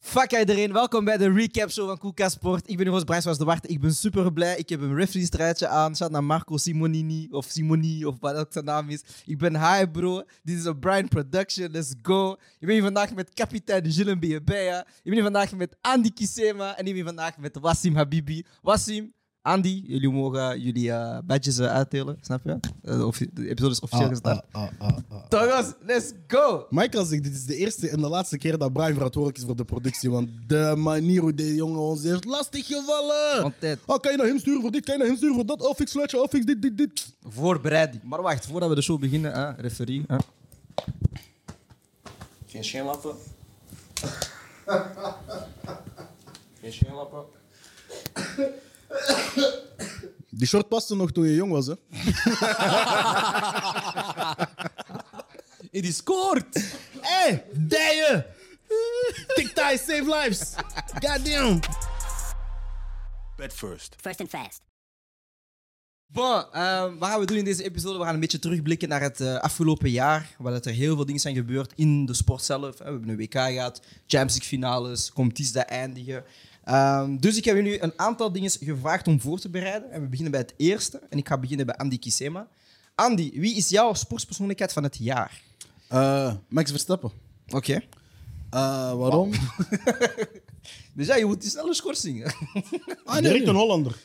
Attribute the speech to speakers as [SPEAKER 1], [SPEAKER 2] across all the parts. [SPEAKER 1] Fuck iedereen, welkom bij de recap show van Koeka Sport. Ik ben Roos Bruinswaas de Wart. Ik ben super blij. Ik heb een referee truitje aan. Shout naar Marco Simonini of Simoni of wat ook zijn naam is. Ik ben high bro. Dit is een Brian Production. Let's go. Ik ben hier vandaag met kapitein Gilles Biebeya. Ik ben hier vandaag met Andy Kisema. En ik ben vandaag met Wassim Habibi. Wassim, Andy, jullie mogen jullie eh, badges eh, uitdelen. Snap je? Eh, offi- de episode is officieel gestart.
[SPEAKER 2] ah, ah, ah.
[SPEAKER 1] Thomas, let's go!
[SPEAKER 2] Michael zegt, dit is de eerste en de laatste keer dat Brian verantwoordelijk is voor de productie. Want de manier hoe die jongen ons heeft lastig gevallen.
[SPEAKER 1] Want tijd.
[SPEAKER 2] Oh, kan je naar hem sturen voor dit, kan je naar hem sturen voor dat? Oh, fix sluitje, oh, fix dit, dit, dit.
[SPEAKER 1] Voorbereiding. Maar wacht, voordat we de show beginnen, hè, referee. Hè.
[SPEAKER 3] Geen scheenlappen. Geen scheenlappen.
[SPEAKER 2] Die short paste nog toen je jong was, hè?
[SPEAKER 1] En die scoort!
[SPEAKER 2] Hey, dijen! TikTok, eh. save lives! Goddamn!
[SPEAKER 4] First and fast.
[SPEAKER 1] Bon, ehm, wat gaan we doen in deze episode? We gaan een beetje terugblikken naar het eh, afgelopen jaar. Waar dat er heel veel dingen zijn gebeurd in de sport zelf. hè. We hebben een WK gehad, Champions League finales, competities dat eindigen. Ehm, dus ik heb jullie een aantal dingen gevraagd om voor te bereiden. En we beginnen bij het eerste. En ik ga beginnen bij Andy Kisema. Andy, wie is jouw sportspersoonlijkheid van het jaar?
[SPEAKER 2] Eh, Max Verstappen.
[SPEAKER 1] Oké.
[SPEAKER 2] Eh, waarom?
[SPEAKER 1] Dus ja, je moet die snelle schorsing. hè.
[SPEAKER 2] Ah, Direct een Hollander.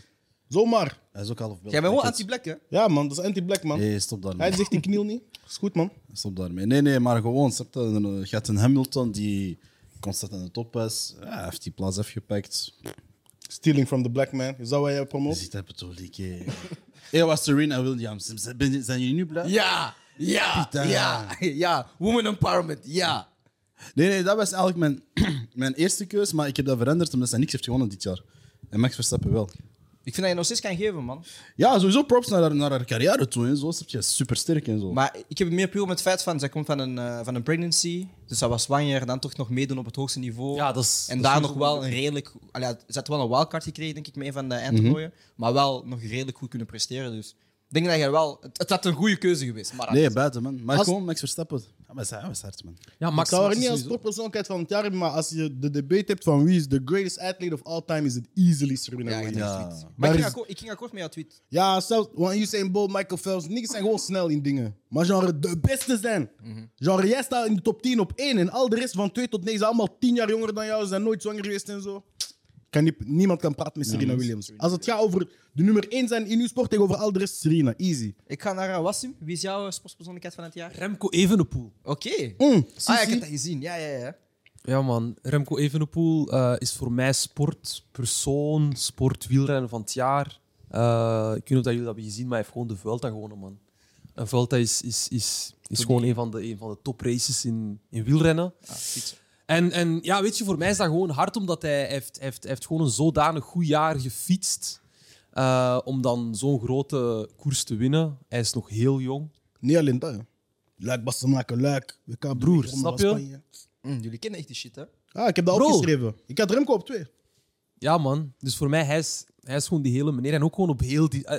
[SPEAKER 2] Zomaar. Hij is ook half
[SPEAKER 1] Jij bent wel anti-black, hè?
[SPEAKER 2] Ja, man, dat is anti-black, man.
[SPEAKER 5] Nee, stop daarmee.
[SPEAKER 2] Hij zegt, die kniel niet. Is goed, man.
[SPEAKER 5] Stop daarmee. Nee, nee, maar gewoon. snap je, een- eh, Je gaat een Hamilton die constant aan de top is. Ja, hij heeft die plaats afgepakt.
[SPEAKER 2] Stealing from the black man. Is dat wat jij
[SPEAKER 5] Je
[SPEAKER 2] promoot?
[SPEAKER 5] ziet dat toch lieke. Eer was Serena Williams. Zijn- ben- Zijn jullie nu blij?
[SPEAKER 1] Ja, ja,
[SPEAKER 5] Pita.
[SPEAKER 1] ja, ja. Women empowerment, ja.
[SPEAKER 5] Nee, nee, dat was eigenlijk mijn, mijn eerste keus, maar ik heb dat veranderd omdat hij niks heeft gewonnen dit jaar. En Max Verstappen wel.
[SPEAKER 1] Ik vind dat je nog steeds kan geven, man.
[SPEAKER 5] Ja, sowieso props naar haar, naar haar carrière toe. En zo snap je supersterk en zo.
[SPEAKER 1] Maar ik heb het meer puur met het feit van, zij komt van een, eh, van een pregnancy. Dus zij was zwanger, dan toch nog meedoen op het hoogste niveau.
[SPEAKER 3] Ja, dat is-
[SPEAKER 1] en
[SPEAKER 3] dat is
[SPEAKER 1] daar nog
[SPEAKER 3] sowieso
[SPEAKER 1] wel een redelijk... allee, ja, Ze had wel een wildcard gekregen, denk ik, mee van de eindtoernooien.
[SPEAKER 5] Mhm.
[SPEAKER 1] Maar wel nog redelijk goed kunnen presteren, dus... Ik denk dat je wel... Het, het had een goede keuze geweest, maar...
[SPEAKER 5] Nee, buiten, man. Maar
[SPEAKER 2] Als-
[SPEAKER 5] gewoon Max Verstappen. Ja, maar hij was hard, man.
[SPEAKER 3] Ja, Max
[SPEAKER 2] ik zou
[SPEAKER 3] Max
[SPEAKER 2] haar
[SPEAKER 3] is
[SPEAKER 2] niet als
[SPEAKER 3] sowieso-
[SPEAKER 2] toppersoonlijkheid van het jaar hebben, maar als je de debate hebt van wie is de greatest athlete of all time, is het easily Serena
[SPEAKER 1] Ja,
[SPEAKER 2] Williams.
[SPEAKER 1] inderdaad.
[SPEAKER 5] Ja.
[SPEAKER 1] Maar ik
[SPEAKER 2] Maar
[SPEAKER 1] ging,
[SPEAKER 2] is-
[SPEAKER 1] akkoord, ik ging akkoord met jouw tweet.
[SPEAKER 2] Ja, zelfs want Usain Bolt, Michael Phelps, niks zijn gewoon snel in dingen. Maar genre de beste zijn. Genre jij staat in de top 10 op 1 en al de rest van 2 tot 9 zijn allemaal 10 jaar jonger dan jou, zijn nooit zwanger geweest en zo. Kan niet, niemand kan praten met Serena Williams. Als het gaat over de nummer 1 zijn in uw sport tegenover al de rest, Serena, easy.
[SPEAKER 1] Ik ga naar eh, Wassim. Wie is jouw eh, sportspersoonlijkheid van het jaar?
[SPEAKER 3] Remco Evenepoel.
[SPEAKER 1] Oké.
[SPEAKER 2] Mm,
[SPEAKER 1] Ah, ja, ik
[SPEAKER 2] Sissi.
[SPEAKER 1] heb dat gezien. Ja, ja, ja.
[SPEAKER 3] Ja, man. Remco Evenepoel eh, is voor mij sportpersoon, sportwielrenner van het jaar. Eh, ik weet niet of dat jullie dat hebben gezien, maar hij heeft gewoon de Vuelta gewonnen, man. En Vuelta is, is, is, is gewoon een van de, een van de top races in, in wielrennen. En, en ja, weet je, voor mij is dat gewoon hard, omdat hij hij heeft, hij heeft, hij heeft gewoon een zodanig goed jaar gefietst eh, om dan zo'n grote koers te winnen. Hij is nog heel jong.
[SPEAKER 2] Niet alleen dat, ja. Luik, Basten maken, luik. WK, broer,
[SPEAKER 3] snap je?
[SPEAKER 1] Mm, jullie kennen echt die shit, hè?
[SPEAKER 2] Ah, ik heb dat
[SPEAKER 3] Bro.
[SPEAKER 2] opgeschreven. Ik had Remco op 2.
[SPEAKER 3] Ja, man. Dus voor mij, hij is, hij is gewoon die hele meneer. En ook gewoon op heel die... eh,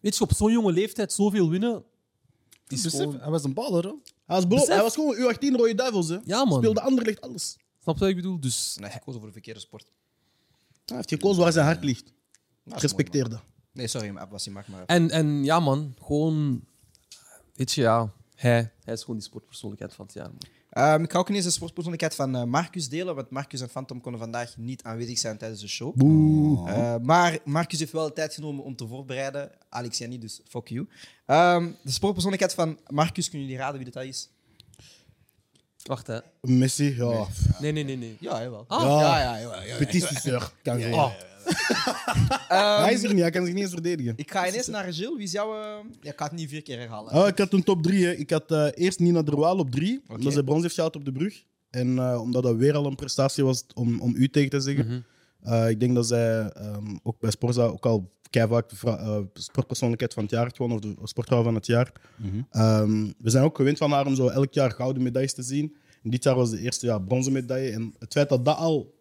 [SPEAKER 3] weet je, op zo'n jonge leeftijd zoveel winnen... Is
[SPEAKER 5] Besef,
[SPEAKER 3] gewoon,
[SPEAKER 5] Hij was een baller, hoor.
[SPEAKER 2] Hij was, beloof,
[SPEAKER 3] Besef.
[SPEAKER 2] hij was gewoon U18 Rode Duivels, hè.
[SPEAKER 3] Ja, man.
[SPEAKER 2] Speelde Anderlecht alles.
[SPEAKER 3] snap je wat ik bedoel? Dus
[SPEAKER 1] Nee, gekozen voor de verkeerde sport.
[SPEAKER 2] Hij heeft gekozen waar zijn hart ligt.
[SPEAKER 1] mooi,
[SPEAKER 2] Respecteer dat.
[SPEAKER 1] Nee, sorry, maar Wassim, maak maar.
[SPEAKER 3] En, en ja, man, gewoon. Weet je, ja, hij, hij is gewoon die sportpersoonlijkheid van het jaar. Man.
[SPEAKER 1] Ehm, ik ga ook ineens de sportpersoonlijkheid van eh, Marcus delen, want Marcus en Phantom konden vandaag niet aanwezig zijn tijdens de show. Eh, maar Marcus heeft wel de tijd genomen om te voorbereiden. Alex, jij niet, dus fuck you. Ehm, de sportpersoonlijkheid van Marcus, kunnen jullie raden wie dat is?
[SPEAKER 3] Wacht, hè?
[SPEAKER 2] Messi, ja.
[SPEAKER 3] Nee, nee, nee, nee. Ah.
[SPEAKER 1] Ja, jawel.
[SPEAKER 2] Ja.
[SPEAKER 1] Ja, ja, jawel, jawel.
[SPEAKER 2] Petit suceur. Kan zo.
[SPEAKER 1] Ah. Ehm,
[SPEAKER 2] Hij is er niet, hij kan zich niet eens verdedigen.
[SPEAKER 1] ik ga ineens naar Gilles. Wie is jouw... eh, Ja, ik ga het niet vier keer herhalen.
[SPEAKER 2] Ah, ik had een top 3. Ik had eh, eerst Nina Derwaal op 3, omdat ze brons heeft gehaald op de brug. En eh, omdat dat weer al een prestatie was om, om u tegen te zeggen. Eh, ik denk dat zij ehm, ook bij Sporza ook al keihard eh, sportpersoonlijkheid van het jaar heeft gewonnen, of de sportvrouw van het jaar. Ehm, we zijn ook gewend van haar om zo elk jaar gouden medailles te zien. En dit jaar was de eerste jaar bronzen medaille. En het feit dat dat al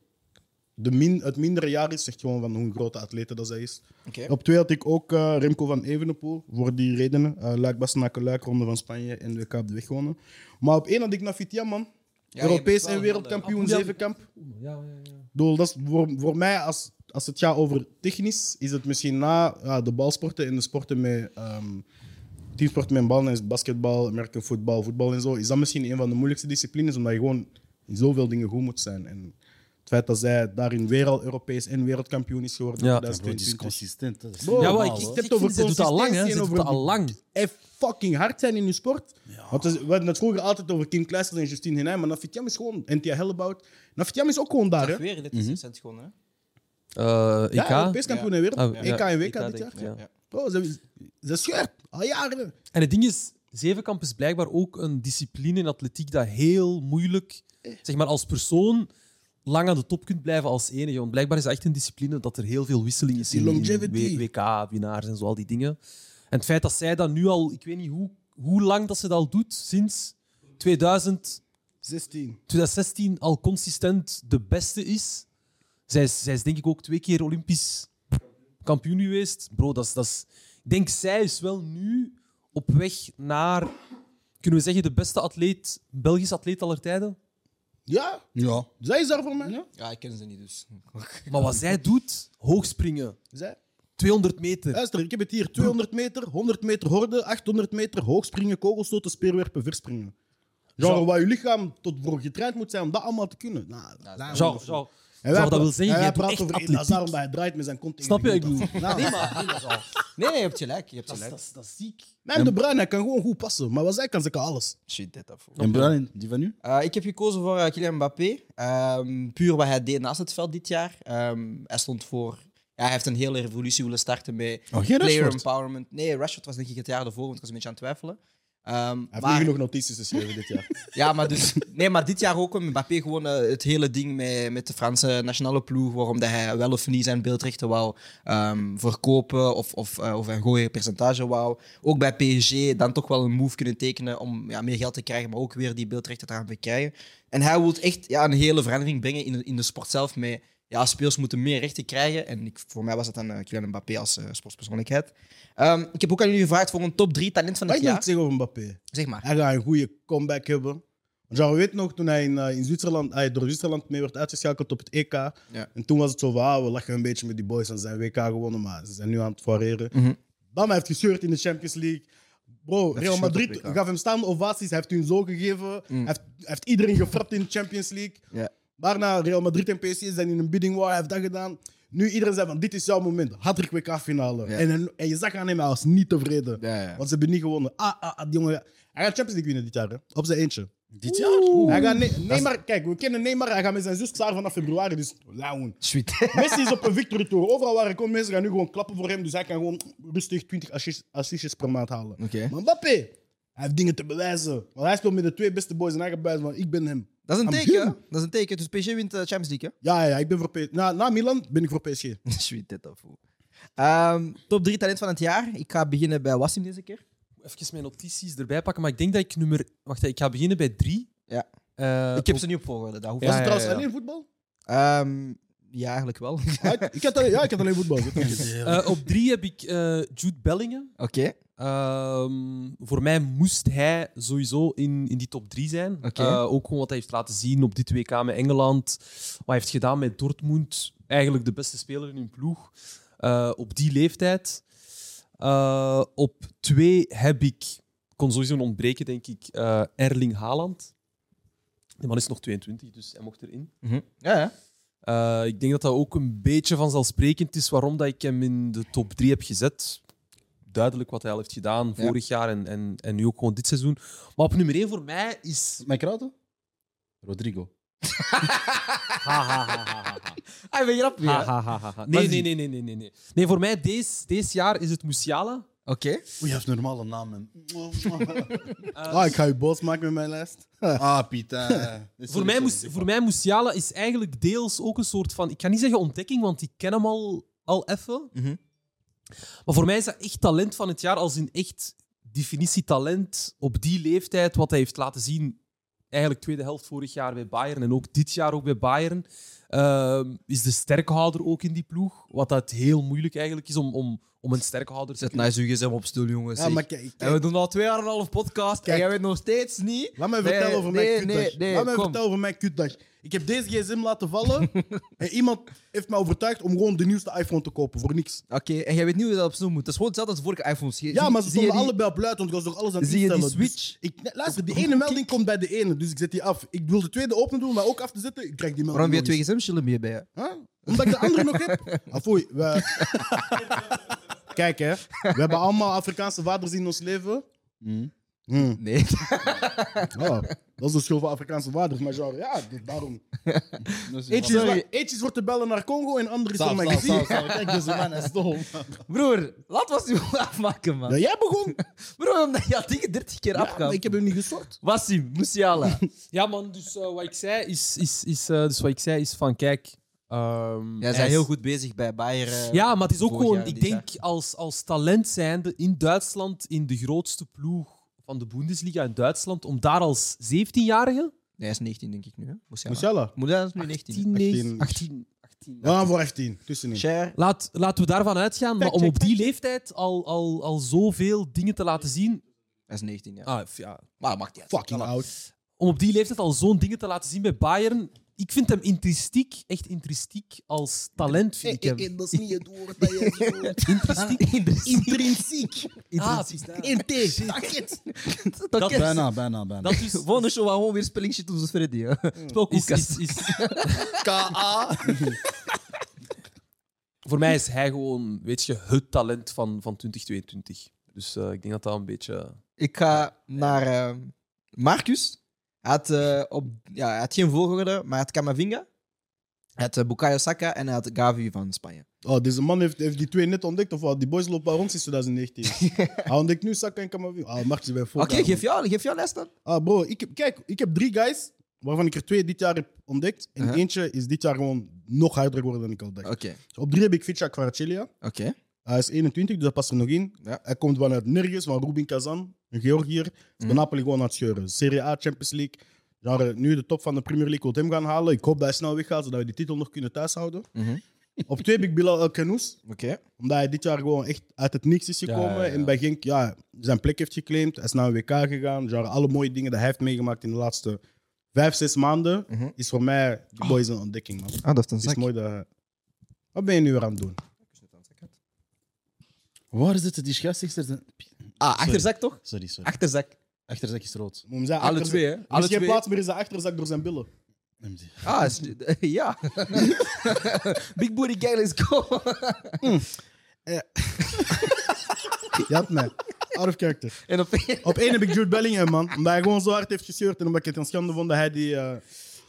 [SPEAKER 2] de min, het mindere jaar is, zegt gewoon van hoe grote atlete dat zij is.
[SPEAKER 1] Oké.
[SPEAKER 2] Op twee had ik ook eh, Remco van Evenepoel, voor die redenen. Eh Luik, Bastenaken, Luik, Ronde van Spanje en WK op de weg gewonnen. Maar op één had ik Nafitia, man.
[SPEAKER 1] Ja,
[SPEAKER 2] Europees
[SPEAKER 1] je bent
[SPEAKER 2] en
[SPEAKER 1] wel eh,
[SPEAKER 2] wereldkampioen,
[SPEAKER 3] Ah, ja.
[SPEAKER 2] zevenkamp.
[SPEAKER 3] Ja, ja, ja.
[SPEAKER 2] Ik bedoel, dat is voor, voor mij, als, als het gaat over technisch, is het misschien na ja, de balsporten en de sporten met ehm teamsporten met ballen, is basketbal, American voetbal, voetbal en zo, is dat misschien een van de moeilijkste disciplines, omdat je gewoon in zoveel dingen goed moet zijn. En het feit dat zij daarin weer al Europees en wereldkampioen is geworden,
[SPEAKER 3] Ja.
[SPEAKER 2] in
[SPEAKER 5] Ja, bro, die is
[SPEAKER 2] 2020.
[SPEAKER 5] consistent. hè. Dat is
[SPEAKER 2] Bro,
[SPEAKER 5] normaal,
[SPEAKER 3] maar ik-
[SPEAKER 5] hoor.
[SPEAKER 3] ik-
[SPEAKER 2] het
[SPEAKER 3] ik
[SPEAKER 2] over
[SPEAKER 3] vind, ze doet dat al lang, hè. Ze
[SPEAKER 2] consistentie en
[SPEAKER 3] doet dat
[SPEAKER 2] over-
[SPEAKER 3] al lang.
[SPEAKER 2] En fucking hard zijn in je sport. Want we hadden het vroeger altijd over Kim Kleisters en Justine Henin, maar Nafitiam is gewoon, en Tia Hellebout. Nafitiam is ook gewoon daar, hè?
[SPEAKER 1] Dat weer in dit
[SPEAKER 3] Mhm.
[SPEAKER 1] recent gewonnen.
[SPEAKER 3] Eh, EK?
[SPEAKER 2] Ja, Europees kampioen en wereld.
[SPEAKER 3] Ah, ja.
[SPEAKER 2] EK en WK
[SPEAKER 3] EK denk
[SPEAKER 2] dit jaar.
[SPEAKER 3] ik, ja.
[SPEAKER 1] Ja.
[SPEAKER 2] Bro, ze, ze is scherp. Al jaren.
[SPEAKER 3] En het ding is, zevenkamp is blijkbaar ook een discipline in atletiek dat heel moeilijk, zeg maar als persoon, lang aan de top kunt blijven als enige. Want blijkbaar is dat echt een discipline dat er heel veel wisseling is
[SPEAKER 2] Die
[SPEAKER 3] in, in
[SPEAKER 2] longevity.
[SPEAKER 3] W- WK-winnaars en zo, al die dingen. En het feit dat zij dat nu al, ik weet niet hoe, hoe lang dat ze dat al doet, sinds 2000,
[SPEAKER 2] 16.
[SPEAKER 3] 2016 al consistent de beste is. Zij is, zij is denk ik ook twee keer Olympisch kampioen geweest. Bro, dat is, dat is, ik denk, zij is wel nu op weg naar, kunnen we zeggen, de beste atleet, Belgisch atleet aller tijden.
[SPEAKER 2] Ja,
[SPEAKER 5] Ja.
[SPEAKER 2] zij is daar voor mij.
[SPEAKER 1] Ja, ik ken ze niet dus.
[SPEAKER 3] Maar wat zij doet, hoogspringen,
[SPEAKER 2] Zij.
[SPEAKER 3] 200 meter.
[SPEAKER 2] Luister, ik heb het hier 200 meter, 100 meter horde, 800 meter hoogspringen, kogelstoten, speerwerpen, verspringen. Genre,
[SPEAKER 3] Zo.
[SPEAKER 2] waar je lichaam tot voor getraind moet zijn om dat allemaal te kunnen. Nou, daarom
[SPEAKER 3] Jean,
[SPEAKER 2] of zo.
[SPEAKER 3] Jean, Zou
[SPEAKER 2] En wij
[SPEAKER 3] dat
[SPEAKER 2] praten-
[SPEAKER 3] wil zeggen, jij
[SPEAKER 2] en wij
[SPEAKER 3] doet
[SPEAKER 2] praten
[SPEAKER 3] echt
[SPEAKER 2] over- en Dat
[SPEAKER 3] atletiek.
[SPEAKER 2] is daarom dat hij draait met zijn kont tegen
[SPEAKER 3] Snap
[SPEAKER 2] de
[SPEAKER 3] je? Ik
[SPEAKER 2] grond
[SPEAKER 3] bedoel,
[SPEAKER 2] af. Nou,
[SPEAKER 1] Nee, maar nee, maar zo. Nee, nee, je hebt gelijk. Je hebt
[SPEAKER 3] dat, is-
[SPEAKER 1] gelijk.
[SPEAKER 3] dat is- dat is ziek.
[SPEAKER 2] Mijn De Bruyne hij kan gewoon goed passen, maar wat zij kan, ze kan alles.
[SPEAKER 1] Shit, dit daarvoor.
[SPEAKER 5] En Brian, die van u?
[SPEAKER 1] Eh, ik heb gekozen voor eh, Kylian Mbappé. Ehm, puur wat hij deed naast het veld dit jaar. Ehm, hij stond voor. Ja, hij heeft een hele revolutie willen starten met
[SPEAKER 5] Oh, geen
[SPEAKER 1] player
[SPEAKER 5] Rashford?
[SPEAKER 1] empowerment. Nee, Rashford was denk ik het jaar ervoor, want ik was een beetje aan het twijfelen. Ehm,
[SPEAKER 2] Hij heeft
[SPEAKER 1] maar,
[SPEAKER 2] niet genoeg notities dus geschreven dit jaar.
[SPEAKER 1] ja, maar, dus, nee, maar dit jaar ook met Mbappé gewoon eh, het hele ding met, met de Franse nationale ploeg. Waarom dat hij wel of niet zijn beeldrechten wou ehm, verkopen of, of, eh, of een gooier percentage wou. Ook bij PSG dan toch wel een move kunnen tekenen om ja, meer geld te krijgen, maar ook weer die beeldrechten te gaan bekrijgen. En hij wil echt ja, een hele verandering brengen in, de- in de sport zelf. Met, ja, speels moeten meer rechten krijgen. En ik, voor mij was dat dan eh, Kylian Mbappé als eh, sportspersoonlijkheid. Ehm, ik heb ook aan jullie gevraagd voor een top 3 talent van
[SPEAKER 2] Wat
[SPEAKER 1] het
[SPEAKER 2] ik nog
[SPEAKER 1] jaar.
[SPEAKER 2] iets zeggen over Mbappé?
[SPEAKER 1] Zeg maar.
[SPEAKER 2] Hij gaat een goede comeback hebben. Want ja, je weet nog, toen hij in, eh, in Zwitserland, hij door Zwitserland mee werd uitgeschakeld op het EK. En toen was het zo van, ah, we lachen een beetje met die boys aan zijn WK gewonnen, maar ze zijn nu aan het foireren.
[SPEAKER 1] Mhm.
[SPEAKER 2] Bam, hij heeft gescheurd in de Champions League. Bro, Real
[SPEAKER 1] gescheurd op Mm.
[SPEAKER 2] Madrid
[SPEAKER 1] WK.
[SPEAKER 2] gaf hem staande ovaties, hij heeft hun zo gegeven. Hij, heeft, hij heeft iedereen gefrapt in de Champions League.
[SPEAKER 1] Ja.
[SPEAKER 2] Daarna, Real Madrid en PSG zijn in een bidding war, hij heeft dat gedaan. Nu iedereen zei van, dit is jouw moment, Hattrick WK-finale.
[SPEAKER 1] Ja.
[SPEAKER 2] En, en je zag aan hem, hij was niet tevreden.
[SPEAKER 1] Ja, ja.
[SPEAKER 2] Want ze hebben niet gewonnen. Ah, ah, ah, die jongen. Hij gaat Champions League winnen dit jaar, hè? op zijn eentje.
[SPEAKER 5] Dit jaar?
[SPEAKER 2] Hij gaat Ne- Neymar, kijk, we kennen Neymar. Hij gaat met zijn zus klaar vanaf februari. Dus lauwen.
[SPEAKER 1] Sweet.
[SPEAKER 2] Messi is op een victory tour. Overal waar hij komt, mensen gaan nu gewoon klappen voor hem. Dus hij kan gewoon rustig 20 assist- assistjes per maand halen.
[SPEAKER 1] Oké.
[SPEAKER 2] Maar Mbappé, hij heeft dingen te bewijzen. Want hij speelt met de twee beste boys en hij gaat bewijzen van ik ben hem.
[SPEAKER 1] Dat is een
[SPEAKER 2] I'm
[SPEAKER 1] teken.
[SPEAKER 2] him.
[SPEAKER 1] Dat is een teken. Dus PSG wint de Champions League,
[SPEAKER 2] Ja, ja, ik ben voor PSG. Na, na Milan ben ik voor PSG.
[SPEAKER 1] hè? Sweet dit af. Ehm top 3 talent van het jaar. Ik ga beginnen bij Wassim deze keer.
[SPEAKER 3] Even mijn notities erbij pakken, maar ik denk dat ik nummer... Wacht, ik ga beginnen bij drie.
[SPEAKER 1] Ja.
[SPEAKER 3] Eh,
[SPEAKER 1] ik heb ze niet op volgorde. Dat hoeft
[SPEAKER 2] Was
[SPEAKER 3] Ja,
[SPEAKER 2] het
[SPEAKER 1] niet.
[SPEAKER 2] trouwens
[SPEAKER 3] ja.
[SPEAKER 2] alleen voetbal?
[SPEAKER 1] Ehm, ja, eigenlijk wel. Oké.
[SPEAKER 2] Ah, ik- ik had alleen, ja, ik had alleen voetbal.
[SPEAKER 3] eh, op drie heb ik eh, Jude Bellingen. Ehm, voor mij moest hij sowieso in, in die top 3 zijn.
[SPEAKER 1] Oké.
[SPEAKER 3] Eh, ook gewoon wat hij heeft laten zien op dit WK met Engeland. Wat hij heeft gedaan met Dortmund. Eigenlijk de beste speler in hun ploeg. eh, op die leeftijd. Eh, op twee heb ik, kon sowieso een ontbreken denk ik, eh, Erling Haaland. Die man is nog 22, dus hij mocht erin.
[SPEAKER 1] Mhm. Ja, ja.
[SPEAKER 3] Eh, ik denk dat dat ook een beetje vanzelfsprekend is waarom dat ik hem in de top 3 heb gezet. Duidelijk wat hij al heeft gedaan
[SPEAKER 1] Ja.
[SPEAKER 3] vorig jaar en, en, en nu ook gewoon dit seizoen. Maar op nummer 1 voor mij is.
[SPEAKER 5] Mijn kraten? Rodrigo.
[SPEAKER 3] Ha, ha, ha, ha, ha, ha.
[SPEAKER 1] Ah, ben je grappig,
[SPEAKER 3] Ha,
[SPEAKER 1] hè?
[SPEAKER 3] ha, ha, ha, ha. Nee, nee, nee, nee, nee, nee, nee. Nee, voor mij deze, deze jaar is het Musiala.
[SPEAKER 1] Oké.
[SPEAKER 5] Oei, hij heeft normale namen. Eh,
[SPEAKER 2] Ah, ik ga je boos maken met mijn lijst.
[SPEAKER 5] ah, Pieter.
[SPEAKER 2] Eh,
[SPEAKER 1] eh.
[SPEAKER 2] dus
[SPEAKER 3] Voor mij, moest, voor mij Musiala is eigenlijk deels ook een soort van... Ik ga niet zeggen ontdekking, want ik ken hem al, al even.
[SPEAKER 1] Mhm.
[SPEAKER 3] Maar voor mij is dat echt talent van het jaar, als in echt definitie talent op die leeftijd, wat hij heeft laten zien. Eigenlijk tweede helft vorig jaar bij Bayern en ook dit jaar ook bij Bayern. Ehm, is de sterkhouder ook in die ploeg. Wat dat heel moeilijk eigenlijk is om, om, om een sterke houder te
[SPEAKER 1] Zet nice uw gsm op stil, jongens.
[SPEAKER 2] Ja, maar kijk,
[SPEAKER 1] en we doen al twee jaar en een half podcast en
[SPEAKER 2] Kijk.
[SPEAKER 1] jij weet nog steeds niet...
[SPEAKER 2] Laat mij
[SPEAKER 1] Nee,
[SPEAKER 2] vertellen over
[SPEAKER 1] nee,
[SPEAKER 2] mijn kutdag.
[SPEAKER 1] Nee, nee,
[SPEAKER 2] Laat mij
[SPEAKER 1] kom.
[SPEAKER 2] vertellen over mijn kutdag. Ik heb deze gsm laten vallen en iemand heeft mij overtuigd om gewoon de nieuwste iPhone te kopen voor niks.
[SPEAKER 1] Oké, en jij weet niet hoe je dat op snoep moet. Dat is gewoon hetzelfde als vorige iPhones. Je-
[SPEAKER 2] Ja,
[SPEAKER 1] zie-
[SPEAKER 2] maar ze
[SPEAKER 1] zie je
[SPEAKER 2] stonden
[SPEAKER 1] die-
[SPEAKER 2] allebei op luid, want ik was nog alles aan het
[SPEAKER 1] Zie je die
[SPEAKER 2] instellen. Dus
[SPEAKER 1] switch?
[SPEAKER 2] ik, nee, luister, die ene melding komt bij de ene, dus ik zet die af. Ik wil de tweede open doen, maar ook af te zetten. Ik krijg die melding
[SPEAKER 1] Waarom heb je
[SPEAKER 2] nog
[SPEAKER 1] twee gsm chillen meer bij je?
[SPEAKER 2] eens. Huh? Omdat ik de andere nog heb. Afoei, we... Kijk, hè. We hebben allemaal Afrikaanse vaders in ons leven.
[SPEAKER 1] Mm.
[SPEAKER 2] Hmm.
[SPEAKER 1] Nee.
[SPEAKER 2] Ja, dat is de schuld van Afrikaanse vaders, maar genre, ja, dus daarom. Eentje is,
[SPEAKER 1] Sorry.
[SPEAKER 2] wa- eentje is wordt te bellen naar Congo en andere is
[SPEAKER 5] Stop,
[SPEAKER 2] naar mijn
[SPEAKER 5] stop,
[SPEAKER 2] gezin.
[SPEAKER 5] stop, stop. Kijk, deze man is dom.
[SPEAKER 1] Broer, laat was die afmaken, man.
[SPEAKER 2] Ja, jij begon.
[SPEAKER 1] Broer, omdat je had dingen 30 keer
[SPEAKER 2] Ja, maar
[SPEAKER 1] afgehaald.
[SPEAKER 2] ik heb hem niet gestort.
[SPEAKER 1] Wassim, Musiala.
[SPEAKER 3] Ja, man, dus eh, wat ik zei is, is, is, eh, dus wat ik zei is van, kijk... ehm,
[SPEAKER 1] Jij
[SPEAKER 3] hij
[SPEAKER 1] zijn
[SPEAKER 3] is-
[SPEAKER 1] heel goed bezig bij Bayern. eh,
[SPEAKER 3] Ja, maar het is ook
[SPEAKER 1] vorig
[SPEAKER 3] gewoon,
[SPEAKER 1] jaar,
[SPEAKER 3] ik
[SPEAKER 1] dit
[SPEAKER 3] denk als, als talent zijnde in Duitsland, in de grootste ploeg van de Bundesliga in Duitsland, om daar als 17-jarige.
[SPEAKER 1] Hij is 19, denk ik nu. hè. Musiala.
[SPEAKER 2] Musiala.
[SPEAKER 1] Musiala is nu 19.
[SPEAKER 3] 18, nee, 18,
[SPEAKER 2] 18.
[SPEAKER 3] 18.
[SPEAKER 2] Ja, voor 18. Tussenin.
[SPEAKER 1] Cher.
[SPEAKER 3] Laat, laten we daarvan uitgaan, maar om op die leeftijd al, al, al zoveel dingen te laten zien.
[SPEAKER 1] Hij is 19, ja.
[SPEAKER 3] Ah, ja.
[SPEAKER 1] Maar dat maakt niet uit.
[SPEAKER 2] Fucking
[SPEAKER 1] Voilà.
[SPEAKER 2] oud.
[SPEAKER 3] Om op die leeftijd al zo'n dingen te laten zien bij Bayern. Ik vind hem intrinsiek, echt intrinsiek als talent. Vind ik hem.
[SPEAKER 2] dat is niet het woord dat je Intrinsiek.
[SPEAKER 3] Ah, het is daar.
[SPEAKER 1] Dat
[SPEAKER 3] Dat-
[SPEAKER 1] is...
[SPEAKER 5] Bijna, bijna, bijna.
[SPEAKER 3] Dat is,
[SPEAKER 1] Volgende show waar gewoon weer spelling shit doen zoals Freddy. hè.
[SPEAKER 3] is,
[SPEAKER 1] Spelkoelkast.
[SPEAKER 3] is, is, voor mij is hij gewoon, weet je, het talent van, van 2022. Dus eh, ik denk dat dat een beetje...
[SPEAKER 1] Ik ga naar eh, Marcus. Hij had, eh, op, ja, hij had geen volgorde, maar hij had Camavinga. Hij had eh, Bukayo Saka en hij had Gavi van Spanje.
[SPEAKER 2] Oh, deze man heeft, heeft die twee net ontdekt, of wat? Die boys lopen al rond sinds 2019. Hij ontdekt nu Saka en Kamavinga. Ah, Martje bij voor.
[SPEAKER 1] Oké, geef, jou, geef jouw les dan.
[SPEAKER 2] Ah, bro, ik heb, kijk, ik heb drie guys, waarvan ik er twee dit jaar heb ontdekt. En
[SPEAKER 1] Uh-huh.
[SPEAKER 2] eentje is dit jaar gewoon nog harder geworden dan ik al dacht.
[SPEAKER 1] Oké,
[SPEAKER 2] Dus op drie heb ik Fitja Kvaratskhelia.
[SPEAKER 1] oké.
[SPEAKER 2] Hij is 21, dus dat past er nog in.
[SPEAKER 1] Ja.
[SPEAKER 2] Hij komt vanuit nergens, van Rubin Kazan, een Georgiër. Is
[SPEAKER 1] Mhm.
[SPEAKER 2] Bij Napoli gewoon aan het scheuren. Serie A, Champions League. Genre, nu de top van de Premier League wil hem gaan halen. Ik hoop dat hij snel weggaat, zodat we die titel nog kunnen thuishouden.
[SPEAKER 1] Mhm.
[SPEAKER 2] Op twee heb ik Bilal El Khanous,
[SPEAKER 1] Oké.
[SPEAKER 2] omdat hij dit jaar gewoon echt uit het niks is gekomen.
[SPEAKER 3] ja, ja.
[SPEAKER 2] En bij Genk ja, zijn plek heeft geclaimd. Hij is naar een WK gegaan. Genre, alle mooie dingen die hij heeft meegemaakt in de laatste vijf, zes maanden,
[SPEAKER 1] Mhm.
[SPEAKER 2] is voor mij de boys een ontdekking. Man.
[SPEAKER 1] Ah, dat is een
[SPEAKER 2] Het is mooi dat hij- Wat ben je nu weer aan het doen?
[SPEAKER 5] Waar zitten die scheidsrechters?
[SPEAKER 1] Ah, achterzak toch?
[SPEAKER 5] Sorry, sorry.
[SPEAKER 1] Achterzak.
[SPEAKER 5] Achterzak is rood.
[SPEAKER 2] Om zijn
[SPEAKER 1] Alle
[SPEAKER 2] achter-
[SPEAKER 1] twee, hè?
[SPEAKER 2] Er
[SPEAKER 1] Alle
[SPEAKER 2] is geen
[SPEAKER 1] twee.
[SPEAKER 2] plaats meer in zijn achterzak door zijn billen.
[SPEAKER 5] Neem die.
[SPEAKER 1] Ah, is, ja. Big booty gang, let's go.
[SPEAKER 2] Hm. Eh, Je had mij. Out of character.
[SPEAKER 1] en op
[SPEAKER 2] Op één heb ik Jude Bellingham, man. Omdat hij gewoon zo hard heeft gescheurd. En omdat ik het een schande vond dat hij die, eh,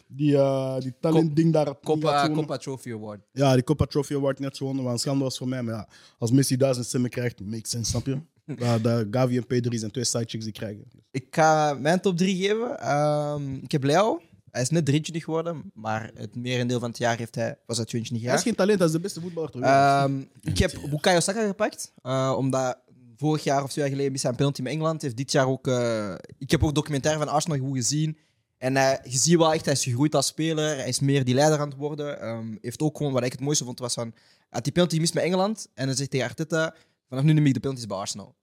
[SPEAKER 2] die, eh, die talentding daar had niet had
[SPEAKER 1] Copa,
[SPEAKER 2] gewonnen.
[SPEAKER 1] Copa Trophy Award.
[SPEAKER 2] Ja, die Copa Trophy Award niet had gewonnen. Wat een schande was voor mij. Maar ja, als Messi duizend stemmen krijgt, makes sense, snap je? Ja, dat Gavi en Pedri zijn twee sidechicks die krijgen.
[SPEAKER 1] Ik ga mijn top 3 geven. Ehm, ik heb Leo. Hij is net 23 geworden, maar het merendeel van het jaar heeft hij, was hij 22
[SPEAKER 2] Hij is
[SPEAKER 1] jaar.
[SPEAKER 2] geen talent, hij is de beste voetballer ter wereld.
[SPEAKER 1] Ehm, ik heb Bukayo Saka gepakt, eh, omdat vorig jaar of twee jaar geleden miste hij een penalty met Engeland. Heeft dit jaar ook, eh, ik heb ook documentaire van Arsenal goed gezien. En hij- je ziet wel echt, hij is gegroeid als speler. Hij is meer die leider aan het worden. Ehm, heeft ook gewoon, wat ik het mooiste vond, was van... hij had die penalty gemist met Engeland. En dan zegt tegen Arteta, vanaf nu neem ik de penalties bij Arsenal.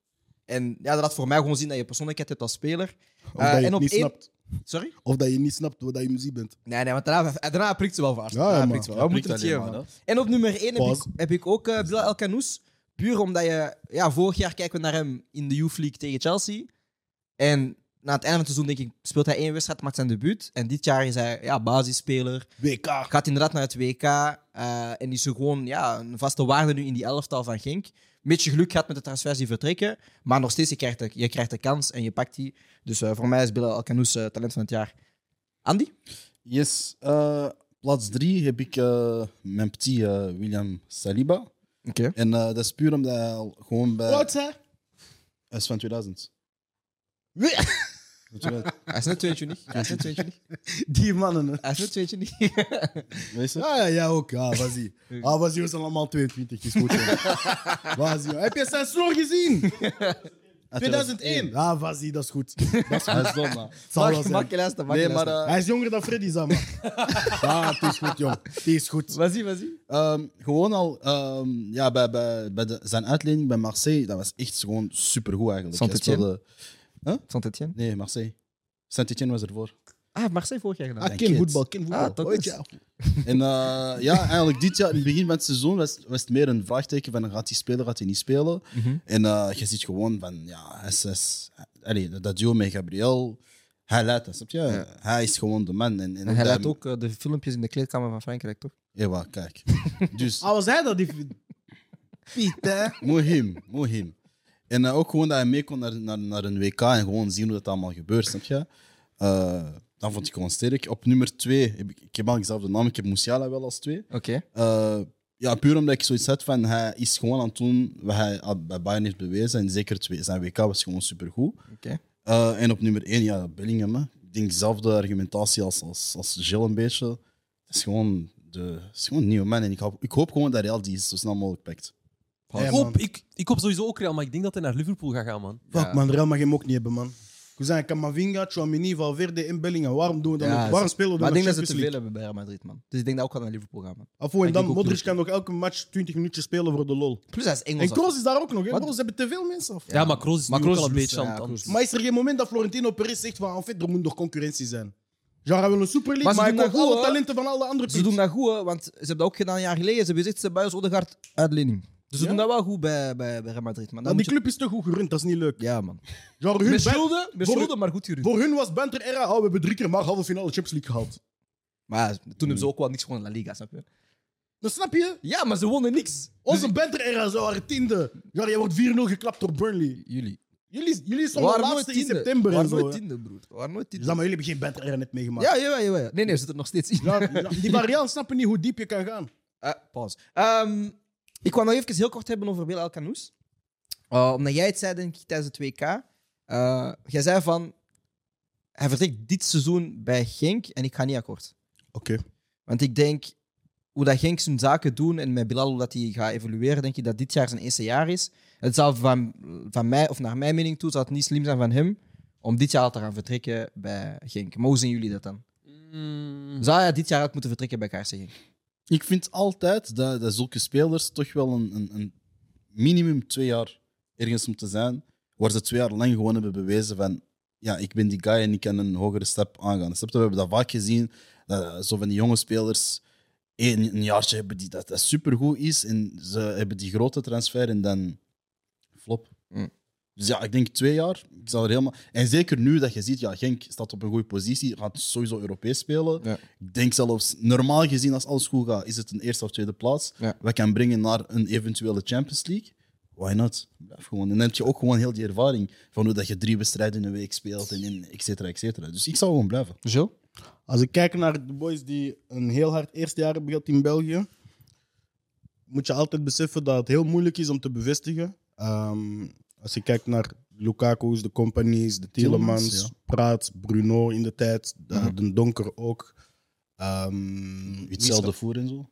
[SPEAKER 1] En ja, dat laat voor mij gewoon zien dat je persoonlijkheid hebt als speler.
[SPEAKER 2] Of
[SPEAKER 1] eh,
[SPEAKER 2] dat je
[SPEAKER 1] en
[SPEAKER 2] het
[SPEAKER 1] op
[SPEAKER 2] niet
[SPEAKER 1] één-
[SPEAKER 2] snapt.
[SPEAKER 1] Sorry?
[SPEAKER 2] Of dat je niet snapt wat je muziek bent.
[SPEAKER 1] Nee, nee, want daarna, daarna prikt ze wel voor Arsenal.
[SPEAKER 2] Ja, ja,
[SPEAKER 1] Daarna
[SPEAKER 2] maar-
[SPEAKER 1] prikt ze wel. We moeten het geven, man. En op nummer 1 heb ik,
[SPEAKER 2] Pause.
[SPEAKER 1] heb ik ook eh Bilal El Khanous. Puur omdat je... Ja, vorig jaar kijken we naar hem in de Youth League tegen Chelsea. En na het einde van het seizoen, denk ik, speelt hij één wedstrijd, maakt zijn debuut. En dit jaar is hij ja, basisspeler.
[SPEAKER 2] WK.
[SPEAKER 1] Gaat inderdaad naar het WK. eh, en is er gewoon ja, een vaste waarde nu in die elftal van Genk. Een beetje geluk gehad met de transfers die vertrekken. Maar nog steeds, je krijgt de, je krijgt de kans en je pakt die. Dus eh, voor mij is Bilal El Khanous eh, talent van het jaar. Andy?
[SPEAKER 5] Yes. eh, plaats drie heb ik eh, mijn petit eh, William Saliba.
[SPEAKER 1] Oké.
[SPEAKER 5] En eh, dat is puur omdat hij al gewoon bij...
[SPEAKER 2] Wat, hè?
[SPEAKER 5] Hij is van 2000.
[SPEAKER 2] Wie-
[SPEAKER 5] Van 2000.
[SPEAKER 1] Hij is net 22. Hij is net 22.
[SPEAKER 2] Die mannen, hè.
[SPEAKER 1] Hij is net 22.
[SPEAKER 5] Weet je?
[SPEAKER 2] Ja, ja, ja, ook. Ah, Vazie. Ah, Vazie, we zijn allemaal 22. Is goed, jongen. Vazie, jongen. Heb je zijn snor gezien? 2001. Ah, Vazie, dat is goed. Dat is
[SPEAKER 5] Dat
[SPEAKER 2] goed.
[SPEAKER 5] is dom, man.
[SPEAKER 2] Zal wel zijn.
[SPEAKER 1] Makkelijk luisteren,
[SPEAKER 5] Nee,
[SPEAKER 1] makkelijk
[SPEAKER 5] maar... eh,
[SPEAKER 2] Hij is jonger dan Freddy, zeg maar.
[SPEAKER 5] Ah,
[SPEAKER 2] Ja, het is goed, jong. Het is goed.
[SPEAKER 1] Wat zie, wat zie?
[SPEAKER 5] Ehm, gewoon al, ehm, ja, bij, bij, bij de, zijn uitleiding bij Marseille, dat was echt gewoon supergoed eigenlijk. Hij
[SPEAKER 1] Saint-Étienne?
[SPEAKER 5] speelde-
[SPEAKER 1] Saint-Etienne?
[SPEAKER 5] Nee, Marseille. Saint-Etienne was ervoor.
[SPEAKER 1] Ah, Marseille vorig jaar gedaan.
[SPEAKER 2] Ah,
[SPEAKER 5] kids.
[SPEAKER 2] ken voetbal, ken voetbal.
[SPEAKER 1] Ah, toch
[SPEAKER 2] Ooit,
[SPEAKER 1] eens.
[SPEAKER 2] ja.
[SPEAKER 5] En eh, ja, eigenlijk dit jaar, in het begin van het seizoen, was, was het meer een vraagteken van gaat hij spelen, gaat hij niet spelen.
[SPEAKER 1] Mhm.
[SPEAKER 5] En eh, je ziet gewoon van, ja, hij is- hij is- allee, dat- dat duo met Gabriel, hij leidt dat, snap je? Hij is gewoon de man. En, en,
[SPEAKER 1] En hij laat
[SPEAKER 5] laat
[SPEAKER 1] ook eh, de filmpjes in de kleedkamer van Frankrijk, toch?
[SPEAKER 5] Ewa, kijk. Dus,
[SPEAKER 2] Ah, was hij dat? Die...
[SPEAKER 5] Mohim, Mohim. En eh, ook gewoon dat hij mee kon naar, naar, naar een WK en gewoon zien hoe dat allemaal gebeurt, snap je? Eh, dat vond ik gewoon sterk. Op nummer twee, heb ik, ik heb al gezegd de naam, ik heb Musiala wel als twee.
[SPEAKER 1] Oké.
[SPEAKER 5] Eh, ja, puur omdat ik zoiets had van hij is gewoon aan het doen wat hij al bij Bayern heeft bewezen. En zeker twee, zijn WK was gewoon supergoed.
[SPEAKER 1] Oké.
[SPEAKER 5] Eh, en op nummer één, ja, Bellingham. hè. Ik denk dezelfde argumentatie als, als, als Gilles een beetje. Het is gewoon, de, het is gewoon een nieuwe man. En ik hoop, ik hoop gewoon dat Real die zo snel mogelijk pakt.
[SPEAKER 2] Ja,
[SPEAKER 3] ik,
[SPEAKER 2] man.
[SPEAKER 3] hoop, ik, ik hoop sowieso ook Real, maar ik denk dat hij naar Liverpool gaat gaan, man.
[SPEAKER 2] Fuck
[SPEAKER 1] Ja.
[SPEAKER 2] man, Real mag hem ook niet hebben, man. Cousin, Camavinga, Chouamini, Valverde en Bellingham. Waarom doen we dan
[SPEAKER 1] Ja,
[SPEAKER 2] nog? Waarom spelen we
[SPEAKER 1] Maar
[SPEAKER 2] dan
[SPEAKER 1] ik
[SPEAKER 2] nog
[SPEAKER 1] denk dat ze
[SPEAKER 2] Champions
[SPEAKER 1] te veel
[SPEAKER 2] League?
[SPEAKER 1] hebben bij Real Madrid, man. Dus ik denk dat ook wel naar Liverpool gaan, man.
[SPEAKER 2] Afo, en
[SPEAKER 3] Denk
[SPEAKER 2] dan
[SPEAKER 3] ik ook
[SPEAKER 2] Modric
[SPEAKER 3] niet.
[SPEAKER 2] kan nog elke match 20 minuutjes spelen voor de lol.
[SPEAKER 1] Plus hij is Engels.
[SPEAKER 2] En Kroos is daar ook nog, hè?
[SPEAKER 1] Wat?
[SPEAKER 2] bro? Ze hebben te veel mensen. af.
[SPEAKER 3] Ja, maar Kroos is
[SPEAKER 1] Maar
[SPEAKER 3] nu
[SPEAKER 1] Kroos
[SPEAKER 3] ook al een
[SPEAKER 1] is-
[SPEAKER 3] beetje
[SPEAKER 1] ja,
[SPEAKER 3] aan het-
[SPEAKER 1] Kroos is-
[SPEAKER 2] Maar is er geen moment dat Florentino Perez zegt van, en fait, er moet nog concurrentie zijn? Genre, hij wil een Super League,
[SPEAKER 1] Maar
[SPEAKER 2] maar,
[SPEAKER 1] ze
[SPEAKER 2] hij
[SPEAKER 1] doen
[SPEAKER 2] kocht
[SPEAKER 1] dat goed,
[SPEAKER 2] alle
[SPEAKER 1] hoor.
[SPEAKER 2] talenten van alle andere
[SPEAKER 1] Ze doen dat goed, hè, want ze hebben dat ook gedaan een jaar geleden. Ze hebben gezegd, ze bij ons Odegaard uitlening. Dus ze
[SPEAKER 2] Ja.
[SPEAKER 1] doen dat wel goed bij, bij, bij Real Madrid, man. Dan
[SPEAKER 2] Maar Ah, die
[SPEAKER 1] moet
[SPEAKER 2] club is te goed gerund, dat is niet leuk.
[SPEAKER 1] je- Ja, man.
[SPEAKER 2] Genre, hun
[SPEAKER 1] Met
[SPEAKER 2] Ben-
[SPEAKER 1] schulden, met
[SPEAKER 2] voor-
[SPEAKER 1] schulden, maar goed gerund.
[SPEAKER 2] voor hun was Benter era, oh, we hebben drie keer maar halve finale Champions League gehaald.
[SPEAKER 1] Maar ja, toen hebben ze ook wel niks gewonnen in La Liga, snap je?
[SPEAKER 2] Dan snap je?
[SPEAKER 1] Ja, maar ze wonnen niks. Dus-
[SPEAKER 2] Onze Benter era zou haar tiende. Genre, jij wordt 4-0 geklapt door Burnley.
[SPEAKER 1] Jullie.
[SPEAKER 2] Jullie, jullie
[SPEAKER 1] We
[SPEAKER 2] stonden
[SPEAKER 1] waren
[SPEAKER 2] laatste in september
[SPEAKER 1] We
[SPEAKER 2] en
[SPEAKER 1] waren
[SPEAKER 2] zo.
[SPEAKER 1] nooit
[SPEAKER 2] hè.
[SPEAKER 1] tiende, broer. We waren nooit
[SPEAKER 2] Ja,
[SPEAKER 1] tiende.
[SPEAKER 2] maar jullie hebben geen Benter era net meegemaakt.
[SPEAKER 1] Ja, jawel, jawel. Nee, nee, ze zitten nog steeds in.
[SPEAKER 2] Ja, ja, die variant snappen niet hoe diep je kan gaan.
[SPEAKER 1] Eh, pauze. Ehm, ik wou nog even heel kort hebben over Bilal Canoes. Eh, omdat jij het zei, denk ik, tijdens het WK. Eh, jij zei van... Hij vertrekt dit seizoen bij Genk en ik ga niet akkoord.
[SPEAKER 2] Oké.
[SPEAKER 1] Want ik denk, hoe dat Genk zijn zaken doen en met Bilal, hoe dat hij gaat evolueren, denk ik dat dit jaar zijn eerste jaar is. Het zal van, van mij, of naar mijn mening toe, zal het niet slim zijn van hem om dit jaar al te gaan vertrekken bij Genk. Maar hoe zien jullie dat dan?
[SPEAKER 3] Mm.
[SPEAKER 1] Zou hij dit jaar had moeten vertrekken bij KRC Genk?
[SPEAKER 5] Ik vind altijd dat, dat zulke spelers toch wel een, een, een minimum twee jaar ergens moeten zijn, waar ze twee jaar lang gewoon hebben bewezen van ja, ik ben die guy en ik kan een hogere stap aangaan. Snap je? We hebben dat vaak gezien, dat zo van die jonge spelers één een jaartje hebben die dat, dat supergoed is en ze hebben die grote transfer en dan flop.
[SPEAKER 1] Mm.
[SPEAKER 5] Dus ja, ik denk twee jaar. Ik zal er helemaal... En zeker nu dat je ziet, ja, Genk staat op een goede positie, gaat sowieso Europees spelen.
[SPEAKER 1] Ja.
[SPEAKER 5] Ik denk zelfs, normaal gezien, als alles goed gaat, is het een eerste of tweede plaats.
[SPEAKER 1] Ja.
[SPEAKER 5] Wat kan brengen naar een eventuele Champions League. Why not? Blijf gewoon. En dan heb je ook gewoon heel die ervaring van hoe dat je drie wedstrijden in een week speelt en in et cetera, et cetera. Dus ik zou gewoon blijven.
[SPEAKER 1] Zo?
[SPEAKER 2] Als ik kijk naar de boys die een heel hard eerste jaar hebben gehad in België, moet je altijd beseffen dat het heel moeilijk is om te bevestigen. Ehm, als je kijkt naar Lukaku's, de companies, de
[SPEAKER 5] Tielemans,
[SPEAKER 2] Tielemans,
[SPEAKER 5] ja.
[SPEAKER 2] Praat, Bruno in de tijd, de, de Donker ook. Ehm,
[SPEAKER 5] Hetzelfde voer en zo.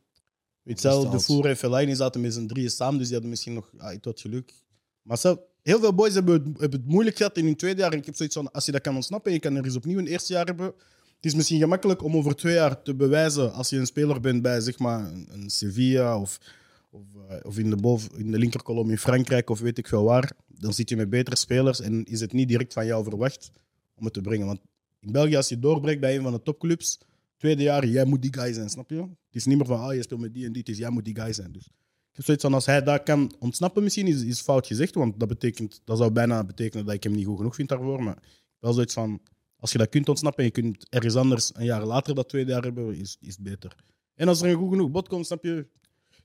[SPEAKER 2] Hetzelfde
[SPEAKER 5] Bestaat.
[SPEAKER 2] voer en Fellaini zaten met z'n drieën samen, dus die hadden misschien nog ah, iets wat geluk. Maar zelf, heel veel boys hebben het, hebben het moeilijk gehad in hun tweede jaar. En ik heb zoiets van, als je dat kan ontsnappen en je kan er eens opnieuw een eerste jaar hebben... Het is misschien gemakkelijk om over twee jaar te bewijzen als je een speler bent bij zeg maar, een, een Sevilla of, of, eh, of in, de boven, in de linkerkolom in Frankrijk of weet ik veel waar. Dan zit je met betere spelers en is het niet direct van jou verwacht om het te brengen. Want in België, als je doorbreekt bij een van de topclubs, tweede jaar, jij moet die guy zijn, snap je? Het is niet meer van, ah, je speelt met die en die, het is jij moet die guy zijn. Dus ik heb zoiets van, als hij dat kan ontsnappen misschien, is, is fout gezegd, want dat, betekent, dat zou bijna betekenen dat ik hem niet goed genoeg vind daarvoor. Maar wel zoiets van, als je dat kunt ontsnappen en je kunt ergens anders een jaar later dat tweede jaar hebben, is, is het beter. En als er een goed genoeg bod komt, snap je?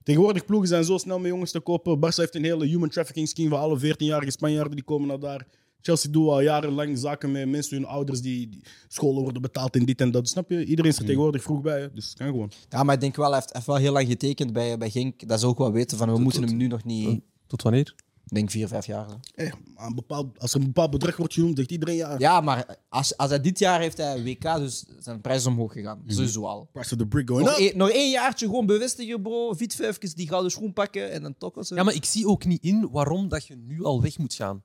[SPEAKER 2] Tegenwoordig ploegen zijn zo snel met jongens te kopen. Barça heeft een hele human trafficking scheme van alle 14-jarige Spanjaarden die komen naar daar. Chelsea doet al jarenlang zaken met mensen, hun ouders die, die scholen worden betaald en dit en dat. Snap je? Iedereen is er tegenwoordig vroeg bij, hè. dus het kan gewoon.
[SPEAKER 1] Ja, maar ik denk wel, hij heeft, hij heeft wel heel lang getekend bij, bij Genk. Dat ze ook wel weten van, we moeten hem nu nog niet... Ik
[SPEAKER 3] Tot wanneer?
[SPEAKER 1] denk vier, vijf jaar. zo.
[SPEAKER 2] Hey, Eh, maar een bepaald, als er een bepaald bedrag wordt genoemd, zegt iedereen ja.
[SPEAKER 1] Ja, maar als, als hij dit jaar heeft hij WK, dus zijn prijs is omhoog gegaan.
[SPEAKER 3] Mhm.
[SPEAKER 1] Sowieso al.
[SPEAKER 2] Price of the brick going
[SPEAKER 1] Nog,
[SPEAKER 2] up.
[SPEAKER 1] één- nog één jaartje gewoon bevestigen, bro. Fiets even die gouden schoen pakken en dan tokken ze.
[SPEAKER 3] Ja, maar ik zie ook niet in waarom dat je nu al weg moet gaan.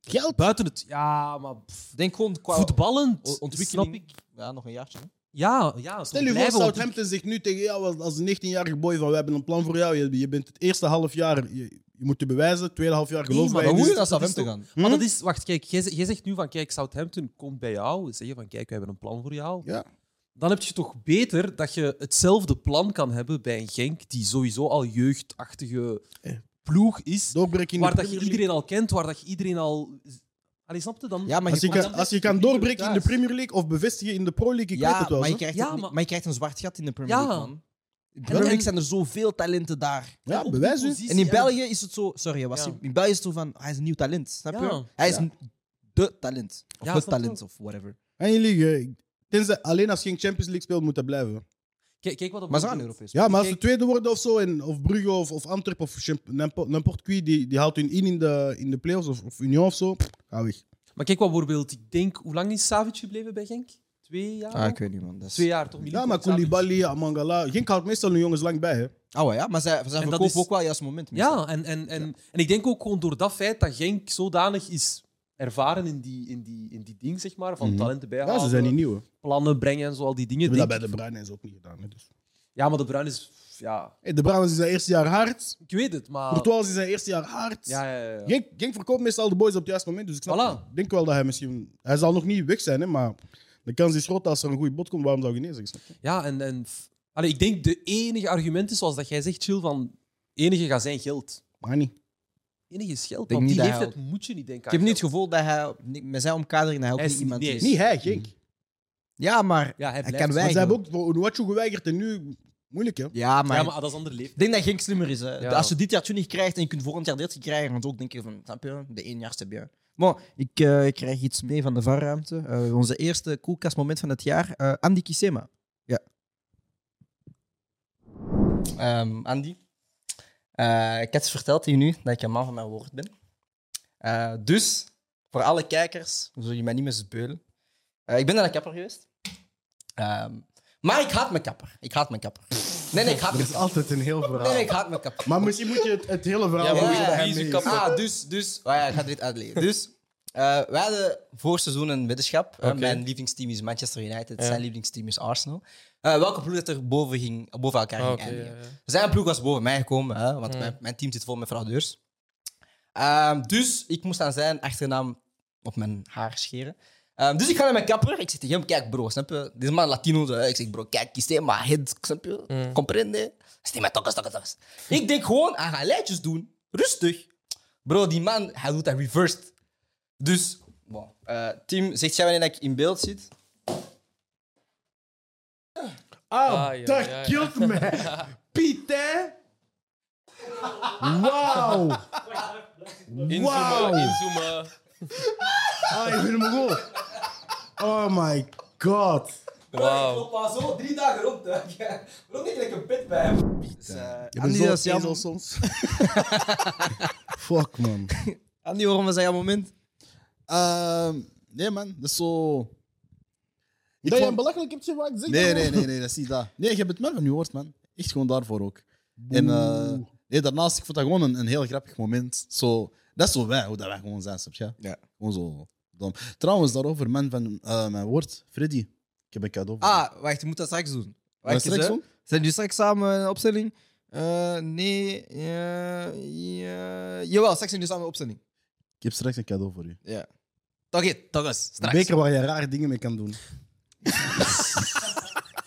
[SPEAKER 2] Geld?
[SPEAKER 3] Buiten het... Ja, maar... pff,
[SPEAKER 1] Denk gewoon qua o-
[SPEAKER 3] voetballend,
[SPEAKER 1] ontwikkeling.
[SPEAKER 3] snap ik.
[SPEAKER 1] Ja, nog een jaartje. hè. Ah,
[SPEAKER 3] Ja, ja.
[SPEAKER 2] Stel je voor, Southampton zegt nu tegen jou als- als een 19-jarige boy van, we hebben een plan voor jou. Je, je bent het eerste half jaar, je, je moet je bewijzen. Tweede half jaar geloven
[SPEAKER 3] maar
[SPEAKER 2] wij
[SPEAKER 1] Maar
[SPEAKER 3] dat
[SPEAKER 2] je.
[SPEAKER 1] hoe
[SPEAKER 3] is-
[SPEAKER 1] je naar Southampton
[SPEAKER 3] is
[SPEAKER 1] gaan?
[SPEAKER 3] Maar
[SPEAKER 2] Hm?
[SPEAKER 3] dat is... Wacht, kijk. Jij, zegt- jij zegt nu van, kijk, Southampton komt bij jou. Zeggen van, kijk, we hebben een plan voor jou.
[SPEAKER 2] Ja.
[SPEAKER 3] Dan heb je toch beter dat je hetzelfde plan kan hebben bij een Genk die sowieso al jeugdachtige ploeg is.
[SPEAKER 2] Eh. Doorbreken in
[SPEAKER 3] waar
[SPEAKER 2] de
[SPEAKER 3] dat je
[SPEAKER 2] Premier League.
[SPEAKER 3] iedereen al kent, waar dat je iedereen al... Allee, snap je dan?
[SPEAKER 1] Ja, maar
[SPEAKER 2] Hm? Als je,
[SPEAKER 1] komt-
[SPEAKER 2] kan, als je kan doorbreken in de Premier League of bevestigen in de Pro League, ik
[SPEAKER 1] ja,
[SPEAKER 2] weet het wel.
[SPEAKER 1] Maar je,
[SPEAKER 2] zo.
[SPEAKER 1] krijgt
[SPEAKER 3] Ja,
[SPEAKER 1] het niet-
[SPEAKER 3] maar-
[SPEAKER 1] maar je krijgt een zwart gat in de Premier
[SPEAKER 3] Ja.
[SPEAKER 1] League, man. In de Premier
[SPEAKER 3] En-
[SPEAKER 1] League
[SPEAKER 3] en-
[SPEAKER 1] zijn er zoveel talenten daar.
[SPEAKER 2] Ja,
[SPEAKER 3] op die
[SPEAKER 2] bewijs u.
[SPEAKER 3] positie,
[SPEAKER 1] En in
[SPEAKER 3] ja.
[SPEAKER 1] België is het zo... Sorry, was
[SPEAKER 3] Ja.
[SPEAKER 1] in België is het zo van... Hij is een nieuw talent, snap
[SPEAKER 3] Ja.
[SPEAKER 1] je? Hij is
[SPEAKER 2] Ja.
[SPEAKER 1] een de talent. Of
[SPEAKER 3] Ja,
[SPEAKER 1] het
[SPEAKER 3] snap je
[SPEAKER 1] talent, of whatever.
[SPEAKER 2] En je liegen. ik- Tenzij alleen als je geen Champions League speelt, moet dat blijven.
[SPEAKER 3] Kijk, kijk wat op
[SPEAKER 1] Maar ze gaan Europees.
[SPEAKER 2] Ja, maar als ze
[SPEAKER 3] Kijk-
[SPEAKER 2] tweede worden of zo, en, of Brugge of, of Antwerpen of Champ- n'impo- n'importe qui, die, die haalt hun in in de, in de playoffs of, of Union of zo, ga weg.
[SPEAKER 3] Maar kijk wat bijvoorbeeld, ik denk, hoe lang is Savic gebleven bij Genk? Twee jaar?
[SPEAKER 1] Ah, ik weet niet, man. Dat is-
[SPEAKER 3] Twee jaar toch?
[SPEAKER 2] Ja,
[SPEAKER 3] Milinkovic,
[SPEAKER 2] maar
[SPEAKER 3] Savic.
[SPEAKER 2] Koulibaly, Amangala, Genk houdt meestal hun jongens lang bij. Hè.
[SPEAKER 1] Ah, ja, maar zij, zij
[SPEAKER 3] dat
[SPEAKER 1] verkopen
[SPEAKER 3] is-
[SPEAKER 1] ook wel juist moment. meestal.
[SPEAKER 3] Ja, en, en, en, en ik denk ook gewoon door dat feit dat Genk zodanig is ervaren in die, in die, in die ding, zeg maar, van
[SPEAKER 2] Mhm.
[SPEAKER 3] talenten bijhalen,
[SPEAKER 2] Ja, ze zijn niet nieuw. hè. Ze
[SPEAKER 3] plannen brengen en zo, al die dingen.
[SPEAKER 2] hebben dat bij
[SPEAKER 3] denk
[SPEAKER 2] de
[SPEAKER 3] ik-
[SPEAKER 2] Bruinen ook niet gedaan. Hè, dus.
[SPEAKER 3] Ja, maar de Bruin is... Ja,
[SPEAKER 2] Hey, de Bruinen is zijn eerste jaar hard.
[SPEAKER 3] ik weet het, maar...
[SPEAKER 2] Courtois is zijn eerste jaar hard.
[SPEAKER 3] Ja, ja, ja. ja.
[SPEAKER 2] Genk, Genk verkoopt meestal de boys op het juiste moment. Dus ik snap
[SPEAKER 3] Voilà.
[SPEAKER 2] het. Ik denk wel dat hij misschien... Hij zal nog niet weg zijn, hè, maar de kans is groot dat als er een goede bod komt. Waarom zou je nee zeggen? snap je?
[SPEAKER 3] Ja, en... en f- Allee, ik denk de enige argument is, zoals dat jij zegt, Chill, van... enige gaat zijn geld.
[SPEAKER 2] Maar niet.
[SPEAKER 3] Enige is geld.
[SPEAKER 1] denk
[SPEAKER 3] Maar op die
[SPEAKER 1] niet dat hij
[SPEAKER 3] leeftijd moet je niet denken
[SPEAKER 1] Ik
[SPEAKER 3] aan
[SPEAKER 1] heb niet het
[SPEAKER 3] geld.
[SPEAKER 1] gevoel dat hij niet- met zijn omkadering dat hij ook
[SPEAKER 3] Hij is
[SPEAKER 1] niet iemand
[SPEAKER 3] niet-
[SPEAKER 1] is.
[SPEAKER 3] nee.
[SPEAKER 2] Niet hij, Genk.
[SPEAKER 1] Ja, maar
[SPEAKER 3] Ja, hij
[SPEAKER 1] hij
[SPEAKER 3] blijft
[SPEAKER 1] kan
[SPEAKER 3] zo.
[SPEAKER 2] Maar
[SPEAKER 1] wij.
[SPEAKER 2] ze hebben ook voor Onuachu geweigerd en nu... Moeilijk, hè?
[SPEAKER 1] Ja, maar...
[SPEAKER 3] Ja, maar dat is ander leeftijd.
[SPEAKER 1] Ik denk dat Genk slimmer is. Hè.
[SPEAKER 3] Ja.
[SPEAKER 1] Als je dit jaar 20 krijgt en je kunt volgend jaar 30 krijgen, dan ook denk je van, snap je, de éénjaarste bij. Maar ik eh, krijg iets mee van de varruimte. Eh, onze eerste koelkastmoment van het jaar. eh, Andy Kisema. Ja.
[SPEAKER 4] Ehm, Andy, eh, ik had eens verteld tegen u dat ik een man van mijn woord ben. Eh, dus, voor alle kijkers, zul je mij niet meer speulen. Eh, ik ben naar de kapper geweest. Ehm, maar ik haat mijn kapper. Ik haat mijn kapper. Nee, nee, ik haat mijn kapper.
[SPEAKER 2] altijd een heel verhaal.
[SPEAKER 4] Nee, nee, ik haat mijn kapper.
[SPEAKER 2] Maar misschien moet je het, het hele verhaal...
[SPEAKER 4] Ja,
[SPEAKER 2] horen
[SPEAKER 4] wie is-
[SPEAKER 2] dat hij
[SPEAKER 4] wie is
[SPEAKER 2] mee is.
[SPEAKER 4] Ah, dus, dus. Oh ja, ik ga dit uitleggen. Dus, eh, wij hadden vorig seizoen een weddenschap. hè. Mijn lievelingsteam is Manchester United, zijn lievelingsteam is Arsenal. Eh, welke ploeg dat er boven, ging, boven elkaar ging eindigen. Zijn ploeg was boven mij gekomen, hè, want mijn, mijn team zit vol met fraudeurs. Ehm, dus ik moest aan zijn achternaam op mijn haar scheren. Ehm, dus ik ga naar mijn kapper. Ik zeg tegen hem, kijk bro, snap je? Deze man Latino. zo, hè. Ik zeg bro, kijk, kies hem, maar het, snap je? Comprende? Stem maar tokkes, tokkes, tokkes. Ik denk gewoon, aan gaat lijntjes doen. Rustig. Bro, die man, hij doet dat reversed. Dus, bon. Eh, Tim, zegt jij wanneer ik in beeld zit?
[SPEAKER 2] Ah, dat killed me. Piet, hè? Wauw. Wauw. Ah, ik ben hem goed. Oh my god.
[SPEAKER 4] Wow. Ik loop al zo drie dagen rond. Waarom niet lekker bed bij hem?
[SPEAKER 2] Je
[SPEAKER 1] Andy, dat is jammer.
[SPEAKER 2] soms. Fuck, man.
[SPEAKER 1] Andy, waarom was dat jouw moment?
[SPEAKER 5] Ehm, nee, man, dat is zo. Ik
[SPEAKER 2] Dat je een
[SPEAKER 5] vond-
[SPEAKER 2] belachelijk hebt wat ik zeg.
[SPEAKER 5] nee, nee, nee, nee, dat is niet dat. Nee, je hebt het meer van je woord, man. Echt gewoon daarvoor ook. En eh, nee, daarnaast, ik vond dat gewoon een, een heel grappig moment. Zo, dat is zo wij, hoe dat wij gewoon zijn, snap je?
[SPEAKER 1] Ja.
[SPEAKER 5] Gewoon zo dom. Trouwens, daarover, man, van eh, mijn woord, Freddy. Ik heb een cadeau voor je.
[SPEAKER 1] Ah, wacht, je moet dat straks doen.
[SPEAKER 5] Wat
[SPEAKER 1] Wacht
[SPEAKER 5] is
[SPEAKER 1] eens,
[SPEAKER 5] straks
[SPEAKER 1] hè.
[SPEAKER 5] doen?
[SPEAKER 1] Zijn jullie straks samen een opstelling? Eh, nee, eh, ja, jawel, straks zijn jullie samen een opstelling.
[SPEAKER 5] Ik heb straks een cadeau voor u.
[SPEAKER 1] Ja. Oké, eens,
[SPEAKER 2] Een
[SPEAKER 1] straks.
[SPEAKER 2] beker waar je rare dingen mee kan doen.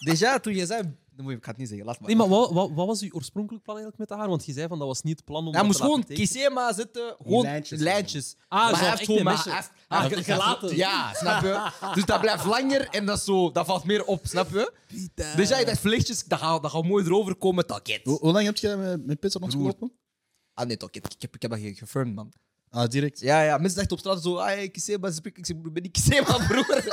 [SPEAKER 1] Déjà, toen je zei... Dan moet je, ik ga het niet zeggen, laat maar.
[SPEAKER 3] Nee, maar wat, wat, wat was uw oorspronkelijk plan eigenlijk met haar? Want je zei van dat was niet het plan om.
[SPEAKER 1] hij
[SPEAKER 3] dat
[SPEAKER 1] moest
[SPEAKER 3] te laten
[SPEAKER 1] gewoon
[SPEAKER 3] tekenen.
[SPEAKER 1] Kisema zitten, gewoon
[SPEAKER 2] lijntjes.
[SPEAKER 1] lijntjes.
[SPEAKER 3] Ah, zo echt een
[SPEAKER 1] maar
[SPEAKER 3] mesje.
[SPEAKER 1] hij heeft-
[SPEAKER 3] Ah,
[SPEAKER 1] hij heeft-
[SPEAKER 3] gelaten.
[SPEAKER 1] Ja, snap je? Dus dat blijft langer en dat, is zo, dat valt meer op, snap je? Dus jij dacht, vlechtjes, dat gaat dat gaat mooi erover komen, toket.
[SPEAKER 5] Hoe, hoe lang heb je met, met Peter rondgelopen?
[SPEAKER 1] Ah nee, toket, ik heb, ik heb dat ge- gefirmd, man.
[SPEAKER 5] Ah, direct.
[SPEAKER 1] Ja, ja, mensen dachten op straat zo, ah, hey, Kisema, ze spreken." ik zeg, "Broer, ben ik Kisema, broer.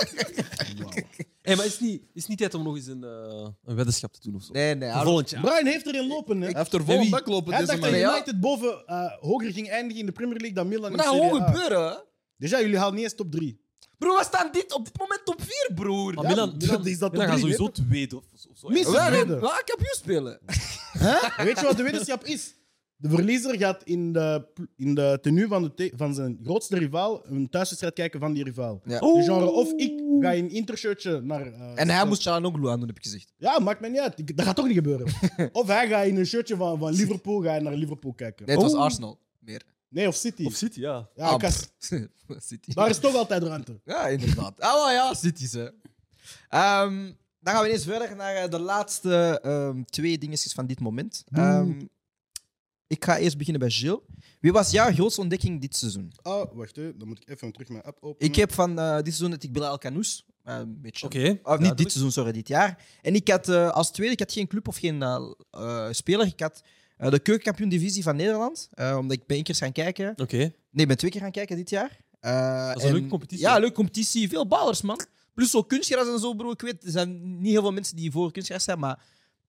[SPEAKER 3] Hey, maar is het niet, is het niet tijd om nog eens een, eh, een weddenschap te doen of zo? Ah,
[SPEAKER 1] Nee, nee, hou-
[SPEAKER 3] Volgend jaar.
[SPEAKER 2] Brian heeft erin lopen, hè.
[SPEAKER 5] Hij heeft er
[SPEAKER 3] Met
[SPEAKER 5] vol een
[SPEAKER 3] wie?
[SPEAKER 5] bak lopen.
[SPEAKER 2] Hij
[SPEAKER 5] Deze
[SPEAKER 2] dacht
[SPEAKER 5] man.
[SPEAKER 2] dat
[SPEAKER 1] Ja.
[SPEAKER 2] United boven eh, hoger ging eindigen in de Premier League dan Milan
[SPEAKER 1] maar
[SPEAKER 2] en
[SPEAKER 1] dat gaat
[SPEAKER 2] Serie
[SPEAKER 1] gewoon
[SPEAKER 2] A.
[SPEAKER 1] gebeuren, hè.
[SPEAKER 2] Déjà, Dus jullie halen niet eens top 3.
[SPEAKER 1] Broer, we staan dit, op dit moment top 4, broer.
[SPEAKER 3] Maar
[SPEAKER 1] Ja,
[SPEAKER 3] Milan, Milan,
[SPEAKER 2] dat is dat
[SPEAKER 3] Milan
[SPEAKER 2] toch
[SPEAKER 3] gaat
[SPEAKER 2] niet,
[SPEAKER 3] sowieso tweede of, of zo.
[SPEAKER 2] Mis-
[SPEAKER 1] we gaan
[SPEAKER 2] tweede.
[SPEAKER 1] we gaan kampioen spelen.
[SPEAKER 2] Weet je wat de wetenschap is? De verliezer gaat in de, pl- in de tenue van, de te- van zijn grootste rivaal een thuiswedstrijd kijken van die rivaal.
[SPEAKER 1] Ja.
[SPEAKER 2] Dus genre, of ik ga in een intershirtje naar... eh,
[SPEAKER 1] En hij moest Chalanoglu aan doen, heb ik gezegd.
[SPEAKER 2] Ja, maakt mij niet uit. Ik- Dat gaat toch niet gebeuren. of hij gaat in een shirtje van, van Liverpool ga je naar Liverpool kijken.
[SPEAKER 1] Nee, het was Arsenal. Meer.
[SPEAKER 2] Nee, of City.
[SPEAKER 3] Oh. Of City, ja.
[SPEAKER 2] ja,
[SPEAKER 1] Ah,
[SPEAKER 2] kas-
[SPEAKER 1] pff. City.
[SPEAKER 2] daar is toch altijd ruimte.
[SPEAKER 1] Ja, inderdaad. Ah, maar ja, City's, hè. Ehm, dan gaan we eens verder naar eh, de laatste ehm, twee dingetjes van dit moment. Ehm, ik ga eerst beginnen bij Gilles. Wie was jouw grootste ontdekking dit seizoen?
[SPEAKER 2] Oh, wacht, hè. dan moet ik even terug mijn app openen.
[SPEAKER 1] Ik heb van eh, dit seizoen het ik Bilal Canoes. eh, een beetje.
[SPEAKER 3] Oké.
[SPEAKER 1] Of niet dit seizoen, sorry, dit jaar. En ik had eh, als tweede, ik had geen club of geen eh, eh, speler. Ik had eh, de keukenkampioen-divisie van Nederland. eh, omdat ik ben één keer eens gaan kijken.
[SPEAKER 3] Oké.
[SPEAKER 1] Nee, ik ben twee keer gaan kijken dit jaar. Eh,
[SPEAKER 3] Dat is een leuke competitie.
[SPEAKER 1] Ja, leuke competitie. Veel ballers, man. Plus zo kunstgras en zo, bro. Ik weet, er zijn niet heel veel mensen die voor kunstgras zijn, maar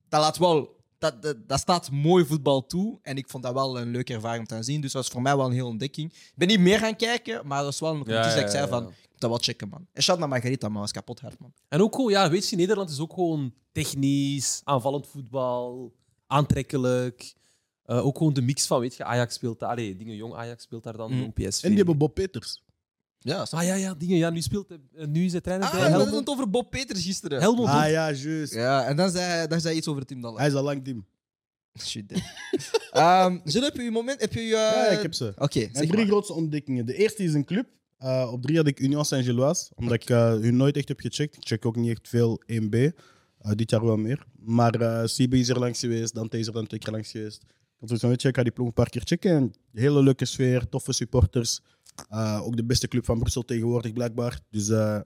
[SPEAKER 1] dat laat wel... Dat, dat, dat staat mooi voetbal toe. En ik vond dat wel een leuke ervaring om te zien. Dus dat was voor mij wel een heel ontdekking. Ik ben niet meer gaan kijken, maar dat was wel een competitie
[SPEAKER 3] ja,
[SPEAKER 1] dat ik zei
[SPEAKER 3] ja,
[SPEAKER 1] van...
[SPEAKER 3] ja.
[SPEAKER 1] Ik moet dat wel checken, man. En shout naar Margarita, man. was kapot hard, man.
[SPEAKER 3] En ook gewoon, ja, weet je, Nederland is ook gewoon technisch, aanvallend voetbal, aantrekkelijk. Eh, ook gewoon de mix van, weet je, Ajax speelt daar, allee, dingen jong Ajax speelt daar dan,
[SPEAKER 1] Mm.
[SPEAKER 3] jong PSV.
[SPEAKER 2] En die hebben Bob Peters.
[SPEAKER 1] Ja,
[SPEAKER 3] Ah ja, ja, dingen, ja, nu speelt, hij- eh, nu is hij trainer
[SPEAKER 1] Ah,
[SPEAKER 3] bij
[SPEAKER 1] we hadden
[SPEAKER 3] Helmond.
[SPEAKER 1] het over Bob Peters gisteren.
[SPEAKER 3] Helmond
[SPEAKER 2] Ah ja, juist.
[SPEAKER 1] Ja, en dan zei, hij- dan zei hij iets over Tim Dallas.
[SPEAKER 2] Hij is al lang team.
[SPEAKER 1] Shit, damn. Ehm, Gilles, heb je je moment... Heb je je...
[SPEAKER 2] Ja, ik heb ze.
[SPEAKER 1] Oké,
[SPEAKER 2] Mijn
[SPEAKER 1] zeg
[SPEAKER 2] drie
[SPEAKER 1] maar.
[SPEAKER 2] grootste ontdekkingen. De eerste is een club. Eh, op drie had ik Union Saint-Gilloise, omdat ik eh, hun nooit echt heb gecheckt. Ik check ook niet echt veel 1B. Eh, dit jaar wel meer. Maar eh CB is er langs geweest, Dante is er dan twee keer langs geweest. Ik had zo'n weet je, ik ga die ploeg een paar keer checken. En hele leuke sfeer, toffe supporters. Eh, ook de beste club van Brussel tegenwoordig, blijkbaar. Dus eh,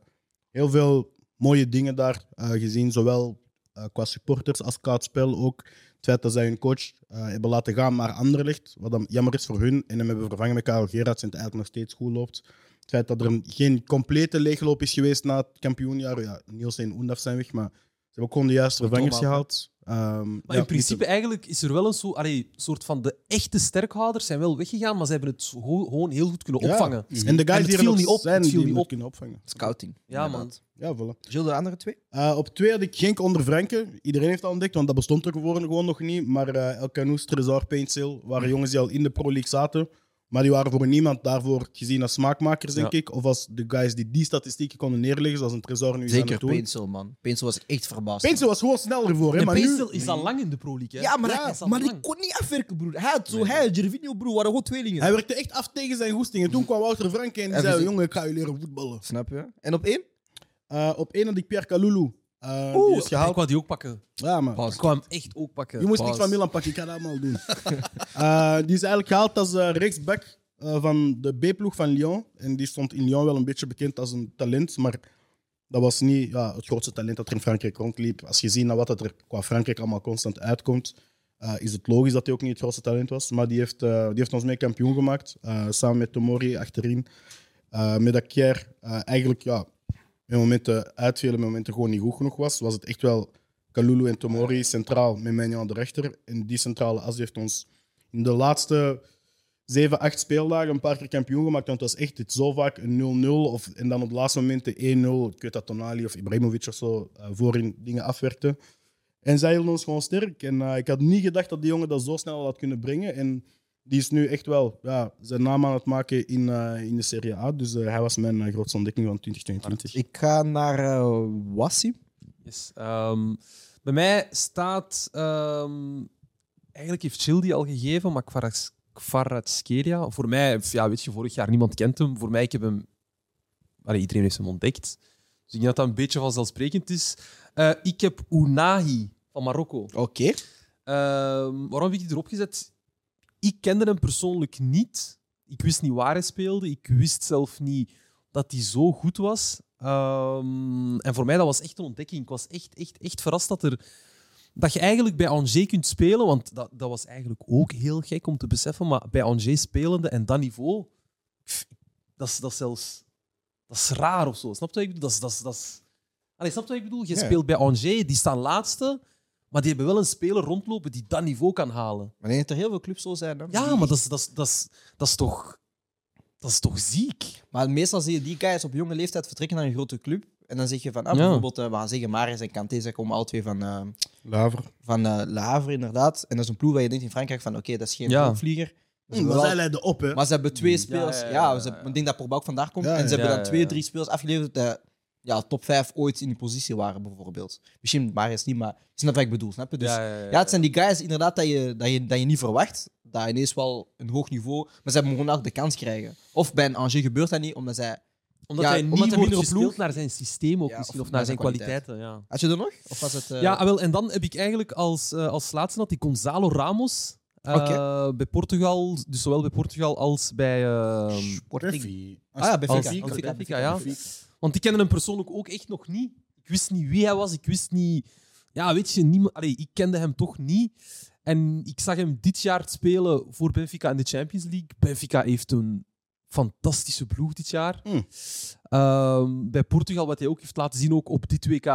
[SPEAKER 2] heel veel mooie dingen daar eh, gezien. Zowel eh, qua supporters als qua het spel ook. Het feit dat zij hun coach eh, hebben laten gaan naar Anderlecht, wat dan jammer is voor hun, en hem hebben vervangen met Karel Gerards en het eigenlijk nog steeds goed loopt. Het feit dat er een- geen complete leegloop is geweest na het kampioenjaar. Ja, Niels en Oendaf zijn weg, maar ze hebben ook gewoon de juiste vervangers
[SPEAKER 3] Thomas,
[SPEAKER 2] gehaald. Ehm,
[SPEAKER 3] Maar
[SPEAKER 2] ja,
[SPEAKER 3] in principe eigenlijk is er wel een zo, allee, soort van de echte sterkhouders zijn wel weggegaan, maar ze hebben het zo- gewoon heel goed kunnen
[SPEAKER 2] Ja.
[SPEAKER 3] opvangen.
[SPEAKER 2] niet- En de guys
[SPEAKER 3] En het
[SPEAKER 2] die er
[SPEAKER 3] viel
[SPEAKER 2] nog
[SPEAKER 3] niet op,
[SPEAKER 2] zijn,
[SPEAKER 3] het viel
[SPEAKER 2] die
[SPEAKER 3] niet
[SPEAKER 2] moet
[SPEAKER 3] op.
[SPEAKER 2] kunnen opvangen.
[SPEAKER 1] Scouting.
[SPEAKER 3] Ja,
[SPEAKER 1] inderdaad.
[SPEAKER 3] man.
[SPEAKER 2] Ja, voilà.
[SPEAKER 1] Gilles, de andere twee?
[SPEAKER 2] Eh, op twee had ik Genk onder Franken. Iedereen heeft dat ontdekt, want dat bestond er gewoon, gewoon nog niet. Maar eh El Canoes, Trezor, Paint Sale waren jongens die al in de Pro League zaten. Maar die waren voor niemand daarvoor gezien als smaakmakers, denk
[SPEAKER 3] Ja.
[SPEAKER 2] ik. Of als de guys die die statistieken konden neerleggen, zoals een Trezor nu is aan
[SPEAKER 1] Zeker
[SPEAKER 2] het doen.
[SPEAKER 1] Pencil, man. Pencil was ik echt verbaasd.
[SPEAKER 2] Paint Sale was gewoon sneller voor, hè?
[SPEAKER 3] En
[SPEAKER 2] Maar nu...
[SPEAKER 3] Peestel is al lang in de Pro League, hè?
[SPEAKER 1] Ja, maar,
[SPEAKER 3] Hij
[SPEAKER 1] hij-
[SPEAKER 3] is al
[SPEAKER 1] maar
[SPEAKER 3] lang.
[SPEAKER 1] ik kon niet afwerken, broer. Hij, had zo, hij en Gervinho, broer, waren gewoon tweelingen.
[SPEAKER 2] Hij werkte echt af tegen zijn goesting. En toen kwam Wouter Franken en die
[SPEAKER 1] Ja,
[SPEAKER 2] zei:
[SPEAKER 1] precies.
[SPEAKER 2] Jongen, ik ga je leren voetballen.
[SPEAKER 1] Snap je? En op één?
[SPEAKER 2] Eh, op één had ik Pierre Kalulu. eh, die
[SPEAKER 3] Oeh,
[SPEAKER 2] is
[SPEAKER 3] ik
[SPEAKER 2] gehaald.
[SPEAKER 3] wou die ook pakken.
[SPEAKER 2] Ja, man.
[SPEAKER 3] Ik kwam echt ook pakken.
[SPEAKER 2] Je moest
[SPEAKER 3] Pas.
[SPEAKER 2] niks van Milan pakken, ik ga dat allemaal doen. Eh, die is eigenlijk gehaald als eh, rechtsback eh, van de B-ploeg van Lyon. En die stond in Lyon wel een beetje bekend als een talent, maar dat was niet ja, het grootste talent dat er in Frankrijk rondliep. Als je ziet naar wat dat er qua Frankrijk allemaal constant uitkomt, eh, is het logisch dat hij ook niet het grootste talent was. Maar die heeft, eh, die heeft ons mee kampioen gemaakt, eh, samen met Tomori achterin. eh met Akier eh, eigenlijk ja, met momenten uitvielen, met momenten gewoon niet goed genoeg was, was het echt wel Kalulu en Tomori centraal met Menjan aan de rechter. En die centrale as heeft ons in de laatste zeven, acht speeldagen een paar keer kampioen gemaakt. Want het was echt dit zo vaak een 0-0 of, en dan op het laatste moment de 1-0. Ik weet dat Tonali of Ibrahimovic of zo eh, voorin dingen afwerkte. En zij hielden ons gewoon sterk. En eh, ik had niet gedacht dat die jongen dat zo snel had kunnen brengen. En die is nu echt wel ja, zijn naam aan het maken in, eh, in de Serie A. Dus eh, hij was mijn eh, grootste ontdekking van 2022.
[SPEAKER 1] Ik ga naar eh, Wassi.
[SPEAKER 3] Yes. ehm, bij mij staat. ehm, eigenlijk heeft Chill die al gegeven, maar Kvaras- Kvaratskhelia. Voor mij, ja, weet je, vorig jaar niemand kent hem. Voor mij, ik heb hem. Allee, iedereen heeft hem ontdekt. Dus ik denk dat dat een beetje vanzelfsprekend is. Eh, ik heb Unahi van Marokko.
[SPEAKER 1] Oké.
[SPEAKER 3] Ehm, waarom heb ik die erop gezet? Ik kende hem persoonlijk niet. Ik wist niet waar hij speelde. Ik wist zelf niet dat hij zo goed was. Ehm, en voor mij dat was echt een ontdekking. Ik was echt, echt, echt verrast dat, er, dat je eigenlijk bij Angers kunt spelen. Want dat, dat was eigenlijk ook heel gek om te beseffen. Maar bij Angers spelende en dat niveau, pff, dat is, dat is zelfs dat is raar of zo. Snap je wat ik bedoel? Dat is, dat is, dat is... Allee, snap je wat ik bedoel? Je
[SPEAKER 2] Ja.
[SPEAKER 3] speelt bij Angers, die staan laatste. Maar die hebben wel een speler rondlopen die dat niveau kan halen.
[SPEAKER 1] Maar ik denk dat er heel veel clubs zo zijn. hè.
[SPEAKER 3] Ja,
[SPEAKER 1] Die-
[SPEAKER 3] maar dat is, dat is, dat is, dat is, toch, dat is toch ziek?
[SPEAKER 1] maar meestal zie je die guys op jonge leeftijd vertrekken naar een grote club. En dan zeg je van, ah,
[SPEAKER 3] Ja.
[SPEAKER 1] bijvoorbeeld, eh, we gaan zeggen Maris en Kanté, ze komen alle twee van, eh,
[SPEAKER 2] Laver.
[SPEAKER 1] van eh Lavre, inderdaad. En dat is een ploeg waar je denkt in Frankrijk van, oké, dat is geen
[SPEAKER 3] Ja.
[SPEAKER 1] vlieger.
[SPEAKER 2] Hmm, Maar zij leiden op, hè.
[SPEAKER 1] Maar ze hebben twee spelers.
[SPEAKER 3] ja,
[SPEAKER 1] Ja,
[SPEAKER 3] ja,
[SPEAKER 1] ze
[SPEAKER 3] ja,
[SPEAKER 1] hebben- ik denk dat Pogba ook vandaag komt.
[SPEAKER 2] Ja,
[SPEAKER 1] en ze
[SPEAKER 2] ja,
[SPEAKER 1] hebben
[SPEAKER 3] ja,
[SPEAKER 1] dan
[SPEAKER 3] ja,
[SPEAKER 1] twee,
[SPEAKER 3] ja.
[SPEAKER 1] drie spelers afgeleverd dat ja, top vijf ooit in die positie waren, bijvoorbeeld. Misschien Maris niet, maar je snapt wat ik bedoel, snap je? Dus, ja,
[SPEAKER 3] ja, ja, ja.
[SPEAKER 1] het zijn die guys inderdaad dat je, dat, je, dat je niet verwacht. Dat ineens wel een hoog niveau, maar ze hebben gewoon ook de kans krijgen. Of bij een Angers gebeurt dat niet, omdat zij...
[SPEAKER 3] Omdat
[SPEAKER 1] Ja,
[SPEAKER 3] hij
[SPEAKER 1] omdat
[SPEAKER 3] niet
[SPEAKER 1] hij
[SPEAKER 3] wordt
[SPEAKER 1] minder
[SPEAKER 3] gespeeld
[SPEAKER 1] ploeg-
[SPEAKER 3] naar zijn systeem ook
[SPEAKER 1] Ja,
[SPEAKER 3] misschien,
[SPEAKER 1] of
[SPEAKER 3] of, naar zijn
[SPEAKER 1] naar zijn kwaliteit.
[SPEAKER 3] kwaliteiten. Ja.
[SPEAKER 1] Had je er nog? Of was het... eh,
[SPEAKER 3] Ja, ah, wel, en dan heb ik eigenlijk als, eh, als laatste nog die Gonzalo Ramos. eh, bij Portugal, dus zowel bij Portugal als bij... ehm,
[SPEAKER 1] Sporting.
[SPEAKER 5] Ah,
[SPEAKER 1] ja,
[SPEAKER 3] als-
[SPEAKER 1] bij Benfica.
[SPEAKER 3] als bij
[SPEAKER 1] Benfica,
[SPEAKER 3] Benfica, ja. Want ik kende hem persoonlijk ook echt nog niet. Ik wist niet wie hij was. Ik wist niet... Ja, weet je, niemand, allee, ik kende hem toch niet. En ik zag hem dit jaar spelen voor Benfica in de Champions League. Benfica heeft een fantastische ploeg dit jaar.
[SPEAKER 5] Hmm.
[SPEAKER 3] Ehm, bij Portugal, wat hij ook heeft laten zien ook op dit WK.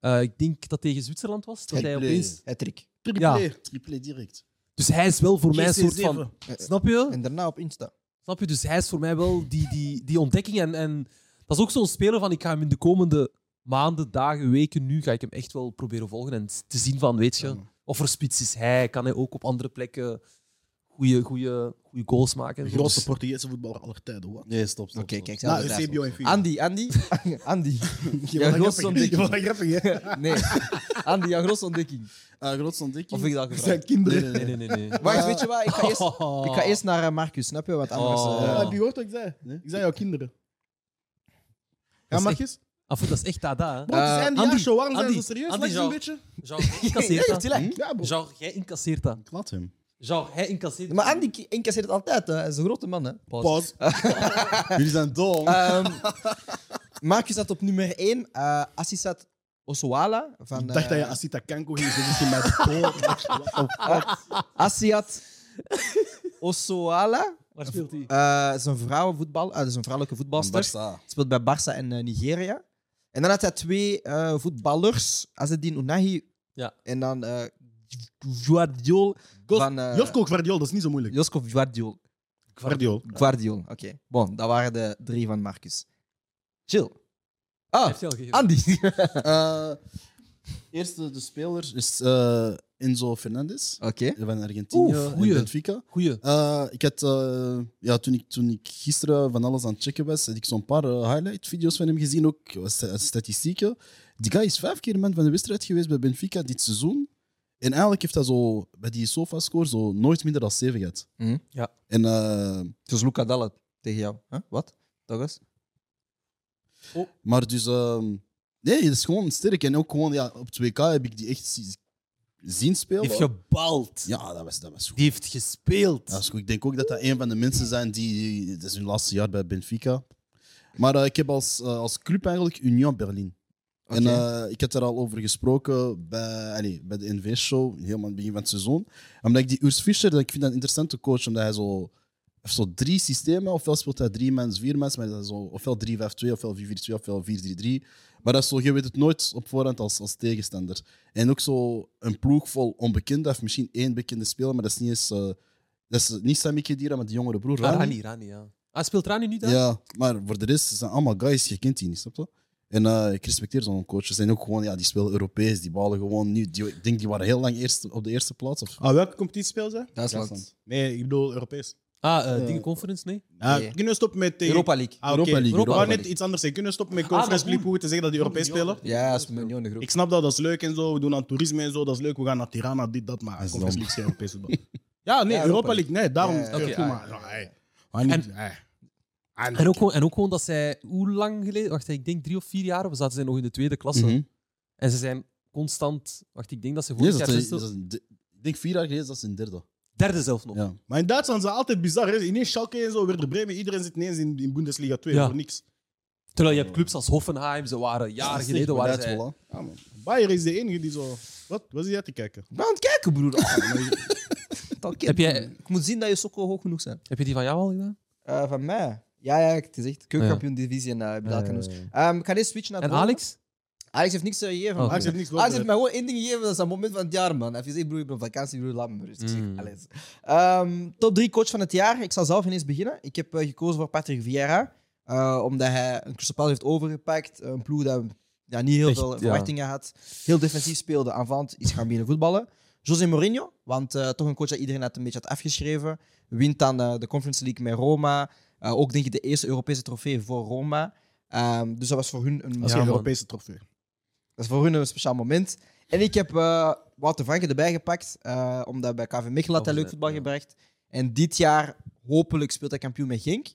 [SPEAKER 3] eh, ik denk dat tegen Zwitserland was. Dat hij
[SPEAKER 5] Triple.
[SPEAKER 3] opeens...
[SPEAKER 1] Hattrick.
[SPEAKER 3] Ja.
[SPEAKER 5] Triple, triple direct.
[SPEAKER 3] Dus hij is wel voor mij een soort van...
[SPEAKER 5] Eh,
[SPEAKER 3] Snap je?
[SPEAKER 1] Eh, En daarna op Insta.
[SPEAKER 3] Snap je? Dus hij is voor mij wel die, die, die ontdekking. En, en dat is ook zo'n speler van ik ga hem in de komende maanden, dagen, weken, nu ga ik hem echt wel proberen volgen en te zien van, weet je, of er spits is hij, kan hij ook op andere plekken goede goede goede goals maken.
[SPEAKER 2] De
[SPEAKER 3] en zo.
[SPEAKER 2] grootste
[SPEAKER 3] Dus-
[SPEAKER 2] Portugese voetballer aller tijden, wat?
[SPEAKER 5] Nee, stop, stop.
[SPEAKER 1] Oké,
[SPEAKER 5] stop.
[SPEAKER 1] kijk. zelf
[SPEAKER 2] Nou,
[SPEAKER 1] het
[SPEAKER 2] Eusebio en Figo.
[SPEAKER 1] Andy, Andy. Andy.
[SPEAKER 2] Je
[SPEAKER 1] Ja,
[SPEAKER 2] was een grappige. Je
[SPEAKER 1] grootste
[SPEAKER 2] was een
[SPEAKER 1] ontdekking.
[SPEAKER 2] grappige, hè.
[SPEAKER 1] Nee. Andy, jouw grootste ontdekking.
[SPEAKER 5] Ah, grootste ontdekking?
[SPEAKER 1] Of heb ik dat
[SPEAKER 2] Dat
[SPEAKER 1] gevraagd?
[SPEAKER 2] zijn kinderen.
[SPEAKER 3] Nee, nee, nee. nee.
[SPEAKER 1] Wacht, weet je wat? Ik ga eerst, ik ga eerst naar eh, Marcus, snap je? Want anders...
[SPEAKER 3] Oh.
[SPEAKER 1] eh,
[SPEAKER 2] Ja, heb je gehoord wat ik zei?
[SPEAKER 5] Nee.
[SPEAKER 2] Ik zei jouw kinderen. Ja,
[SPEAKER 3] Dat is
[SPEAKER 2] Marcus?
[SPEAKER 3] Af, Ah, dat is echt tada. hè.
[SPEAKER 2] Bro, het
[SPEAKER 1] Eh,
[SPEAKER 2] is einde
[SPEAKER 3] Andy,
[SPEAKER 2] jaar show. Waarom zijn
[SPEAKER 3] Andy,
[SPEAKER 2] ze serieus?
[SPEAKER 3] Andy
[SPEAKER 2] Lijkt ze
[SPEAKER 3] zou-
[SPEAKER 2] een beetje?
[SPEAKER 3] Jean, jij incasseert dat.
[SPEAKER 2] Ja, bro.
[SPEAKER 3] Jean, jij incasseert dat.
[SPEAKER 5] Ik laat hem.
[SPEAKER 3] Jean, hij incasseert dat.
[SPEAKER 1] Maar Andy ki- incasseert het altijd, hè. hij is een grote man. Hè.
[SPEAKER 2] Pause.
[SPEAKER 5] Jullie zijn dom.
[SPEAKER 1] Ehm, Marcus zat op nummer 1, eh Assisat Oswala. Van,
[SPEAKER 2] Ik dacht dat je
[SPEAKER 1] eh,
[SPEAKER 2] Asita Kanko ging zitten in mijn spoor.
[SPEAKER 1] Asiat Oswala.
[SPEAKER 3] Waar speelt hij?
[SPEAKER 1] Eh, is een vrouwenvoetbal, eh, dat is een vrouwelijke voetbalster.
[SPEAKER 5] Barca.
[SPEAKER 1] speelt bij Barça en eh, Nigeria. En dan had hij twee eh, voetballers, Azedin Unahi
[SPEAKER 3] Ja.
[SPEAKER 1] en dan eh Guardiol van... eh,
[SPEAKER 2] Josko Guardiol, dat is niet zo moeilijk.
[SPEAKER 1] Josko Guardiol.
[SPEAKER 2] Guardiol.
[SPEAKER 1] Guardiol, oké. Bon, dat waren de drie van Marcus. Chill. Ah,
[SPEAKER 3] Heeft hij al gegeven?
[SPEAKER 1] Andy.
[SPEAKER 5] Eh, eerste de speler is eh, Enzo Fernandez
[SPEAKER 1] Oké.
[SPEAKER 5] van Argentinië
[SPEAKER 3] Oeh,
[SPEAKER 5] en
[SPEAKER 3] goeie.
[SPEAKER 5] Benfica.
[SPEAKER 3] Goeie.
[SPEAKER 5] Eh, ik had, eh, ja, toen, ik, toen ik gisteren van alles aan het checken was, had ik zo'n paar eh, highlight-video's van hem gezien, ook eh, sta- statistieken. Die guy is vijf keer man van de wedstrijd geweest bij Benfica dit seizoen. En eigenlijk heeft hij zo, bij die sofa-score zo nooit minder dan zeven gehad.
[SPEAKER 1] Mhm.
[SPEAKER 3] Ja.
[SPEAKER 5] En eh,
[SPEAKER 1] Dus Luca Dallet tegen jou. Huh? Wat? Douglas?
[SPEAKER 5] Maar dus, ehm, nee, dat is gewoon sterk. En ook gewoon, ja, op 2K heb ik die echt zi- zien spelen.
[SPEAKER 3] Die heeft gebald.
[SPEAKER 5] Ja, dat was, dat was goed.
[SPEAKER 3] Die heeft gespeeld.
[SPEAKER 5] Dat is goed. Ik denk ook dat dat een van de mensen zijn die. Dat is hun laatste jaar bij Benfica. Maar eh, ik heb als, eh, als club eigenlijk Union Berlin. En eh, ik heb daar al over gesproken bij, allee, bij de NV-show, helemaal aan het begin van het seizoen. Omdat ik die Urs Fischer, dat ik vind dat een interessante coach, omdat hij zo, heeft zo drie systemen, ofwel speelt hij drie mens, vier mens, maar dat is zo, ofwel 3-5-2, ofwel 4-4-2, ofwel 4-3-3. Maar dat is zo, je weet het nooit op voorhand als, als tegenstander. En ook zo een ploeg vol onbekenden, hij heeft misschien één bekende speler, maar dat is niet eens... eh, dat is niet Sami Khedira, maar die jongere broer.
[SPEAKER 3] Ah,
[SPEAKER 5] Rani.
[SPEAKER 3] Rani, Rani, ja. Ah, speelt Rani nu dan?
[SPEAKER 5] Ja, maar voor de rest ze zijn allemaal guys, je kent die niet, snap je? En eh, ik respecteer zo'n coach. Ze zijn ook gewoon, ja, die spelen Europees, die balen gewoon nu. Die, ik denk die waren heel lang eerst op de eerste plaats. Of
[SPEAKER 2] Ah, welke competitie speelt zij?
[SPEAKER 1] Duitsland.
[SPEAKER 2] Nee, ik bedoel Europees.
[SPEAKER 3] Ah, eh,
[SPEAKER 5] Eh,
[SPEAKER 3] dingen conference, nee?
[SPEAKER 2] Ah,
[SPEAKER 1] Nee.
[SPEAKER 2] Kunnen we stoppen met... tegen-
[SPEAKER 1] Europa League.
[SPEAKER 2] Ah, oké.
[SPEAKER 5] Europa League.
[SPEAKER 2] Ik wou
[SPEAKER 5] Europa
[SPEAKER 2] net
[SPEAKER 5] League.
[SPEAKER 2] iets anders zeggen. Kunnen we stoppen met Conference
[SPEAKER 3] Ah, dat
[SPEAKER 2] League
[SPEAKER 3] moet.
[SPEAKER 2] hoe te zeggen dat die Europees spelen?
[SPEAKER 1] Ja, dat is mijn jonge groep.
[SPEAKER 2] Ik snap dat, dat is leuk en zo. We doen aan toerisme en zo, dat is leuk. We gaan naar Tirana, dit, dat, maar
[SPEAKER 5] is
[SPEAKER 2] Conference
[SPEAKER 5] dom.
[SPEAKER 2] League is geen Europees voetbal. Ja, nee,
[SPEAKER 1] Ja,
[SPEAKER 2] Europa
[SPEAKER 1] Europa
[SPEAKER 2] League, nee, daarom.
[SPEAKER 1] Ja, Mm. ja,
[SPEAKER 2] keur
[SPEAKER 3] ja.
[SPEAKER 2] toe, maar, ja, hey. Maar niet,
[SPEAKER 1] eh,
[SPEAKER 2] hey. Ah,
[SPEAKER 3] En ook, gewoon, en ook gewoon dat zij, hoe lang geleden, wacht, ik denk drie of vier jaar, we zaten zij nog in de tweede klasse.
[SPEAKER 5] Mhm.
[SPEAKER 3] En ze zijn constant, wacht, ik denk dat ze
[SPEAKER 5] Nee,
[SPEAKER 3] vorig
[SPEAKER 5] dat
[SPEAKER 3] jaar
[SPEAKER 5] is,
[SPEAKER 3] zesde,
[SPEAKER 5] dat is een de- ik denk vier jaar geleden dat is een derde.
[SPEAKER 3] derde zelf nog.
[SPEAKER 5] Ja.
[SPEAKER 2] Maar in Duitsland zijn ze altijd bizar. Hè? Ineens Schalke en zo, Werder Bremen. Iedereen zit ineens in, in Bundesliga 2
[SPEAKER 3] Ja.
[SPEAKER 2] voor niks.
[SPEAKER 3] Terwijl je hebt clubs als Hoffenheim, ze waren jaren geleden
[SPEAKER 5] Maar
[SPEAKER 3] waren
[SPEAKER 5] dat is
[SPEAKER 3] zij...
[SPEAKER 5] wel, hè.
[SPEAKER 1] Ah,
[SPEAKER 2] Ja, man. Bayern is de enige die zo... Wat? Wat is die uit te kijken?
[SPEAKER 1] Ik ben aan het kijken, broer. Oh, maar je-
[SPEAKER 3] Heb jij-
[SPEAKER 1] Ik moet zien dat je sokken hoog genoeg zijn.
[SPEAKER 3] Heb je die van jou al gedaan?
[SPEAKER 1] Eh, van mij? Ja, ja, het is echt keukenkampioen divisie en eh, heb je dat kunnen doen. Ehm, Ik ga eens switchen naar
[SPEAKER 3] En
[SPEAKER 1] het volgende.
[SPEAKER 3] Alex? Oh,
[SPEAKER 1] Alex heeft niks gegeven. man.
[SPEAKER 3] Oké.
[SPEAKER 2] Ajax heeft niks
[SPEAKER 1] Alex heeft
[SPEAKER 2] gewonnen.
[SPEAKER 1] mij gewoon één ding gegeven, dat is dat moment van het jaar, man. Hij heeft gezegd, broer, ik ben op vakantie, broer, laat me maar rust. Ik zeg,
[SPEAKER 3] Mm.
[SPEAKER 1] Alex. Ehm, top drie coach van het jaar. Ik zal zelf ineens beginnen. Ik heb eh, gekozen voor Patrick Vieira. Eh, Eh, omdat hij een Crystal Palace heeft overgepakt. Een ploeg dat ja, niet heel
[SPEAKER 3] Echt,
[SPEAKER 1] veel
[SPEAKER 3] ja.
[SPEAKER 1] verwachtingen had. Heel defensief speelde. Aanvallend is gaan beginnen voetballen. José Mourinho, want eh, toch een coach dat iedereen had een beetje had afgeschreven. Wint dan eh, de Conference League met Roma. Eh, ook denk ik de eerste Europese trofee voor Roma. Ehm, dus dat was voor hun een
[SPEAKER 2] Dat is
[SPEAKER 3] Ja,
[SPEAKER 2] geen
[SPEAKER 3] man.
[SPEAKER 2] Europese trofee.
[SPEAKER 1] dat is voor hun een speciaal moment. En ik heb eh Wouter Franke erbij gepakt, eh, omdat bij KV Mechelen had hij leuk voetbal
[SPEAKER 3] Ja.
[SPEAKER 1] gebracht. En dit jaar, hopelijk, speelt hij kampioen met Genk.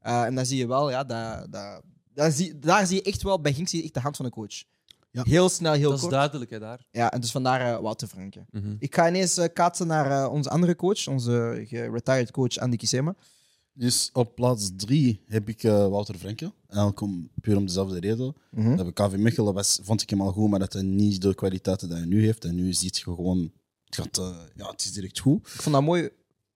[SPEAKER 1] Eh, en dan zie je wel, ja, dat, dat, daar, zie, daar zie je echt wel, bij Genk zie je echt de hand van de coach.
[SPEAKER 2] Ja.
[SPEAKER 1] Heel snel, heel
[SPEAKER 3] dat is
[SPEAKER 1] kort.
[SPEAKER 3] duidelijk, hè, daar.
[SPEAKER 1] Ja, en dus vandaar eh, Wouter Franke.
[SPEAKER 3] Mhm.
[SPEAKER 1] Ik ga ineens eh, kaatsen naar eh, onze andere coach, onze retired coach Andy Kisema.
[SPEAKER 5] Dus op plaats drie heb ik eh, Wouter Frenkel. Eigenlijk om, puur om dezelfde reden.
[SPEAKER 1] Mhm.
[SPEAKER 5] Dat bij KV Mechelen was, vond ik hem al goed, maar dat hij niet de kwaliteiten die hij nu heeft. En nu ziet je gewoon, het, gaat, eh, ja, het is direct goed.
[SPEAKER 1] Ik vond dat mooi,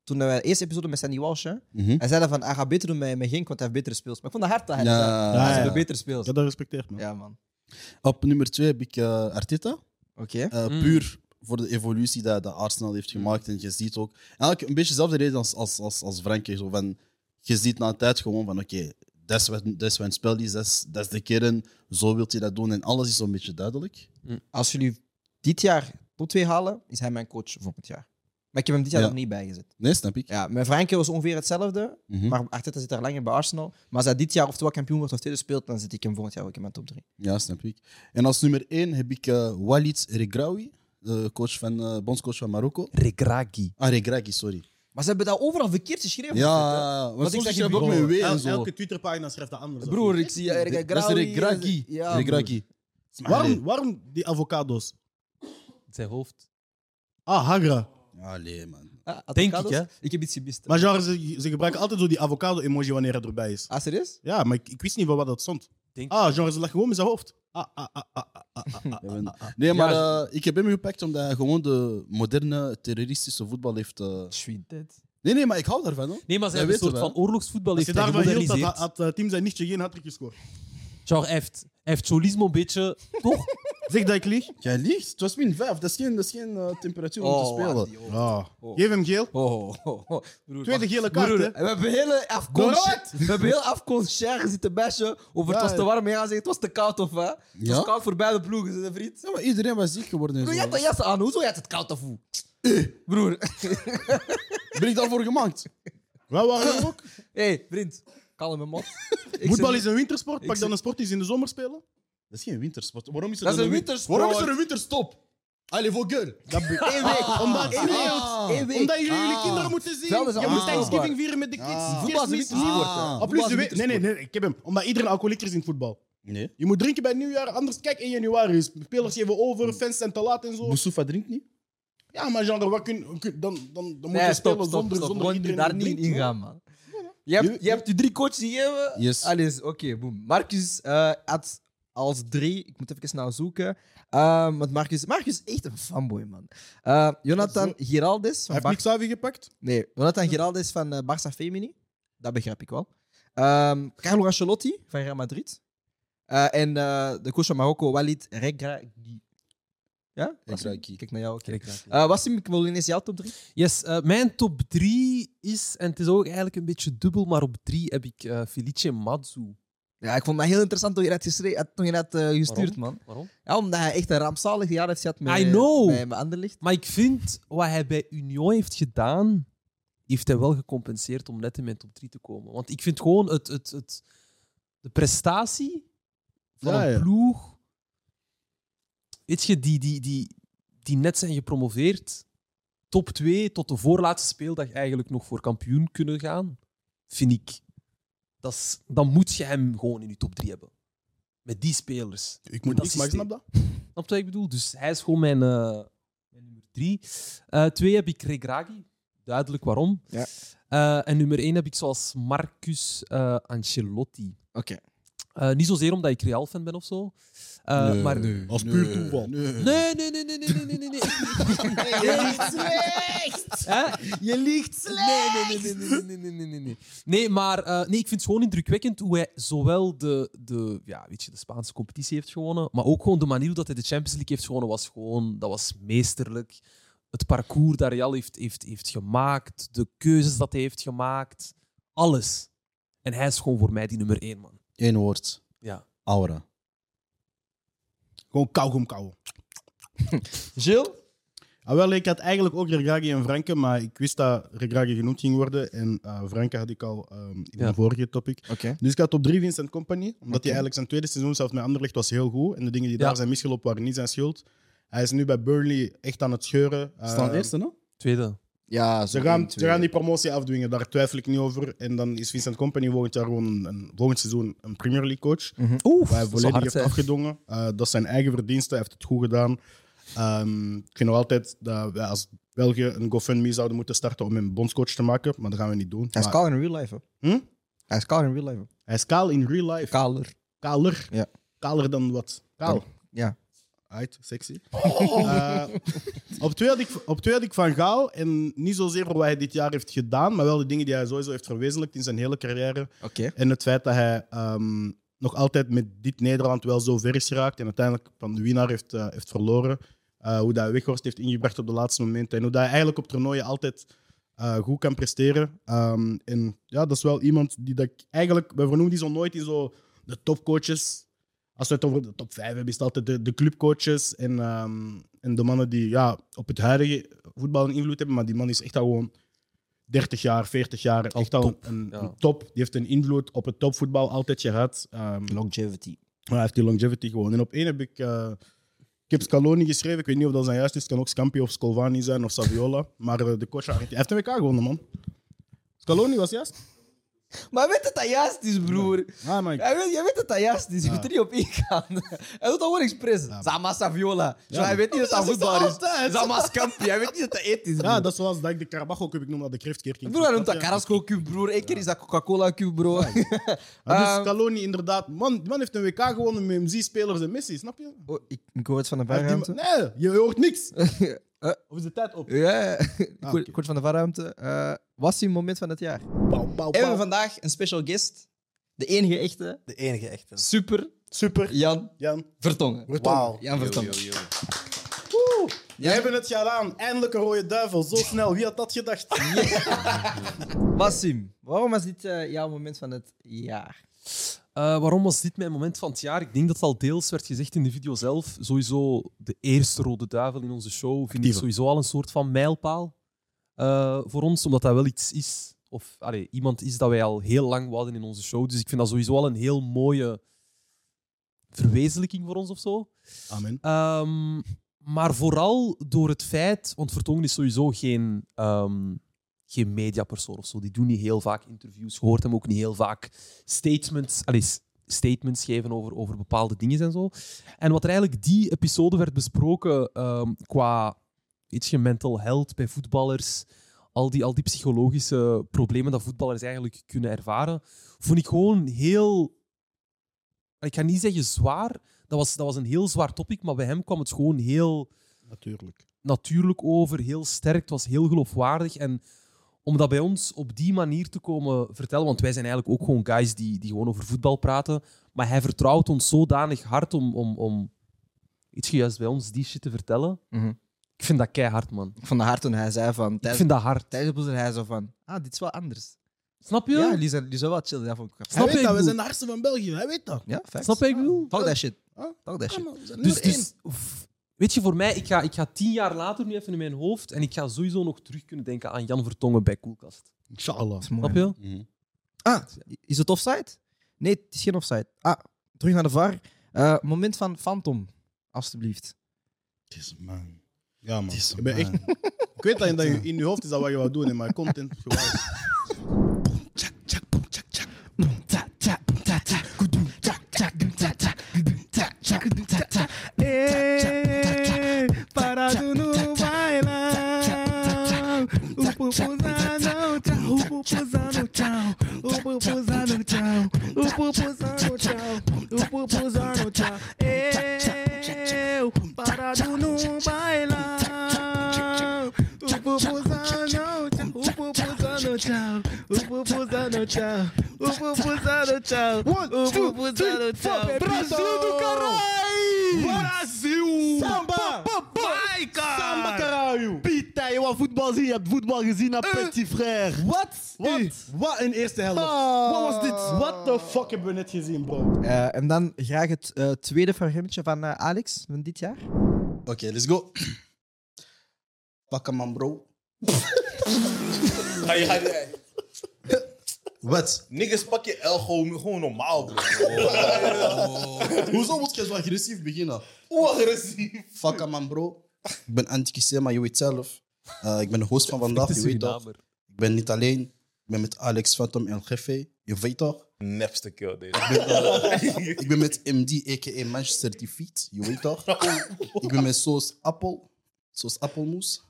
[SPEAKER 1] toen wij de eerste episode met Sandy Walsh, hè,
[SPEAKER 5] Mhm.
[SPEAKER 1] hij zei dat van, hij gaat beter doen met, met Genk, want hij heeft betere speels. Maar ik vond dat hard dat hij dat zei.
[SPEAKER 5] Ja,
[SPEAKER 1] Hij
[SPEAKER 2] ja,
[SPEAKER 1] is
[SPEAKER 2] ja.
[SPEAKER 1] de betere speels.
[SPEAKER 2] Ja, dat respecteert me.
[SPEAKER 1] Ja, man.
[SPEAKER 5] Op nummer twee heb ik eh, Arteta.
[SPEAKER 1] Oké.
[SPEAKER 5] Eh,
[SPEAKER 3] Mm.
[SPEAKER 5] Puur voor de evolutie dat, dat Arsenal heeft gemaakt. En je ziet ook... Eigenlijk een beetje dezelfde reden als, als, als, als Frankie. Zo van, je ziet na een tijd gewoon van... Oké, dat is wat- dat is wat een spel is. Dat is, dat is de kern. Zo wilt hij dat doen. En alles is zo'n beetje duidelijk.
[SPEAKER 1] Als jullie dit jaar tot twee Mm. halen, is hij mijn coach volgend jaar. Maar ik heb hem dit jaar
[SPEAKER 5] Ja.
[SPEAKER 1] nog niet bijgezet.
[SPEAKER 5] Nee, snap ik.
[SPEAKER 1] Ja, mijn Franke was ongeveer hetzelfde,
[SPEAKER 5] Mhm.
[SPEAKER 1] maar Arteta zit daar langer bij Arsenal. Maar als hij dit jaar oftewel kampioen wordt of tweede speelt, dan zit ik hem volgend jaar ook in mijn top drie.
[SPEAKER 5] Ja, snap ik. En als nummer één heb ik eh, Walid Regraoui. De coach van, eh, bondscoach van Marokko.
[SPEAKER 3] Regragi.
[SPEAKER 5] Ah, Regragui, sorry.
[SPEAKER 1] Maar ze hebben dat overal verkeerd geschreven.
[SPEAKER 5] Ja, want
[SPEAKER 1] ik
[SPEAKER 5] soms
[SPEAKER 1] zeg
[SPEAKER 5] heb
[SPEAKER 1] je
[SPEAKER 5] ook met W en
[SPEAKER 2] El-
[SPEAKER 5] zo.
[SPEAKER 2] elke Twitterpagina schrijft dat anders. of
[SPEAKER 1] Broer,
[SPEAKER 2] niet?
[SPEAKER 1] ik zie Erika
[SPEAKER 5] Dat is Regragui.
[SPEAKER 1] Ja,
[SPEAKER 5] Regragui.
[SPEAKER 2] Waarom, waarom die avocados?
[SPEAKER 3] Zijn hoofd.
[SPEAKER 2] Ah, hagra.
[SPEAKER 5] Allee, man.
[SPEAKER 1] broer. Ah,
[SPEAKER 3] Denk
[SPEAKER 1] avocados?
[SPEAKER 3] ik,
[SPEAKER 1] Ik heb iets gemist.
[SPEAKER 2] Maar genre, ze, ze gebruiken altijd zo die avocado-emoji wanneer het erbij is.
[SPEAKER 1] Ah, serieus?
[SPEAKER 2] Ja, maar ik, ik wist niet van wat dat stond.
[SPEAKER 3] Denk-
[SPEAKER 2] Ah, genre, ze lag gewoon met zijn hoofd. Ah, ah, ah, ah, ah, ah, ah, ah.
[SPEAKER 5] Ja, we- Nee, maar eh, ik heb hem gepakt omdat hij gewoon de moderne terroristische voetbal heeft. eh.
[SPEAKER 1] Sweet dead.
[SPEAKER 5] Nee, nee, maar ik hou daarvan. Hoor.
[SPEAKER 3] Nee, maar ze
[SPEAKER 5] Dat
[SPEAKER 3] hebben een soort
[SPEAKER 5] weten we.
[SPEAKER 3] van oorlogsvoetbal
[SPEAKER 2] Als
[SPEAKER 3] heeft
[SPEAKER 2] je
[SPEAKER 3] hij
[SPEAKER 2] daarvan hield, had,
[SPEAKER 3] gemoderniseerd.
[SPEAKER 2] had eh, team zijn nichtje geen hattrick gescoord.
[SPEAKER 3] Genre, hij heeft, hij heeft Cholismo een beetje... Toch?
[SPEAKER 2] Zeg dat ik lieg.
[SPEAKER 5] Jij liegt, het was min 5, dat is geen, dat is geen eh, temperatuur om te spelen.
[SPEAKER 1] Andy, oh.
[SPEAKER 2] Ah. Geef hem geel.
[SPEAKER 1] Oh, oh, oh. Broer,
[SPEAKER 2] Tweede
[SPEAKER 1] wacht.
[SPEAKER 2] gele kaart,
[SPEAKER 1] Broer,
[SPEAKER 2] hè?
[SPEAKER 1] We hebben hele afkon-
[SPEAKER 2] Correct!
[SPEAKER 1] We hebben heel afkon Scher zitten bashen over het
[SPEAKER 2] Ja,
[SPEAKER 1] was te
[SPEAKER 2] ja.
[SPEAKER 1] warm. En gaan zeggen het was te koud of hè? Het was
[SPEAKER 5] Ja?
[SPEAKER 1] koud voor beide ploegen, zei de vriend.
[SPEAKER 5] Ja, maar iedereen was ziek geworden. En
[SPEAKER 1] Broer, je
[SPEAKER 5] zo.
[SPEAKER 1] had dat jas aan. Hoezo had het koud of hoe? Broer.
[SPEAKER 5] Ben ik daarvoor gemaakt?
[SPEAKER 2] Wij waren er ook.
[SPEAKER 1] hey, vriend. Kalme mot. Ik
[SPEAKER 2] Voetbal
[SPEAKER 1] zeg-
[SPEAKER 2] is een wintersport. Pak
[SPEAKER 1] zeg-
[SPEAKER 2] dan een sport die ze in de zomer spelen.
[SPEAKER 5] Dat is geen wintersport. Waarom is er
[SPEAKER 1] Dat is
[SPEAKER 5] dan
[SPEAKER 1] een
[SPEAKER 5] win-
[SPEAKER 1] wintersport.
[SPEAKER 5] Waarom is er een Ah. winterstop? Allee, voor girl.
[SPEAKER 2] Dat be-
[SPEAKER 1] Eén week.
[SPEAKER 2] Ah.
[SPEAKER 1] Ah.
[SPEAKER 2] Omdat,
[SPEAKER 1] Eén week. Eén week.
[SPEAKER 2] omdat jullie jullie
[SPEAKER 5] Ah.
[SPEAKER 2] kinderen moeten zien.
[SPEAKER 1] Velden zijn
[SPEAKER 2] Je moet
[SPEAKER 1] allemaal
[SPEAKER 2] Thanksgiving vieren met de kids.
[SPEAKER 5] Ah.
[SPEAKER 2] Kerstmis.
[SPEAKER 1] Voetbal is een wintersport. hè.
[SPEAKER 5] Ah.
[SPEAKER 2] Ah, plus
[SPEAKER 1] Voetbal
[SPEAKER 2] de
[SPEAKER 1] is
[SPEAKER 2] we-
[SPEAKER 1] een
[SPEAKER 2] nee, nee, nee, ik heb hem. Omdat iedereen alcoholieker is in het voetbal.
[SPEAKER 5] Nee.
[SPEAKER 2] Je moet drinken bij het nieuwjaar, anders kijk in januari. Spelers geven over, fans zijn te laat en zo.
[SPEAKER 5] Boussoufa drinkt niet.
[SPEAKER 2] Ja, maar genre, wat kun, kun- dan, dan, dan moet
[SPEAKER 1] Nee,
[SPEAKER 2] je
[SPEAKER 1] stop,
[SPEAKER 2] spelen
[SPEAKER 1] stop,
[SPEAKER 2] zonder,
[SPEAKER 1] stop.
[SPEAKER 2] zonder
[SPEAKER 1] Gewoon
[SPEAKER 2] iedereen
[SPEAKER 1] daar
[SPEAKER 2] die
[SPEAKER 1] niet
[SPEAKER 2] drinkt,
[SPEAKER 1] in gaan, man. Je hebt, je hebt je drie coaches gegeven.
[SPEAKER 5] Yes.
[SPEAKER 1] Alles, oké, boom. Marcus eh, had als drie, ik moet even snel zoeken. Ehm, want Marcus, Marcus is echt een fanboy, man. Eh, Jonathan Giraldes
[SPEAKER 2] Hij
[SPEAKER 1] van,
[SPEAKER 2] heeft
[SPEAKER 1] Bar-
[SPEAKER 2] niet Xavi gepakt.
[SPEAKER 1] nee, Jonathan Giraldes van eh, Barça Femini. Dat begrijp ik wel. Ehm, Carlo Ancelotti van Real Madrid. Eh, en eh, de coach van Marokko, Walid Regragui. Ja? Wassim?
[SPEAKER 5] Regragui.
[SPEAKER 1] Kijk naar jou. oké.
[SPEAKER 3] Regragui.
[SPEAKER 1] Eh, Wassim, ik wil ineens jouw top drie.
[SPEAKER 3] Yes, eh, mijn top 3 is, en het is ook eigenlijk een beetje dubbel, maar op 3 heb ik eh, Felice Mazzu.
[SPEAKER 1] Ja, ik vond dat heel interessant toen je dat, geschre- had- toen je dat eh, gestuurd,
[SPEAKER 3] Waarom?
[SPEAKER 1] man.
[SPEAKER 3] Waarom?
[SPEAKER 1] Ja, omdat hij echt een rampzalig jaar heeft gehad met,
[SPEAKER 3] I know.
[SPEAKER 1] met, met Anderlicht.
[SPEAKER 3] Maar ik vind wat hij bij Union heeft gedaan, heeft hij wel gecompenseerd om net in mijn top 3 te komen. Want ik vind gewoon het, het, het, de prestatie van
[SPEAKER 2] Ja,
[SPEAKER 3] een
[SPEAKER 2] ja.
[SPEAKER 3] ploeg. Weet je, die, die, die, die net zijn gepromoveerd, top 2 tot de voorlaatste speeldag eigenlijk nog voor kampioen kunnen gaan, vind ik. Dat is, dan moet je hem gewoon in je top 3 hebben. Met die spelers.
[SPEAKER 2] Ik
[SPEAKER 3] moet
[SPEAKER 2] moet
[SPEAKER 3] dat
[SPEAKER 2] niks, maar ik
[SPEAKER 3] systeem.
[SPEAKER 2] snap dat.
[SPEAKER 3] Snap je wat ik bedoel? Dus hij is gewoon mijn, eh, mijn nummer drie. Eh, twee heb ik Regragi. Duidelijk waarom.
[SPEAKER 1] Ja.
[SPEAKER 3] Eh, en nummer één heb ik zoals Marcus eh, Ancelotti.
[SPEAKER 1] Oké.
[SPEAKER 3] Eh, niet zozeer omdat ik Real-fan ben of zo. Eh, maar...
[SPEAKER 2] Als puur toeval.
[SPEAKER 3] Nee, nee, nee, nee, nee, nee, nee, nee. nee.
[SPEAKER 1] Je liegt slecht!
[SPEAKER 3] Hè?
[SPEAKER 1] Je liegt
[SPEAKER 3] Nee, nee, nee, nee, nee, nee, nee, nee, nee. Nee, maar eh, nee, ik vind het gewoon indrukwekkend hoe hij zowel de, de, ja, weet je, de Spaanse competitie heeft gewonnen, maar ook gewoon de manier hoe dat hij de Champions League heeft gewonnen, was gewoon, dat was meesterlijk. Het parcours dat Real heeft, heeft, heeft gemaakt, de keuzes dat hij heeft gemaakt, alles. En hij is gewoon voor mij die nummer één, man.
[SPEAKER 5] Eén woord.
[SPEAKER 3] Ja.
[SPEAKER 5] Aura.
[SPEAKER 2] Gewoon kauwgom kauwen.
[SPEAKER 1] Gilles?
[SPEAKER 2] Ah, wel, ik had eigenlijk ook Regragi en Franke, maar ik wist dat Regragi genoemd ging worden. En eh Franke had ik al ehm, in
[SPEAKER 3] Ja.
[SPEAKER 2] de vorige topic.
[SPEAKER 1] Oké.
[SPEAKER 2] Dus ik had op drie Vincent Company, omdat hij eigenlijk zijn tweede seizoen zelfs met Anderlecht was heel goed. En de dingen die
[SPEAKER 3] Ja.
[SPEAKER 2] daar zijn misgelopen waren niet zijn schuld. Hij is nu bij Burnley echt aan het scheuren.
[SPEAKER 5] Staan
[SPEAKER 2] Ehm,
[SPEAKER 5] eerste, no?
[SPEAKER 3] Tweede.
[SPEAKER 5] Ja,
[SPEAKER 2] ze, gaan, ze gaan die promotie afdwingen, daar twijfel ik niet over. En dan is Vincent Company volgend jaar gewoon een, een- volgend seizoen een Premier League coach.
[SPEAKER 3] Oef,
[SPEAKER 2] Waar hij
[SPEAKER 3] dat is wel
[SPEAKER 2] volledig
[SPEAKER 3] hard,
[SPEAKER 2] heeft
[SPEAKER 3] hè.
[SPEAKER 2] afgedongen. Eh, dat is zijn eigen verdiensten, hij heeft het goed gedaan. Ehm, ik vind nog altijd dat wij als België een GoFundMe zouden moeten starten om hem bondscoach te maken, maar dat gaan we niet doen.
[SPEAKER 1] Hij is
[SPEAKER 2] Maar-
[SPEAKER 1] kaal in real life, hè.
[SPEAKER 2] Hm?
[SPEAKER 1] Hij is kaal in real life. hè.
[SPEAKER 2] Hij is kaal in real life.
[SPEAKER 1] Kaler.
[SPEAKER 2] Kaler.
[SPEAKER 1] Ja.
[SPEAKER 2] Kaler dan wat? Kaal.
[SPEAKER 1] Ja.
[SPEAKER 2] Uit, sexy. Eh, op, twee had ik, op twee had ik Van Gaal. En niet zozeer voor wat hij dit jaar heeft gedaan, maar wel de dingen die hij sowieso heeft verwezenlijkt in zijn hele carrière.
[SPEAKER 1] Oké.
[SPEAKER 2] En het feit dat hij ehm, nog altijd met dit Nederland wel zo ver is geraakt. En uiteindelijk van de winnaar heeft, eh, heeft verloren. Eh, hoe dat Weghorst heeft ingebracht op de laatste momenten. En hoe dat hij eigenlijk op toernooien altijd eh, goed kan presteren. Ehm, en ja, dat is wel iemand die dat ik eigenlijk... We vernoemen die zo nooit in zo de topcoaches. Als we het over de top 5 hebben, is het altijd de, de clubcoaches en, ehm, en de mannen die ja, op het huidige voetbal een invloed hebben. Maar die man is echt al gewoon 30 jaar, 40 jaar.
[SPEAKER 3] Al
[SPEAKER 2] echt al
[SPEAKER 3] top,
[SPEAKER 2] een,
[SPEAKER 3] ja.
[SPEAKER 2] een top. Die heeft een invloed op het topvoetbal altijd gehad. Ehm,
[SPEAKER 1] Longevity.
[SPEAKER 2] hij heeft die longevity gewoon. En op één heb ik. eh, ik heb Scaloni geschreven. Ik weet niet of dat zijn juist is. Het kan ook Scampi of Scolvani zijn of Saviola. Maar eh, de coach van Argentinië. Hij heeft een WK gewonnen, man. Scaloni was juist.
[SPEAKER 1] Maar weet dat dat juist is, broer.
[SPEAKER 2] Ah, maar ik-
[SPEAKER 1] Jij weet, jij weet dat dat juist is. Je moet er niet op ingaan. Hij doet dat gewoon expres. Zama Saviola. Zo, hij weet niet dat dat voetbal is. Zama Scampi. Hij weet niet dat dat eten is.
[SPEAKER 2] Ja,
[SPEAKER 1] broer.
[SPEAKER 2] dat is zoals dat ik de Carabajo Cup, ik noem dat de Kreftkerk.
[SPEAKER 1] Broer, hij noemt dat Carrasco Cube, broer. Eén keer is dat Coca-Cola Cube, bro.
[SPEAKER 2] dus
[SPEAKER 1] Ehm,
[SPEAKER 2] Scaloni, inderdaad. Man, die man heeft een WK gewonnen met MC-spelers en Messi, snap je?
[SPEAKER 1] oh, ik, ik hoor het van de
[SPEAKER 2] Hij heeft
[SPEAKER 1] barruimte.
[SPEAKER 2] die man- nee, je hoort niks. Of is de tijd op?
[SPEAKER 1] Ja, ik
[SPEAKER 2] Ah,
[SPEAKER 1] hoor-
[SPEAKER 2] oké.
[SPEAKER 1] ik hoor het van de barruimte. Eh, was hij moment van het jaar?
[SPEAKER 2] Bouw, bouw,
[SPEAKER 4] Hebben we
[SPEAKER 2] bouw.
[SPEAKER 4] vandaag een special guest. De enige echte,
[SPEAKER 6] De enige echte.
[SPEAKER 4] super
[SPEAKER 2] Super.
[SPEAKER 4] Jan
[SPEAKER 2] Jan,
[SPEAKER 4] Vertongen.
[SPEAKER 6] Wauw.
[SPEAKER 4] Jan Vertongen.
[SPEAKER 2] we hebben het gedaan. Eindelijk een rode duivel. Zo snel. Wie had dat gedacht?
[SPEAKER 1] Wassim, waarom was dit eh, jouw moment van het jaar?
[SPEAKER 3] Eh, waarom was dit mijn moment van het jaar? Ik denk dat het al deels werd gezegd in de video zelf. Sowieso de eerste rode duivel in onze show vind ik
[SPEAKER 2] Actieve.
[SPEAKER 3] sowieso al een soort van mijlpaal eh, voor ons, omdat dat wel iets is. Of allee, iemand is dat wij al heel lang wouden in onze show. Dus ik vind dat sowieso al een heel mooie verwezenlijking voor ons of zo.
[SPEAKER 2] Amen.
[SPEAKER 3] Ehm, maar vooral door het feit, want Vertongen is sowieso geen, ehm, geen mediapersoon of zo. Die doen niet heel vaak interviews. Je hoort hem ook niet heel vaak statements, allee, s- statements geven over, over bepaalde dingen en zo. En wat er eigenlijk die episode werd besproken ehm, qua ietsje mental health bij voetballers. Al die, al die psychologische problemen dat voetballers eigenlijk kunnen ervaren, vond ik gewoon heel. Ik ga niet zeggen zwaar, dat was, dat was een heel zwaar topic, maar bij hem kwam het gewoon heel
[SPEAKER 2] Natuurlijk.
[SPEAKER 3] natuurlijk over, heel sterk. Het was heel geloofwaardig. En om dat bij ons op die manier te komen vertellen, want wij zijn eigenlijk ook gewoon guys die, die gewoon over voetbal praten, maar hij vertrouwt ons zodanig hard om, om, om iets juist bij ons die shit te vertellen.
[SPEAKER 1] Mhm.
[SPEAKER 3] Ik vind dat keihard, man.
[SPEAKER 1] Ik vond het hard toen hij zei van...
[SPEAKER 3] Ik
[SPEAKER 1] Tijdens,
[SPEAKER 3] vind dat hard.
[SPEAKER 1] tijdens de boezer, hij zo van... Ah, dit is wel anders.
[SPEAKER 3] Snap je?
[SPEAKER 1] Ja, die zijn, die zijn wel chill. Dat vond ik
[SPEAKER 2] Hij
[SPEAKER 3] Snap
[SPEAKER 2] weet
[SPEAKER 3] je,
[SPEAKER 2] dat.
[SPEAKER 3] ik bedoel-
[SPEAKER 2] We zijn de hardste van België. Hij weet dat.
[SPEAKER 1] Ja, facts.
[SPEAKER 3] Snap je wat ik bedoel?
[SPEAKER 1] Talk that shit.
[SPEAKER 4] Ờ.
[SPEAKER 2] Huh?
[SPEAKER 1] Talk that
[SPEAKER 2] Ja,
[SPEAKER 1] shit.
[SPEAKER 2] man, we zijn
[SPEAKER 3] Dus,
[SPEAKER 2] nummer één.
[SPEAKER 3] dus f- weet je, voor mij, ik ga, ik ga tien jaar later nu even in mijn hoofd en ik ga sowieso nog terug kunnen denken aan Jan Vertongen bij Koelkast.
[SPEAKER 2] Inshallah.
[SPEAKER 1] Dat is mooi.
[SPEAKER 3] Snap je?
[SPEAKER 4] Ừ.
[SPEAKER 1] Ah, is het offside? Nee, het is geen offside. Ah, terug naar de VAR. Eh, moment van Phantom, alstublieft.
[SPEAKER 5] man.
[SPEAKER 2] Ja, man.
[SPEAKER 5] is
[SPEAKER 2] Ik, ben
[SPEAKER 5] man.
[SPEAKER 2] echt... ik weet dat je, dat je- in je hoofd is dat wat je wou doen, hè, maar content. gewoon- One, two, three, four. Brasil do caralho! Brasil! Samba Samba Karayu.
[SPEAKER 6] Pita, je wou voetbal zien. Je hebt voetbal gezien
[SPEAKER 2] Eh.
[SPEAKER 6] naar Petit Frère.
[SPEAKER 1] Wat?
[SPEAKER 2] Wat? Wat een eerste helft. Wat was dit? What the fuck hebben we net gezien, bro?
[SPEAKER 1] Eh, en dan graag het eh, tweede fragmentje van eh, Alex van dit jaar.
[SPEAKER 2] Oké, let's go. Pak hem aan, bro.
[SPEAKER 7] Ga je, ga je,
[SPEAKER 2] Wat?
[SPEAKER 7] niggas, pak je L gewoon, gewoon normaal, bro.
[SPEAKER 2] Hoezo moet je zo agressief beginnen?
[SPEAKER 7] Hoe agressief.
[SPEAKER 2] Fuck hem aan, bro. Ik ben anti maar je weet zelf. Eh, ik ben de host van vandaag, je weet toch? Ik ben niet alleen. Ik ben met Alex Phantom en Gefe. Je weet toch?
[SPEAKER 7] Nepste kill, deze.
[SPEAKER 2] Ik ben met MD, a.k.a. Manchester Certified. Je weet toch? Ik ben met Soos Appel. Soos Appelmoes.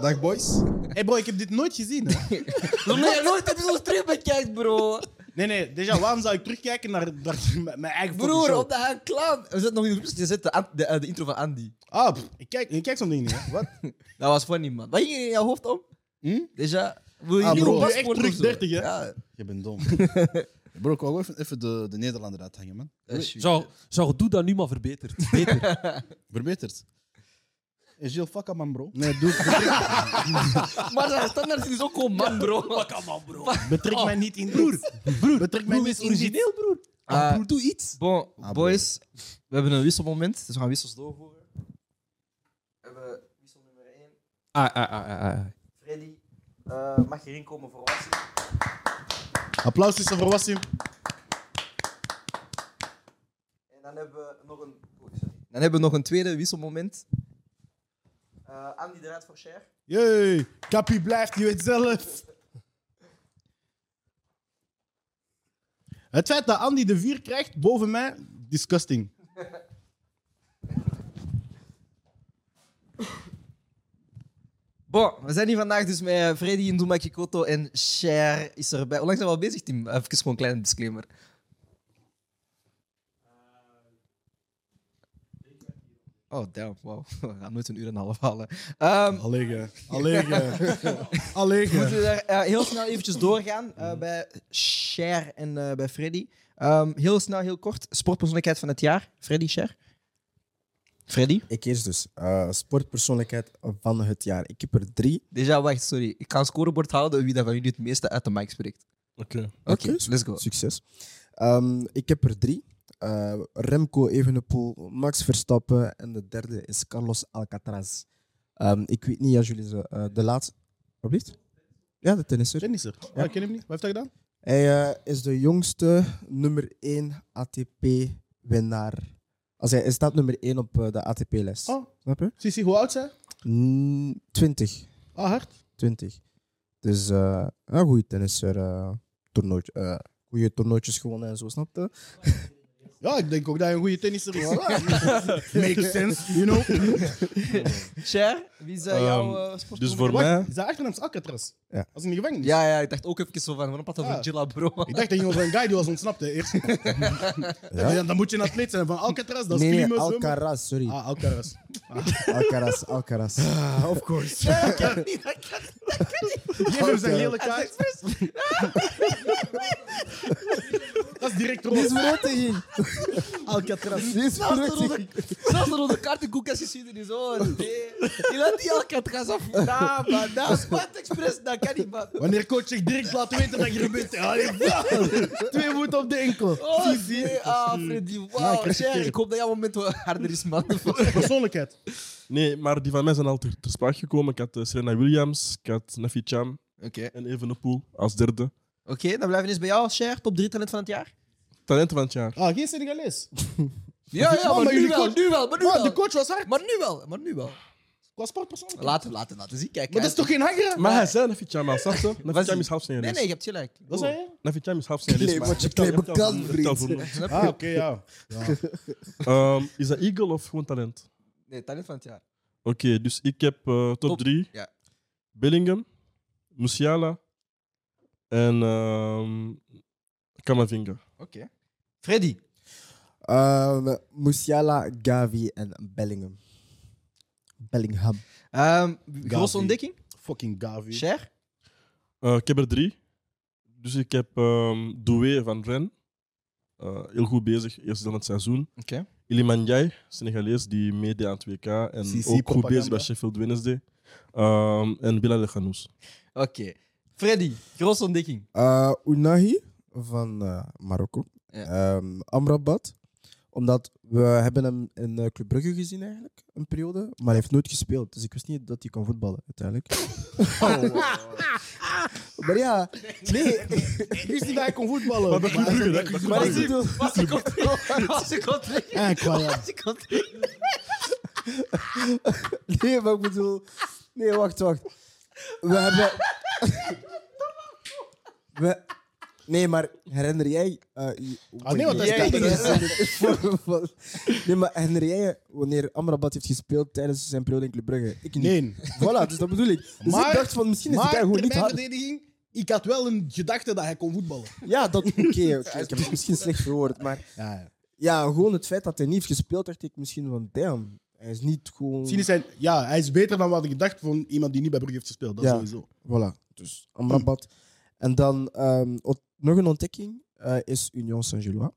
[SPEAKER 2] Dag, boys. hey bro, ik heb dit nooit gezien. Hè?
[SPEAKER 4] Omdat je nooit episode terug bekijkt, bro.
[SPEAKER 2] Nee, nee. Déjà, waarom zou ik terugkijken naar, naar mijn mijn eigen
[SPEAKER 4] Broer, op de Haan Clan. We zitten nog in de groep. Je zet de, an- de, eh, de intro van Andy.
[SPEAKER 2] Ah, pff, ik kijk, ik kijk zo'n ding niet. hè. Wat?
[SPEAKER 4] Dat was funny, man. Wat ging er in jouw hoofd om?
[SPEAKER 5] Hm?
[SPEAKER 4] Deja, wil je
[SPEAKER 2] Ah,
[SPEAKER 4] nieuwe
[SPEAKER 2] bro. Je
[SPEAKER 4] paspoort
[SPEAKER 2] echt terug
[SPEAKER 4] of zo?
[SPEAKER 2] 30, hè?
[SPEAKER 4] Ja.
[SPEAKER 5] Je bent dom. Bro, ik wou even, even de, de Nederlander uithangen, man.
[SPEAKER 3] Zou, zou, doe dat nu maar verbeterd. Beter.
[SPEAKER 5] Verbeterd. Hey, Gilles, fuck hem, man, bro.
[SPEAKER 2] Nee, doe het.
[SPEAKER 4] Maar de standaard is ook gewoon man, bro.
[SPEAKER 2] Betrek mij niet in broer. broer. Betrek mij niet in dit.
[SPEAKER 3] broer.
[SPEAKER 1] Ah,
[SPEAKER 3] broer, doe iets.
[SPEAKER 1] Bon,
[SPEAKER 5] Ah,
[SPEAKER 1] boys, we hebben een wisselmoment, dus we gaan wissels doorvoeren. We hebben wissel nummer 1.
[SPEAKER 3] Ah, ah, ah, ah, ah.
[SPEAKER 1] Freddy, eh, mag je erin komen voor Wassim?
[SPEAKER 2] Applaus is er voor Wassim.
[SPEAKER 1] En dan hebben we nog een, oh, sorry. dan hebben we nog een tweede wisselmoment. Eh Andy eruit voor Cher.
[SPEAKER 2] Jee, Kapi blijft, je weet zelf. Het feit dat Andy de vier krijgt boven mij, disgusting.
[SPEAKER 1] Bon, we zijn hier vandaag dus met eh, Freddy in Doemakje Koto en Cher is erbij. Hoe lang zijn we al bezig, Tim? Eh, Even gewoon een kleine disclaimer. Oh, damn, wow. We gaan nooit een uur en een half halen. Ehm,
[SPEAKER 2] Allege, allege, allege.
[SPEAKER 1] Moeten we daar eh, heel snel eventjes doorgaan eh, bij Cher en eh, bij Freddy. Ehm, heel snel, heel kort. Sportpersoonlijkheid van het jaar. Freddy, Cher. Freddy?
[SPEAKER 8] Ik eerst dus. eh, sportpersoonlijkheid van het jaar. Ik heb er drie.
[SPEAKER 1] Deja, wacht, sorry. Ik ga een scorebord houden wie dat van jullie het meeste uit de mic spreekt. Oké, let's go.
[SPEAKER 8] Succes. Ehm, ik heb er drie. Eh, Remco Evenepoel, Max Verstappen en de derde is Carlos Alcaraz. Ehm, ik weet niet als jullie ze, eh, de laatste... Wat blieft? Ja, de tennisser.
[SPEAKER 2] Tennisser. Ja, ik ken hem niet. Wat heeft hij gedaan?
[SPEAKER 8] Hij eh, is de jongste nummer 1 ATP-winnaar. Als hij, hij staat nummer 1 op eh, de ATP-lijst.
[SPEAKER 2] Oh.
[SPEAKER 8] Snap je?
[SPEAKER 2] Sissi, hoe oud zijn?
[SPEAKER 8] Mm, 20.
[SPEAKER 2] Ah, hard.
[SPEAKER 8] 20. Dus eh een goede tennisser. eh toernooi, eh, goede toernooitjes gewonnen en zo, snap je?
[SPEAKER 2] Ja, ik denk ook dat hij een goede tennisser is. Makes sense, you know.
[SPEAKER 1] Cher, wie is eh,
[SPEAKER 7] Ehm,
[SPEAKER 1] jouw eh, sportpersoonlijkheid?
[SPEAKER 7] Dus voor
[SPEAKER 2] Wacht,
[SPEAKER 7] mij...
[SPEAKER 2] is zijn achternaam is Alcatraz.
[SPEAKER 8] Ja.
[SPEAKER 2] Als in de gevangenis.
[SPEAKER 1] Ja, ja, ik dacht ook even zo van, waarom praat over
[SPEAKER 2] Ah.
[SPEAKER 1] Gilla, bro?
[SPEAKER 2] Ik dacht dat je over een guy die was ontsnapt, hè, eerst. ja? Dan moet je een atleet zijn van Alcatraz, dat is
[SPEAKER 8] nee, nee,
[SPEAKER 2] klimmen, zwemmen.
[SPEAKER 8] Alcaraz, sorry.
[SPEAKER 2] Ah, Alcaraz.
[SPEAKER 8] Alcaraz, Alcaraz. Ah, of course.
[SPEAKER 2] Geef hem zijn hele kaart. dat is direct rood.
[SPEAKER 8] Die is verrotting.
[SPEAKER 2] Alcatraz.
[SPEAKER 8] Die is verrotting.
[SPEAKER 1] Zelfs de rode kaart in Koekas gezien in is hoor. Nee. Je laat die Alcatraz af. Nah, Ah, man. Nah, Sport Express, dat kan niet, man.
[SPEAKER 2] Wanneer coach zich direct laat weten dat je er bent. Allee, bam. Twee voeten op de enkel.
[SPEAKER 1] Oh, nee. Ah, Freddy.
[SPEAKER 2] Ja, ik
[SPEAKER 1] Wauw,
[SPEAKER 2] krijg het
[SPEAKER 1] Cher.
[SPEAKER 2] keer.
[SPEAKER 1] Ik hoop dat jouw moment wel harder is, man.
[SPEAKER 2] Persoonlijkheid.
[SPEAKER 9] Nee, maar die van mij zijn al ter, ter sprake gekomen. Ik had eh, Serena Williams, ik had Nafi Cham
[SPEAKER 1] Oké.
[SPEAKER 9] en Evenepoel als derde.
[SPEAKER 1] Oké, dan blijven we eens bij jou, Cher. Top 3 talent van het jaar.
[SPEAKER 9] Talenten van het jaar.
[SPEAKER 2] Ah, geen Senegalees.
[SPEAKER 1] Ja, ja,
[SPEAKER 2] Man,
[SPEAKER 1] maar,
[SPEAKER 2] maar
[SPEAKER 1] nu
[SPEAKER 2] jullie
[SPEAKER 1] wel,
[SPEAKER 2] coach-
[SPEAKER 1] nu wel, maar nu
[SPEAKER 2] Maar
[SPEAKER 1] wel.
[SPEAKER 2] de coach was hard.
[SPEAKER 1] Maar nu wel, maar nu wel.
[SPEAKER 2] Qua sportpersoonlijkheid.
[SPEAKER 1] Later, later, laten zien. Kijk,
[SPEAKER 2] Maar dat is toch geen hangeren?
[SPEAKER 9] Maar hij zei Nafi Cham al, snap je? Nafi
[SPEAKER 1] Was-
[SPEAKER 9] Cham is half Senegalese.
[SPEAKER 1] Nee, nee, je hebt gelijk.
[SPEAKER 2] Wat zei je?
[SPEAKER 9] Nafi Cham is half Senegalese.
[SPEAKER 8] Nee,
[SPEAKER 9] maar
[SPEAKER 8] wat je
[SPEAKER 9] ik tel-
[SPEAKER 8] kleine
[SPEAKER 9] ik tel-
[SPEAKER 8] kan,
[SPEAKER 9] ik tel voor
[SPEAKER 8] vriend.
[SPEAKER 9] nul.
[SPEAKER 1] Snap je?
[SPEAKER 2] Ah, oké, ja.
[SPEAKER 9] Ehm, Is dat eagle of gewoon talent?
[SPEAKER 1] Nee, talent van het jaar.
[SPEAKER 9] Oké, dus ik heb eh,
[SPEAKER 1] Top,
[SPEAKER 9] top 3.
[SPEAKER 1] ja.
[SPEAKER 9] Bellingham, Musiala en ehm Kamavinga.
[SPEAKER 1] Oké. Freddy.
[SPEAKER 8] Ehm, Musiala, Gavi en Bellingham. Bellingham.
[SPEAKER 1] Ehm grootste ontdekking?
[SPEAKER 2] Fucking Gavi.
[SPEAKER 1] Cher?
[SPEAKER 9] Eh, ik heb er drie. Dus ik heb ehm Doué van Ren, eh, heel goed bezig, eerst dan het seizoen.
[SPEAKER 1] Oké.
[SPEAKER 9] Ilimanjai, Senegalees, die meedeed aan het WK. En
[SPEAKER 2] CC
[SPEAKER 9] ook goed
[SPEAKER 2] propaganda.
[SPEAKER 9] bezig bij Sheffield Wednesday. Ehm, en Bilal El Ghanous.
[SPEAKER 1] Oké. Freddy, grote ontdekking.
[SPEAKER 8] Eh, Unahi van eh, Marokko.
[SPEAKER 1] Ja.
[SPEAKER 8] Ehm, Amrabat. Omdat we hebben hem in eh, Club Brugge gezien eigenlijk, een periode. Maar hij heeft nooit gespeeld. Dus ik wist niet dat hij kon voetballen uiteindelijk. maar ja, nee.
[SPEAKER 2] Ik wist niet dat hij kon voetballen.
[SPEAKER 9] Maar bij Club Brugge, dat Club
[SPEAKER 8] Maar ik
[SPEAKER 9] Brugge.
[SPEAKER 8] bedoel,
[SPEAKER 1] Was ik ontdekking? Was ik ontdekking?
[SPEAKER 2] Eh, qua- ja.
[SPEAKER 1] Was ik ontdekking?
[SPEAKER 8] nee, maar ik bedoel... Nee, wacht, wacht. We hebben... We... Nee, maar herinner jij... eh, je-
[SPEAKER 2] Ah, nee, want dat is
[SPEAKER 1] Jij-
[SPEAKER 2] dat is-
[SPEAKER 8] Voorgevallen. Nee, maar herinner jij wanneer Amrabat heeft gespeeld tijdens zijn periode in Club Brugge? Ik niet.
[SPEAKER 2] Nee.
[SPEAKER 8] Voilà, dus dat bedoel ik. Dus
[SPEAKER 2] Maar-
[SPEAKER 8] ik dacht van, misschien is
[SPEAKER 2] Maar
[SPEAKER 8] hij
[SPEAKER 2] in
[SPEAKER 8] gewoon
[SPEAKER 2] mijn
[SPEAKER 8] niet hard.
[SPEAKER 2] verdediging, ik had wel een gedachte dat hij kon voetballen.
[SPEAKER 8] Ja, dat... Oké, oké, ik heb het misschien slecht verwoord, maar...
[SPEAKER 2] Ja, ja.
[SPEAKER 8] Ja, gewoon het feit dat hij niet heeft gespeeld, dacht ik misschien van, damn. Hij is niet gewoon...
[SPEAKER 2] Misschien is hij, ja, hij is beter dan wat ik dacht van iemand die niet bij Brugge heeft gespeeld. Dat
[SPEAKER 8] Ja.
[SPEAKER 2] sowieso.
[SPEAKER 8] Voilà, dus Amrabat. En dan ehm, ont- nog een ontdekking eh, is Union Saint-Gillois.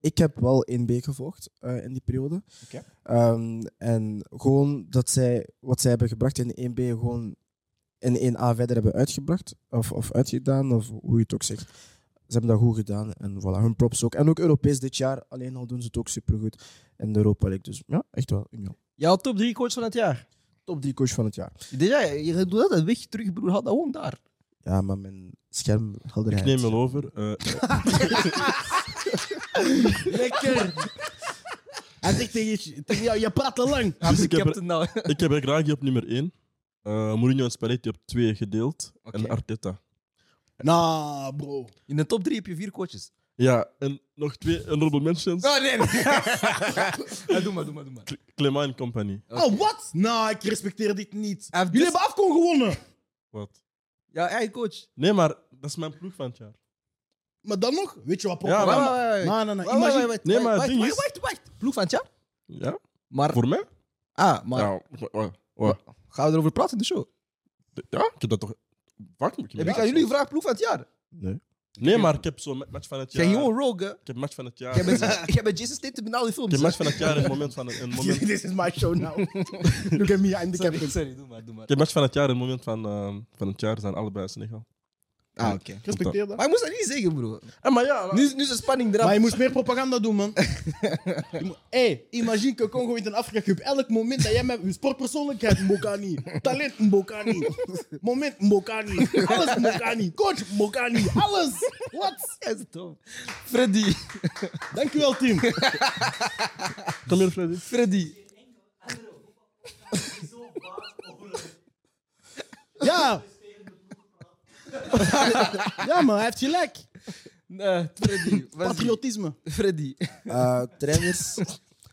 [SPEAKER 8] Ik heb wel 1B gevolgd eh, in die periode.
[SPEAKER 1] Oké.
[SPEAKER 8] Ehm, en gewoon dat zij, wat zij hebben gebracht in 1B, gewoon in 1A verder hebben uitgebracht. Of, of uitgedaan, of hoe je het ook zegt. Ze hebben dat goed gedaan en voilà, hun props ook. En ook Europees dit jaar, alleen al doen ze het ook supergoed. En de Europa League, dus ja, echt wel Union.
[SPEAKER 1] Jouw top drie coach van het jaar.
[SPEAKER 8] Top 3 coach van het jaar.
[SPEAKER 1] Deja, je doet dat een weg terug, broer. Had dat gewoon daar.
[SPEAKER 8] Ja, maar mijn schermhelderheid...
[SPEAKER 9] Ik neem wel over. Eh,
[SPEAKER 1] Lekker.
[SPEAKER 2] Hij zegt tegen je, tegen jou, je praat te lang.
[SPEAKER 9] dus
[SPEAKER 1] Ik
[SPEAKER 9] ik,
[SPEAKER 1] heb
[SPEAKER 9] heb,
[SPEAKER 1] het nou.
[SPEAKER 9] ik heb Raghi op nummer 1. Mourinho en Spalletti op 2 gedeeld. En
[SPEAKER 1] Oké.
[SPEAKER 9] Arteta.
[SPEAKER 2] Nah, Nou, bro.
[SPEAKER 1] In de top drie heb je vier coaches.
[SPEAKER 9] Ja, en nog twee honorable mentions.
[SPEAKER 1] Oh, nee. nee. Ja, doe maar, doe maar, doe maar.
[SPEAKER 9] Clement en Company.
[SPEAKER 2] Oh, wat? Nou, ik respecteer dit niet.
[SPEAKER 1] Hij heeft
[SPEAKER 2] Jullie
[SPEAKER 1] dus-
[SPEAKER 2] hebben Afcon gewonnen.
[SPEAKER 9] Wat?
[SPEAKER 1] Ja, eigen coach.
[SPEAKER 9] Nee, maar dat is mijn ploeg van het jaar.
[SPEAKER 2] Maar dan nog? Weet je wat, papa?
[SPEAKER 9] Ja,
[SPEAKER 1] Wacht,
[SPEAKER 9] maar-
[SPEAKER 2] Nee,
[SPEAKER 1] wacht, wacht, wacht.
[SPEAKER 2] nee, nee.
[SPEAKER 1] Wacht, wacht,
[SPEAKER 2] Imagine-
[SPEAKER 1] wacht,
[SPEAKER 9] Nee, maar het
[SPEAKER 1] wacht,
[SPEAKER 9] ding
[SPEAKER 1] wacht,
[SPEAKER 9] is-
[SPEAKER 1] wacht, wacht. Ploeg van het jaar?
[SPEAKER 9] Ja?
[SPEAKER 1] Maar,
[SPEAKER 9] Voor mij?
[SPEAKER 1] ah, maar
[SPEAKER 9] Ja, wa- wa- wa-
[SPEAKER 1] gaan we erover praten in de show?
[SPEAKER 9] ja, ik heb dat toch... Wacht, ik
[SPEAKER 1] heb ik aan jullie gevraagd, ploeg van het jaar?
[SPEAKER 9] Nee, maar ik heb zo'n ma- match van het
[SPEAKER 1] Jij
[SPEAKER 9] jaar.
[SPEAKER 1] ging gewoon rogue, hè?
[SPEAKER 9] Ik heb match van het jaar.
[SPEAKER 1] Jij bent,
[SPEAKER 9] Ik
[SPEAKER 1] jij bent Jason Statham in al die films.
[SPEAKER 9] heb match
[SPEAKER 1] hè?
[SPEAKER 9] van het jaar en een moment van... Een moment, ik
[SPEAKER 2] This is my show now. Look at me, I'm the
[SPEAKER 1] Sorry,
[SPEAKER 2] captain.
[SPEAKER 1] sorry, doe maar, doe maar.
[SPEAKER 9] heb match van het jaar en een moment van, ehm, van het jaar zijn allebei Senegal.
[SPEAKER 1] Ah, oké.
[SPEAKER 2] Ik respecteer dat.
[SPEAKER 1] Maar je moest dat niet zeggen, bro.
[SPEAKER 9] Eh, maar ja...
[SPEAKER 1] Nu, is- nu is de spanning eraf.
[SPEAKER 2] Maar je moest meer propaganda doen, man. Je moet- hey, imagine que Congo wint een Afrika Cup. Elk moment dat jij met je sportpersoonlijkheid, Mbokani. Talent, Mbokani. Moment, Mbokani. Alles, Mbokani. Coach, Mbokani. Alles. Wat?
[SPEAKER 1] Jij is dom. Freddy,
[SPEAKER 2] Dankjewel, team.
[SPEAKER 9] Kom hier, Freddy.
[SPEAKER 1] Freddy.
[SPEAKER 2] Ja. Ja, man, hij heeft gelijk.
[SPEAKER 1] Nee, Euh, Freddy. wat is-
[SPEAKER 2] Patriotisme.
[SPEAKER 1] Freddy.
[SPEAKER 8] Eh, trainers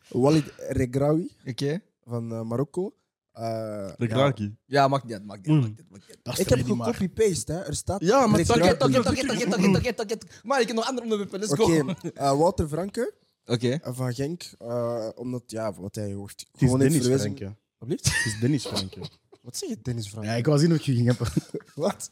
[SPEAKER 8] Walid Regraoui
[SPEAKER 1] Oké.
[SPEAKER 8] van eh, Marokko. Eh,
[SPEAKER 9] Rick
[SPEAKER 8] ja.
[SPEAKER 9] Raki.
[SPEAKER 1] Ja, maakt niet uit, maakt niet uit, maakt niet uit, maakt niet uit.
[SPEAKER 8] Ik heb gecopy-paste, hè. Er staat...
[SPEAKER 9] Ja, maar
[SPEAKER 8] Regraoui.
[SPEAKER 1] Oké, oké, oké, oké, oké, oké, oké, oké. Maar ik heb nog andere onderwerpen, let's go.
[SPEAKER 8] Oké,
[SPEAKER 1] Oké.
[SPEAKER 8] eh, Wouter Franke eh, van Genk. eh, omdat, ja, wat hij hoort. Gewoon in verwijzing... Alsjeblieft.
[SPEAKER 2] is Dennis Franke.
[SPEAKER 8] Wat zeg je, Dennis Franke?
[SPEAKER 2] Ja, ik wou zien of je ging hebben.
[SPEAKER 8] Wat?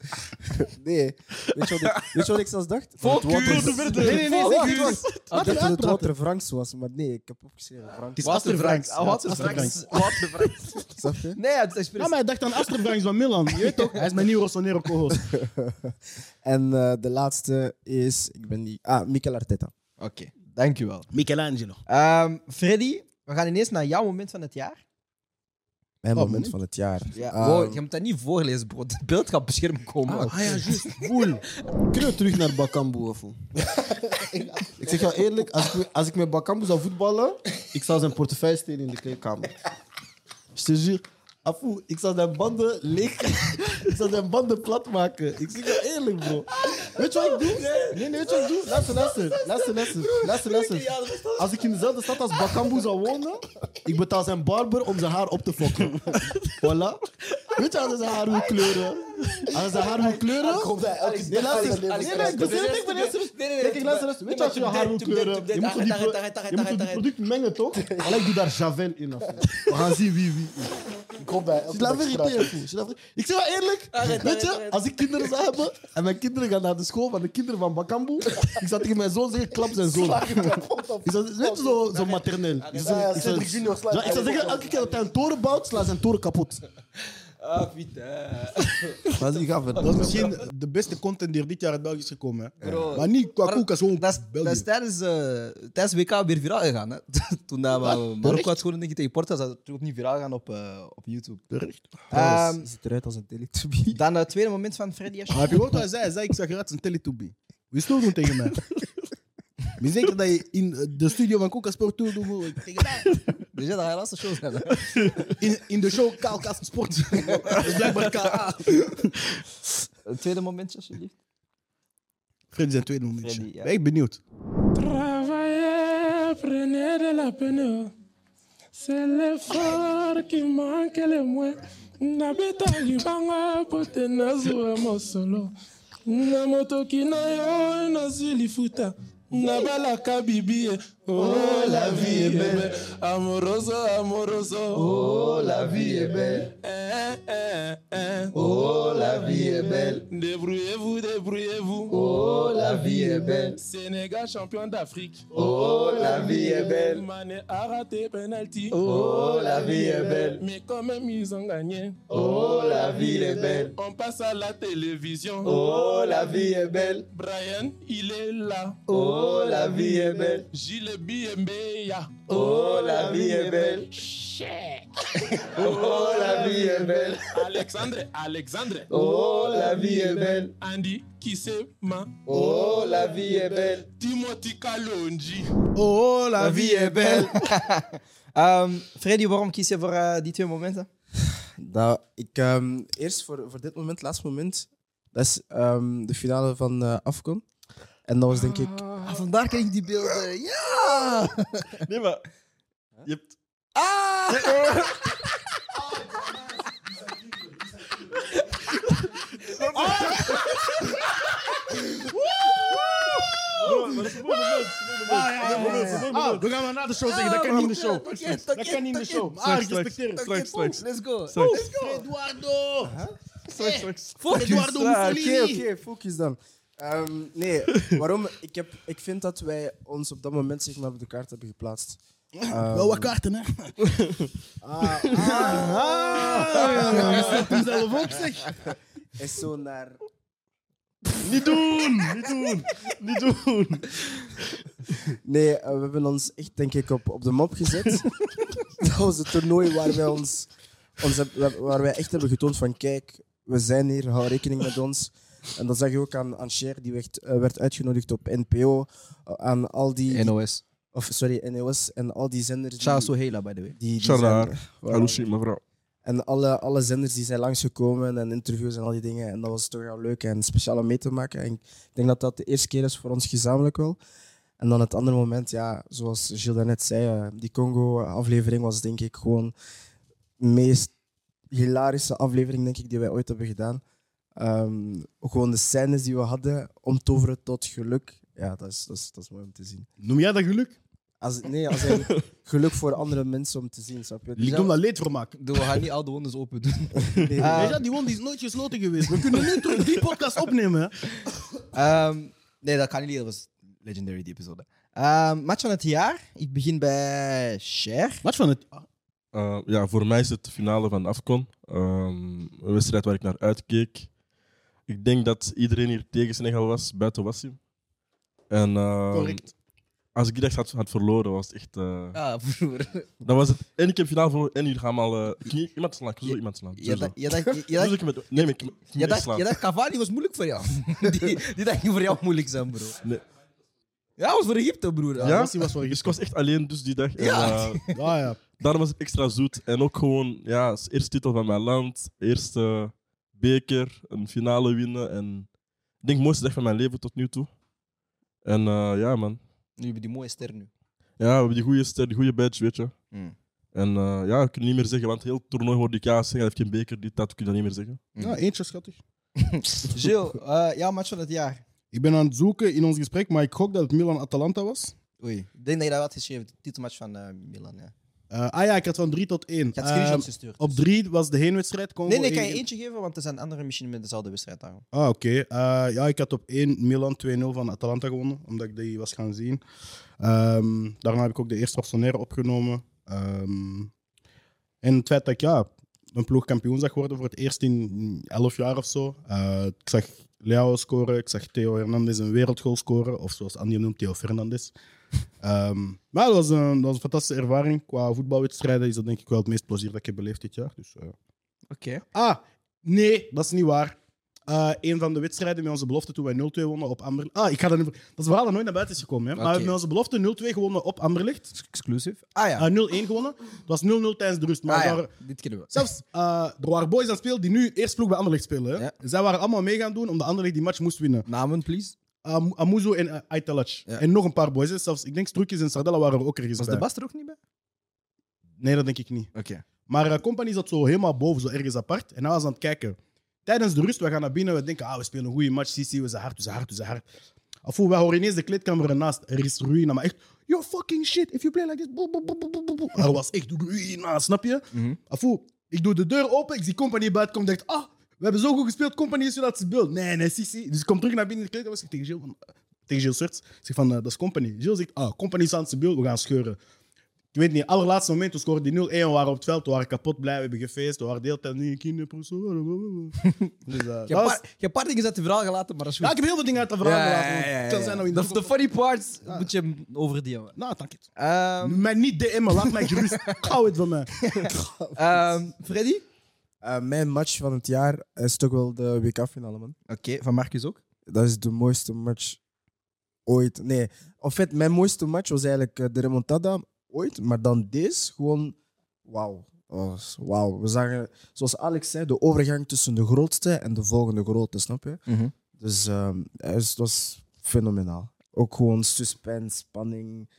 [SPEAKER 8] nee. Weet je, wat ik, weet je wat ik zelfs dacht? Dat het
[SPEAKER 1] Focus!
[SPEAKER 8] Wouter-
[SPEAKER 2] Nee, nee, nee,
[SPEAKER 8] Wacht,
[SPEAKER 2] zeg u.
[SPEAKER 8] wacht. Ik dacht dat het Wouter Franks was, maar nee, ik heb opgeschreven Frank.
[SPEAKER 2] Het is Aster Franks.
[SPEAKER 1] Ah, wat een Franks. Wat een Franks.
[SPEAKER 8] Snap je?
[SPEAKER 1] Nee, het is expres.
[SPEAKER 2] Ja, maar hij dacht aan Aster Franks van Milan. Je weet toch? Hij is mijn nieuwe Rossonero co-host.
[SPEAKER 8] En eh, de laatste is... Ik ben die... Ah, Mikel Arteta.
[SPEAKER 1] Oké, dankjewel.
[SPEAKER 2] Michelangelo.
[SPEAKER 1] Ehm, Freddy, we gaan ineens naar jouw moment van het jaar.
[SPEAKER 8] Mijn
[SPEAKER 2] Oh,
[SPEAKER 8] moment
[SPEAKER 2] moet-
[SPEAKER 8] van het jaar.
[SPEAKER 1] Ja.
[SPEAKER 8] Ehm,
[SPEAKER 1] wow, je moet dat niet voorlezen, bro. Het beeld gaat op het scherm komen.
[SPEAKER 8] Ah,
[SPEAKER 1] ook.
[SPEAKER 8] ja, juist.
[SPEAKER 6] Kunnen we terug naar Bakambu, of hoe? Ik zeg jou eerlijk, als ik, als ik met Bakambu zou voetballen, ik zou zijn portefeuille stelen in de kleedkamer. Je te jure. Afu, ik zou zijn banden leeg... Ik zou zijn banden plat maken. Ik zeg jou eerlijk, bro. Weet je wat ik doe? Nee, nee, weet je wat ik doe? Luister, luister. Luister, luister. Luister, luister. Als ik in dezelfde stad als Bakambu zou wonen, ik betaal zijn barber om zijn haar op te fokken. Voilà. Weet je, als hij zijn haar wil kleuren... Als hij zijn haar wil kleuren... Nee, luister. Nee, nee, ik ben serieus, ik ben heel serieus.
[SPEAKER 1] Nee, nee, nee,
[SPEAKER 6] Kijk, ik luister eens. Weet je wat je je haar wil kleuren? Je moet zo die, pro- je moet zo die product mengen, toch? Alleen doe daar Javel in. af. We gaan zien wie wie is. kom bij. elke
[SPEAKER 8] Je laat
[SPEAKER 6] dag
[SPEAKER 8] irriteren,
[SPEAKER 6] straat.
[SPEAKER 8] foe. Je laat ver- Ik zeg wel eerlijk, weet je, als ik kinderen zou hebben en mijn kinderen gaan naar de school van de kinderen van Bakambu, ik zou tegen mijn zoon zeggen, klap zijn zoon.
[SPEAKER 6] Slaag je kapot op.
[SPEAKER 8] Ik zou, weet je, zo, zo materneel. Ik zou,
[SPEAKER 6] Ja,
[SPEAKER 8] zeggen- ik zou-
[SPEAKER 6] Cedric Junior slaat
[SPEAKER 8] Ja, ik zou
[SPEAKER 6] hij
[SPEAKER 8] zeggen,
[SPEAKER 6] ook op.
[SPEAKER 8] elke keer dat hij een toren bouwt, slaat zijn toren kapot.
[SPEAKER 6] Maar die gaan verder.
[SPEAKER 2] Dat is misschien de beste content die er dit jaar uit België is gekomen. Hè? Maar niet qua
[SPEAKER 4] Maar
[SPEAKER 2] koekas, gewoon
[SPEAKER 4] Dat is, dat
[SPEAKER 2] België.
[SPEAKER 4] is tijdens, eh, tijdens WK weer viraal gegaan. Hè? Toen dat we Marokko had gewonnen denk ik, tegen Porto, is dat toen opnieuw viraal gaan op, eh, op YouTube. Ehm,
[SPEAKER 8] Hij ziet eruit als een teletubby.
[SPEAKER 4] dan het tweede moment van Freddy Asche.
[SPEAKER 2] Maar heb je gehoord wat hij zei? Hij zei, ik zag eruit als een teletubby. Wie stoort doen tegen mij? Ben je zeker dat je in eh, de studio van Koekasport toe doet? Tegen mij?
[SPEAKER 4] Dus ja, dat gaat lastig show zijn. hè.
[SPEAKER 2] In, in de show Kaalkaas Sport. Dat is blijkbaar KA.
[SPEAKER 4] Het tweede momentje, alsjeblieft.
[SPEAKER 2] Freddy zijn tweede momentje.
[SPEAKER 4] Freddy, ja.
[SPEAKER 2] Ben ik benieuwd.
[SPEAKER 10] Travailler, prenez de la peine. C'est l'effort qui manque le moins. Nabeta libanga pote nazwa mosolo. Na motoki na yo nazili futa. Nabalaka bibi Oh la vie est belle. Amoroso, amoroso. Oh la vie est belle. Eh, Oh la vie est belle. Débrouillez-vous, débrouillez-vous. Oh la vie est belle. Sénégal champion d'Afrique. Oh la vie est belle. Mané a raté penalty. Oh la vie est belle. Mais quand même ils ont gagné. Oh la vie est belle. On passe à la télévision. Oh la vie est belle. Brian, il est là. Oh la vie est belle. Gilles Biembeya. Oh la vie est belle. Oh la vie est belle. Alexandre, Alexandre. Oh la vie est belle. Andy Kisema. Oh la vie est belle. Timothy Kalonji.
[SPEAKER 2] Oh, la vie est belle.
[SPEAKER 4] Ehm, Freddy, waarom kies je voor eh, die twee momenten?
[SPEAKER 8] Nou, ik, ehm, eerst voor, voor dit moment, laatste moment. Dat is ehm, de finale van eh Afcon. En dat was denk ik...
[SPEAKER 4] Ah, vandaar kreeg ik die beelden. Ja!
[SPEAKER 9] Nee, maar... Je hebt...
[SPEAKER 2] Ah!
[SPEAKER 9] Ah! Dat is een mooi moment,
[SPEAKER 2] Ah,
[SPEAKER 9] dat is een mooi moment, dat is een mooi moment.
[SPEAKER 2] we gaan maar na de show zeggen. Dat kan niet in
[SPEAKER 9] Ah,
[SPEAKER 2] de show. Dat kan niet in de show. Ah,
[SPEAKER 9] Straks, straks,
[SPEAKER 2] respecteer het.
[SPEAKER 9] straks, straks.
[SPEAKER 4] Let's go.
[SPEAKER 9] Straks,
[SPEAKER 2] Eduardo!
[SPEAKER 9] straks, straks.
[SPEAKER 2] Eduardo
[SPEAKER 8] Ah, Oké,
[SPEAKER 2] Mussolini!
[SPEAKER 8] oké, focus dan. Ehm, nee, waarom? Ik, heb, ik vind dat wij ons op dat moment zeg maar op de kaart hebben geplaatst. Ehm, Ah,
[SPEAKER 2] Wel wat kaarten, hè? Ah, ah, Je zet hem zelf op, zeg.
[SPEAKER 8] is zo naar...
[SPEAKER 9] Niet doen! Niet doen! Niet doen!
[SPEAKER 8] Nee, eh, we hebben ons echt denk ik op, op de map gezet. dat was het toernooi waar wij, ons, ons, heb- wa- waar wij echt hebben getoond van kijk, we zijn hier, hou rekening met ons. En dat zag je ook aan, aan Cher, die werd, eh, werd uitgenodigd op NPO. eh, Aan al die...
[SPEAKER 1] NOS.
[SPEAKER 8] Of sorry, NOS. En al die zenders... die-
[SPEAKER 1] Ciao Sohela, by the way.
[SPEAKER 8] Die, die
[SPEAKER 9] Shout out.
[SPEAKER 8] zijn- voilà.
[SPEAKER 9] Alushi, mevrouw.
[SPEAKER 8] En alle, alle zenders die zijn langsgekomen en interviews en al die dingen. En dat was toch wel leuk en speciaal om mee te maken. En ik denk dat dat de eerste keer is voor ons gezamenlijk wel. En dan het andere moment, ja, zoals Gilles daarnet zei, eh, die Congo-aflevering was denk ik gewoon de meest hilarische aflevering denk ik, die wij ooit hebben gedaan. Ehm, ook gewoon de scènes die we hadden, omtoveren tot geluk. Ja, dat is, dat is, dat is mooi om te zien.
[SPEAKER 2] Noem jij dat geluk?
[SPEAKER 8] Als, nee, als in geluk voor andere mensen om te zien, snap je? Dus
[SPEAKER 2] Ik noem dat leedvermaak.
[SPEAKER 4] Doe, we gaan niet al de wonders open doen.
[SPEAKER 8] Nee.
[SPEAKER 4] Ah.
[SPEAKER 2] Weet je, die wond is nooit gesloten geweest. We kunnen nu terug die podcast opnemen. hè.
[SPEAKER 4] Ehm, nee, dat kan niet. Dat was legendary, die episode. Ehm match van het jaar. Ik begin bij Cher.
[SPEAKER 2] Wat van het... Ah,
[SPEAKER 9] Eh, ja, voor mij is het de finale van Afcon. Ehm, een wedstrijd waar ik naar uitkeek. Ik denk dat iedereen hier tegen Senegal was, buiten Wassim. En ehm,
[SPEAKER 2] Correct.
[SPEAKER 9] als ik die dag had, had verloren, was het echt. eh,
[SPEAKER 4] Ah, broer.
[SPEAKER 9] Dat was het. En ik heb finale verloren en jullie gaan allemaal. eh, ik ging iemand slaan, ik wil zo iemand slaan.
[SPEAKER 4] Je
[SPEAKER 9] sowieso.
[SPEAKER 4] dacht- je dacht- je- je
[SPEAKER 9] Sowieso,
[SPEAKER 4] dacht-
[SPEAKER 9] ik heb het- Nee, maar ik ik moet
[SPEAKER 4] je
[SPEAKER 9] echt
[SPEAKER 4] dacht-
[SPEAKER 9] slaan.
[SPEAKER 4] je dacht Cavani was moeilijk voor jou. die, die dacht ging voor jou moeilijk zijn, bro.
[SPEAKER 9] Nee.
[SPEAKER 4] Ja, dat was voor Egypte, broer.
[SPEAKER 9] Ja?
[SPEAKER 2] Wassim was voor
[SPEAKER 9] Dus ik was echt alleen dus die dag. En,
[SPEAKER 4] Ja.
[SPEAKER 9] eh,
[SPEAKER 2] Ah ja.
[SPEAKER 9] daarom was het extra zoet. En ook gewoon, ja, als eerste titel van mijn land, eerste beker, een finale winnen. En ik denk, mooiste dag van mijn leven tot nu toe. En eh, ja, man.
[SPEAKER 4] Nu hebben die mooie ster nu.
[SPEAKER 9] Ja, we hebben die goede ster, die goede badge, weet je.
[SPEAKER 4] Mm.
[SPEAKER 9] En eh, ja, ik kan niet meer zeggen, want heel het toernooi hoorde ik ja zeggen, heeft geen beker, dit, dat, kun je dat niet meer zeggen.
[SPEAKER 1] Mm.
[SPEAKER 4] Mm.
[SPEAKER 2] Ja, eentje schattig.
[SPEAKER 4] Gilles, eh, jouw match van het jaar.
[SPEAKER 2] Ik ben aan het zoeken in ons gesprek, maar ik gok dat het Milan-Atalanta was.
[SPEAKER 4] Oei. Ik denk dat je dat had geschreven. Titelmatch van eh, Milan, ja.
[SPEAKER 2] Eh, ah ja, ik had van 3 tot 1.
[SPEAKER 4] Ik had screenshots
[SPEAKER 2] Eh,
[SPEAKER 4] gestuurd. dus-
[SPEAKER 2] op 3 was de heenwedstrijd. Congo
[SPEAKER 4] Nee, nee, ik kan je
[SPEAKER 2] één-
[SPEAKER 4] eentje geven, want er zijn anderen misschien met dezelfde wedstrijd daarom.
[SPEAKER 2] Ah, oké. Eh, ja, ik had op 1 Milan 2-0 van Atalanta gewonnen, omdat ik die was gaan zien. Ehm, daarna heb ik ook de eerste Barcelona opgenomen. Ehm, en het feit dat ik ja, een ploeg kampioen zag worden voor het eerst in 11 jaar of zo. Eh, ik zag Leao scoren, ik zag Theo Hernandez een wereldgoal scoren, of zoals Andy noemt, Theo Fernandez. Ehm, maar dat was, een, dat was een fantastische ervaring. Qua voetbalwedstrijden is dat denk ik wel het meest plezier dat ik heb beleefd dit jaar. Dus, eh.
[SPEAKER 1] Oké.
[SPEAKER 2] Ah, nee, dat is niet waar. Eh, een van de wedstrijden met onze belofte toen wij 0-2 wonnen op Amberlicht. Ah, ik ga dat niet... Dat is een verhaal dat nooit naar buiten is gekomen. Hè? Maar we
[SPEAKER 1] Oké.
[SPEAKER 2] hebben met onze belofte 0-2 gewonnen op Amberlicht.
[SPEAKER 1] Exclusive. Ah ja,
[SPEAKER 2] Eh, 0-1 gewonnen. Het was 0-0 tijdens de rust. Maar
[SPEAKER 1] ah,
[SPEAKER 2] er
[SPEAKER 1] ja.
[SPEAKER 2] waren-
[SPEAKER 1] dit kennen we.
[SPEAKER 2] zelfs eh, er waren boys aan het spelen die nu eerst ploeg bij Anderlecht spelen. Hè?
[SPEAKER 1] Ja.
[SPEAKER 2] Zij waren allemaal mee gaan doen omdat Anderlecht die match moest winnen.
[SPEAKER 1] Namen, please.
[SPEAKER 2] Am- Amuzo en uh,
[SPEAKER 1] Ja.
[SPEAKER 2] En nog een paar boys. Hè? Zelfs, ik denk Strukjes en Sardella waren er ook ergens
[SPEAKER 1] Was
[SPEAKER 2] bij.
[SPEAKER 1] de Bas er ook niet bij?
[SPEAKER 2] Nee, dat denk ik niet.
[SPEAKER 1] Oké.
[SPEAKER 2] Maar eh, Company zat zo helemaal boven, zo ergens apart. En hij was aan het kijken. Tijdens de rust, we gaan naar binnen. We denken, ah, we spelen een goede match. Sisi, we zijn hard, we zijn hard, we zijn hard. Of we horen ineens de kleedkamer ernaast. Er is ruïne, maar echt... Yo, fucking shit, if you play like this... boe, boe, boe, boe, boe, boe, boe. Er was echt ruïne, snap je? Afoe, ik doe de deur open, ik zie Company buiten komen. Ik dacht, ah, we hebben zo goed gespeeld, Company is zo dat ze beeld. Nee, nee, Sisi. Dus ik kom terug naar binnen in de kleedkamer. Ik zeg tegen Gilles, van, eh, tegen Gilles Serts, ik zeg van, eh, dat is Company. Gilles zegt, ah, Company is aan het beeld, we gaan scheuren. Ik weet niet, allerlaatste moment, we scoorden die 0-1, we waren op het veld, we waren kapot blij, we hebben gefeest, we waren de hele tijd nu in kinderproef. zo. Dus, eh, dat
[SPEAKER 1] Je
[SPEAKER 2] was-
[SPEAKER 1] hebt een paar dingen uit het verhaal gelaten, maar dat is
[SPEAKER 2] Ja,
[SPEAKER 1] goed.
[SPEAKER 2] ik heb heel veel dingen uit de verhaal gelaten.
[SPEAKER 1] ja, ja,
[SPEAKER 2] Het kan zijn dat we in de
[SPEAKER 1] De, de funny parts moet je hem overdeelen.
[SPEAKER 2] Nou, dank je.
[SPEAKER 1] Ehm,
[SPEAKER 2] Mij niet DM'en, laat mij gerust. Hou het van mij.
[SPEAKER 1] ehm, Freddy?
[SPEAKER 8] Eh, mijn match van het jaar is toch wel de WK-finale, man.
[SPEAKER 1] Oké, van Marcus ook.
[SPEAKER 8] Dat is de mooiste match ooit. Nee, in feite, mijn mooiste match was eigenlijk eh, de remontada ooit. Maar dan deze, gewoon wauw. Oh, wauw. We zagen, zoals Alex zei, de overgang tussen de grootste en de volgende grote, snap je?
[SPEAKER 1] Mhm.
[SPEAKER 8] Dus ehm, het was- het was fenomenaal. Ook gewoon suspense, spanning.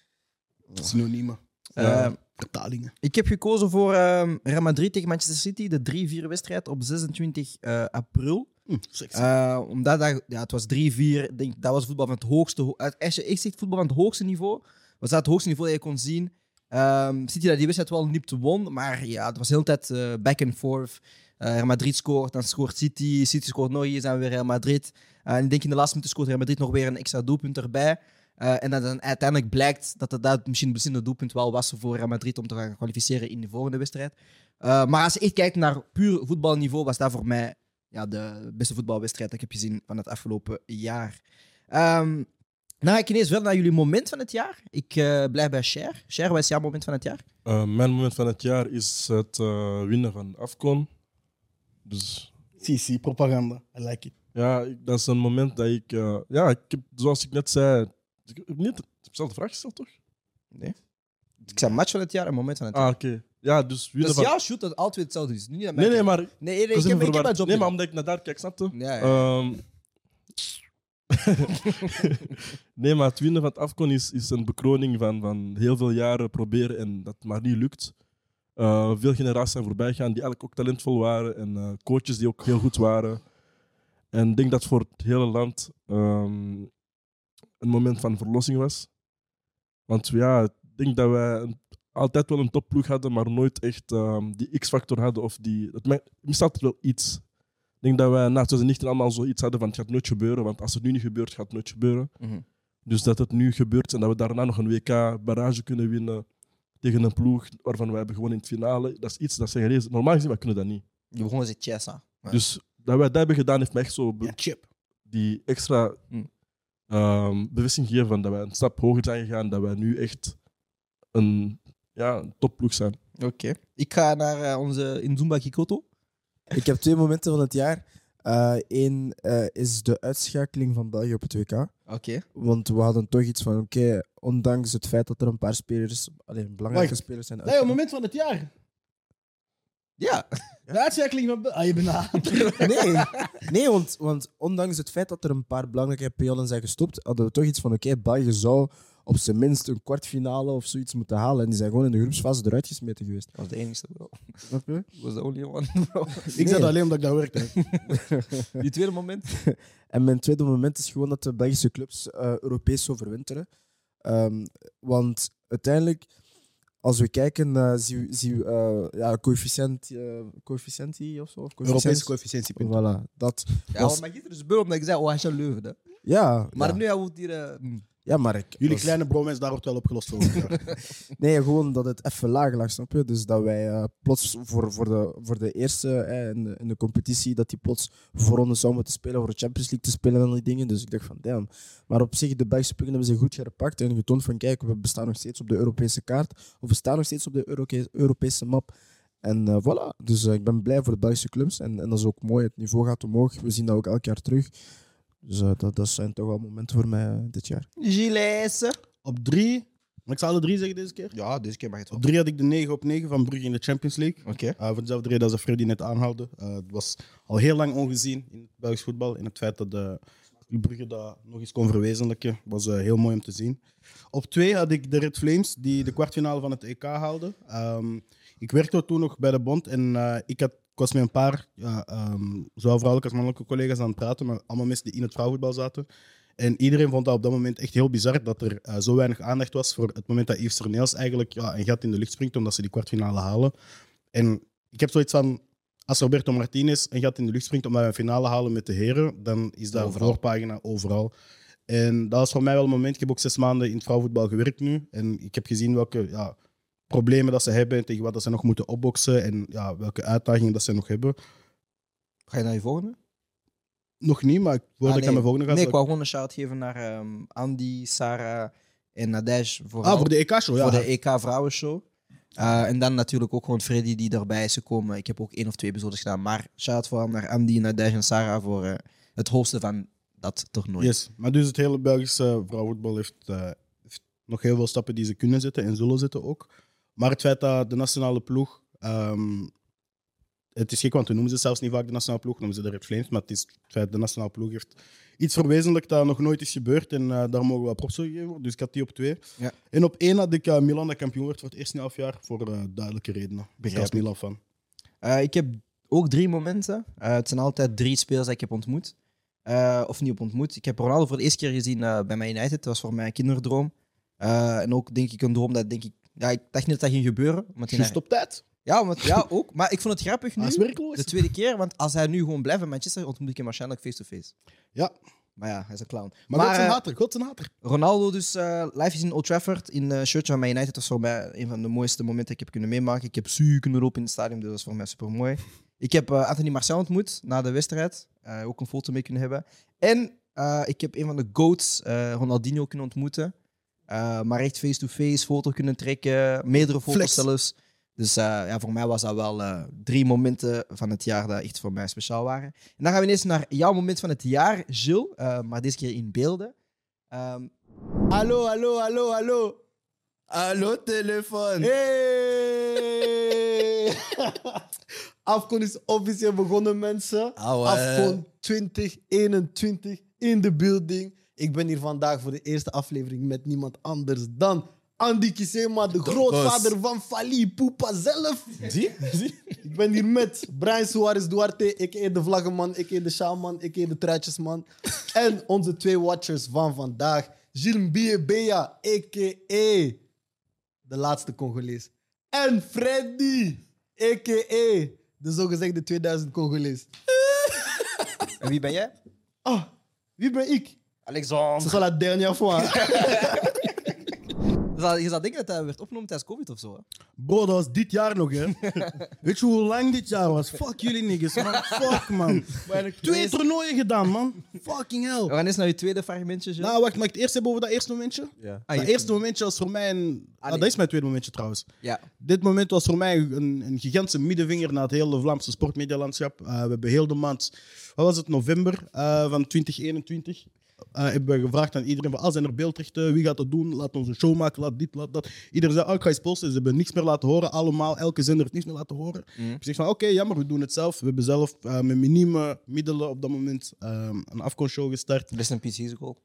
[SPEAKER 2] Synoniemen.
[SPEAKER 1] Ehm,
[SPEAKER 2] Vertalingen.
[SPEAKER 1] Ik heb gekozen voor ehm, Real Madrid tegen Manchester City, de 3-4 wedstrijd op 26 eh, april.
[SPEAKER 2] Hm, sexy.
[SPEAKER 1] Eh, omdat dat, ja, het was 3-4, Ik denk, dat was voetbal van het hoogste. ho- eh, Als je echt zegt voetbal van het hoogste niveau, was dat het hoogste niveau dat je kon zien. Ehm City dat die wedstrijd wel niet won, maar ja, het was de hele tijd eh, back and forth. Eh, Real Madrid scoort, dan scoort City, City scoort nog eens, dan weer Real Madrid. Eh, en ik denk in de laatste minuten scoort Real Madrid nog weer een extra doelpunt erbij. Eh, en dat dan uiteindelijk blijkt dat het, dat misschien het beslissende doelpunt wel was voor Real Madrid om te gaan kwalificeren in de volgende wedstrijd. Eh, maar als je echt kijkt naar puur voetbalniveau, was dat voor mij ja, de beste voetbalwedstrijd dat ik heb gezien van het afgelopen jaar. Ehm dan ga ik ineens wel naar jullie moment van het jaar. Ik eh, blijf bij Cher. Cher, wat is jouw moment van het jaar?
[SPEAKER 9] Eh, mijn moment van het jaar is het eh, winnen van Afcon. Dus
[SPEAKER 2] Sisi, propaganda. I like it.
[SPEAKER 9] Ja, ik- dat is een moment dat ik. eh, ja, ik heb, zoals ik net zei. Ik heb niet ik heb zelf de vraag gesteld, toch?
[SPEAKER 1] Ik zei match van het jaar en moment van het jaar.
[SPEAKER 9] Ah, oké. Ja, dus
[SPEAKER 1] dat
[SPEAKER 9] winnen
[SPEAKER 1] is
[SPEAKER 9] van.
[SPEAKER 1] jouw shoot dat altijd hetzelfde is. Niet
[SPEAKER 9] Nee,
[SPEAKER 1] dat mijn-
[SPEAKER 9] nee, maar. Ik
[SPEAKER 1] nee, nee,
[SPEAKER 9] was
[SPEAKER 1] ik,
[SPEAKER 9] even
[SPEAKER 1] heb, ik heb
[SPEAKER 9] verward.
[SPEAKER 1] mijn job
[SPEAKER 9] nee, maar omdat
[SPEAKER 1] gedaan.
[SPEAKER 9] ik naar daar kijk, snapte.
[SPEAKER 1] Ja, ja.
[SPEAKER 9] Ehm, nee, maar het winnen van het Afcon is, is een bekroning van, van heel veel jaren proberen en dat maar niet lukt. Eh, veel generaties zijn voorbij gaan die eigenlijk ook talentvol waren en eh, coaches die ook heel goed waren. En ik denk dat voor het hele land ehm, een moment van verlossing was. Want ja, ik denk dat wij een- altijd wel een topploeg hadden, maar nooit echt ehm, die X-factor hadden. Of die, het me- mist altijd wel iets. Ik denk dat wij na 2019 allemaal zoiets hadden van het gaat nooit gebeuren, want als het nu niet gebeurt, gaat het nooit gebeuren.
[SPEAKER 1] Mhm.
[SPEAKER 9] Dus dat het nu gebeurt en dat we daarna nog een WK-barrage kunnen winnen tegen een ploeg waarvan we hebben gewonnen in het finale, dat is iets dat zijn gelezen. Normaal gezien, wij kunnen dat niet.
[SPEAKER 1] Je begon met Chessa.
[SPEAKER 9] Dus dat wij dat hebben gedaan, heeft mij echt zo be-
[SPEAKER 2] Ja, chip.
[SPEAKER 9] die extra
[SPEAKER 1] Mm.
[SPEAKER 9] ehm, bevestiging gegeven van dat wij een stap hoger zijn gegaan, dat wij nu echt een, ja, een topploeg zijn.
[SPEAKER 1] Oké. Ik ga naar eh, onze Inzumba Kikoto.
[SPEAKER 8] Ik heb twee momenten van het jaar. Eén is de uitschakeling van België op het WK.
[SPEAKER 1] Oké.
[SPEAKER 8] Want we hadden toch iets van, oké, ondanks het feit dat er een paar spelers, alleen belangrijke
[SPEAKER 2] Wacht.
[SPEAKER 8] spelers zijn
[SPEAKER 2] Nee, het moment van het jaar.
[SPEAKER 1] Ja.
[SPEAKER 2] De uitzwerking van... Be- Ah, je bent na.
[SPEAKER 8] Nee, nee want, want ondanks het feit dat er een paar belangrijke pionnen zijn gestopt, hadden we toch iets van: oké, België zou op zijn minst een kwartfinale of zoiets moeten halen. En die zijn gewoon in de groepsfase eruit gesmeten geweest.
[SPEAKER 1] Dat was de enige, bro.
[SPEAKER 8] Snap je?
[SPEAKER 1] Dat was de only one, bro.
[SPEAKER 2] Ik zei dat alleen omdat ik daar werkte.
[SPEAKER 1] Die tweede moment.
[SPEAKER 8] En mijn tweede moment is gewoon dat de Belgische clubs eh, Europees overwinteren. Ehm, want uiteindelijk, als we kijken, eh, zien we, zien we eh, ja, coëfficiënt, eh, coëfficiëntie of zo. of
[SPEAKER 2] Europese
[SPEAKER 8] coëfficiënt.
[SPEAKER 2] coëfficiëntiepunt.
[SPEAKER 8] Voilà, dat
[SPEAKER 1] Ja,
[SPEAKER 8] was...
[SPEAKER 1] maar gisteren is het beul omdat ik zei, oh, hij is een leuven. hè.
[SPEAKER 8] Ja,
[SPEAKER 1] Maar
[SPEAKER 8] ja.
[SPEAKER 1] nu, hij wordt hier... eh, mm.
[SPEAKER 8] ja, maar ik...
[SPEAKER 2] Jullie
[SPEAKER 8] was-
[SPEAKER 2] kleine bromens, daar wordt wel opgelost volgend jaar.
[SPEAKER 8] Nee, gewoon dat het even laag lag, snap je? Dus dat wij eh, plots voor, voor, de, voor de eerste eh, in, de, in de competitie, dat die plots voorronde zou moeten spelen, voor de Champions League te spelen en al die dingen. Dus ik dacht van, damn. Maar op zich, de Belgische punten hebben ze goed gepakt en getoond van, kijk, we bestaan nog steeds op de Europese kaart, of we staan nog steeds op de Euroke- Europese map. En eh, voilà, dus eh, ik ben blij voor de Belgische clubs. En, en dat is ook mooi, het niveau gaat omhoog. We zien dat ook elk jaar terug. Dus eh, dat, dat zijn toch wel momenten voor mij eh, dit jaar.
[SPEAKER 1] Gilles.
[SPEAKER 2] Op drie, maar ik zal alle drie zeggen deze keer.
[SPEAKER 1] Ja, deze keer mag je het wel.
[SPEAKER 2] Op drie had ik de 9 op 9 van Brugge in de Champions League.
[SPEAKER 1] Oké.
[SPEAKER 2] Eh, voor dezelfde reden als dat Freddy net aanhaalde. Eh, het was al heel lang ongezien in het Belgisch voetbal. En het feit dat de Club Brugge dat nog eens kon verwezenlijken, was eh, heel mooi om te zien. Op twee had ik de Red Flames, die de kwartfinale van het EK haalden. Ehm, ik werkte toen nog bij de bond en eh, ik, had, ik was met een paar, ja, ehm, zowel vrouwelijke als mannelijke collega's aan het praten, maar allemaal mensen die in het vrouwenvoetbal zaten. En iedereen vond dat op dat moment echt heel bizar dat er eh, zo weinig aandacht was voor het moment dat Yves Terneels eigenlijk ja, een gat in de lucht springt omdat ze die kwartfinale halen. En ik heb zoiets van, als Roberto Martinez een gat in de lucht springt omdat we een finale halen met de heren, dan is dat een voorpagina overal. En dat was voor mij wel een moment. Ik heb ook zes maanden in het vrouwenvoetbal gewerkt nu. En ik heb gezien welke ja, problemen dat ze hebben en tegen wat dat ze nog moeten opboksen en ja, welke uitdagingen dat ze nog hebben.
[SPEAKER 1] Ga je naar je volgende?
[SPEAKER 2] Nog niet, maar ik hoor
[SPEAKER 1] Ah,
[SPEAKER 2] dat ik aan mijn volgende ga
[SPEAKER 1] Nee, ik wou gewoon een shout geven naar ehm, Andy, Sarah en Nadej. Vooral
[SPEAKER 2] Ah, voor de EK-show, ja.
[SPEAKER 1] voor de EK Vrouwenshow. Eh, en dan natuurlijk ook gewoon Freddy die erbij is gekomen. Ik heb ook één of twee episodes gedaan. Maar shout vooral naar Andy, Nadej en Sarah voor eh, het hosten van dat toernooi.
[SPEAKER 2] Yes, maar dus het hele Belgische vrouwenvoetbal heeft, eh, heeft nog heel veel stappen die ze kunnen zetten en zullen zetten ook. Maar het feit dat de nationale ploeg. ehm, het is gek, want we noemen ze zelfs niet vaak de nationale ploeg, noemen ze de Red Flames. Maar het is het feit dat de nationale ploeg heeft iets verwezenlijkt dat nog nooit is gebeurd. En eh, daar mogen we props voor geven. worden. Dus ik had die op twee.
[SPEAKER 1] Ja.
[SPEAKER 2] En op één had ik eh, Milan dat kampioen werd voor het eerste half jaar. Voor eh, duidelijke redenen. Ik was Milan van.
[SPEAKER 1] Eh, ik heb ook drie momenten. Eh, het zijn altijd drie spelers die ik heb ontmoet. Eh, of niet op ontmoet. Ik heb Ronaldo voor de eerste keer gezien eh, bij Man United. Dat was voor mij een kinderdroom. Eh, en ook denk ik een droom dat denk ik... Ja, ik dacht niet dat dat ging gebeuren. omdat hij
[SPEAKER 2] Just
[SPEAKER 1] naar-
[SPEAKER 2] op tijd.
[SPEAKER 1] Ja, omdat, ja, ook. Maar ik vond het grappig nu.
[SPEAKER 2] Hij is werkloos.
[SPEAKER 1] De tweede keer, want als hij nu gewoon blijft in Manchester, ontmoet ik hem waarschijnlijk face-to-face.
[SPEAKER 2] Ja.
[SPEAKER 1] Maar ja, hij is een clown.
[SPEAKER 2] Maar, God zijn
[SPEAKER 1] eh,
[SPEAKER 2] hater, God zijn hater.
[SPEAKER 1] Ronaldo dus eh, live gezien in Old Trafford in een shirtje van Man United. Dat was voor mij een van de mooiste momenten die ik heb kunnen meemaken. Ik heb zuur kunnen lopen in het stadion, dus dat was voor mij super mooi. Ik heb eh, Anthony Martial ontmoet na de wedstrijd. Eh, ook een foto mee kunnen hebben. En eh, ik heb een van de GOATs, eh, Ronaldinho, kunnen ontmoeten. Eh, maar echt face-to-face, foto kunnen trekken, meerdere foto's
[SPEAKER 2] Flex.
[SPEAKER 1] zelfs. Dus eh, ja, voor mij was dat wel eh, drie momenten van het jaar dat echt voor mij speciaal waren. En dan gaan we ineens naar jouw moment van het jaar, Gilles. eh, maar deze keer in beelden. Ehm,
[SPEAKER 6] Hallo, hallo, hallo, hallo. Hallo, telefoon. Hey! Afcon is officieel begonnen, mensen.
[SPEAKER 5] Auwe.
[SPEAKER 6] Afcon 2021 in de building. Ik ben hier vandaag voor de eerste aflevering met niemand anders dan Andy Kisema, de grootvader van Fali Poepa zelf. Zie? Ik ben hier met Brian Suarez Duarte, ik de vlaggenman, ik de sjaalman, ik de truitjesman. En onze twee watchers van vandaag, Gilles Bia, a.k.a. de laatste Congolees. En Freddy, a.k.a. de zogezegde 2000 Congolees.
[SPEAKER 1] en wie ben jij?
[SPEAKER 6] Ah, wie ben ik?
[SPEAKER 1] Alexander.
[SPEAKER 6] C'est ça la dernière fois. hein. hè?
[SPEAKER 1] Je zou, je zou denken dat hij werd opgenomen tijdens COVID of zo. hè?
[SPEAKER 2] Bro, dat was dit jaar nog, hè? Weet je hoe lang dit jaar was? Fuck jullie niggas, man. Fuck, man. Twee toernooien gedaan, man. Fucking hell.
[SPEAKER 1] We gaan eens naar je tweede fragmentje. Gilles.
[SPEAKER 2] Nou, wacht, mag ik het eerst hebben over dat eerste momentje?
[SPEAKER 5] Ja.
[SPEAKER 1] Ah,
[SPEAKER 2] dat
[SPEAKER 1] je-
[SPEAKER 2] eerste momentje was voor mij een... Ah,
[SPEAKER 1] nee.
[SPEAKER 2] dat is mijn tweede momentje trouwens.
[SPEAKER 1] Ja.
[SPEAKER 2] Dit moment was voor mij een, een gigantische middenvinger naar het hele Vlaamse sportmedialandschap. Eh, we hebben heel de maand, wat was het, november eh, van 2021, eh, hebben we gevraagd aan iedereen: van, ah, zijn er beeldrechten? Wie gaat dat doen? Laat ons een show maken, laat dit, laat dat. Iedereen zei: oh, ik ga iets posten. Ze hebben niks meer laten horen, allemaal. Elke zender heeft niks meer laten horen.
[SPEAKER 5] Mm.
[SPEAKER 6] Mhm.
[SPEAKER 2] Ik zeg van: oké, jammer, we doen het zelf. We hebben zelf eh, met minieme middelen op dat moment eh, een afkomstshow gestart.
[SPEAKER 1] Rest in peace, He's goal.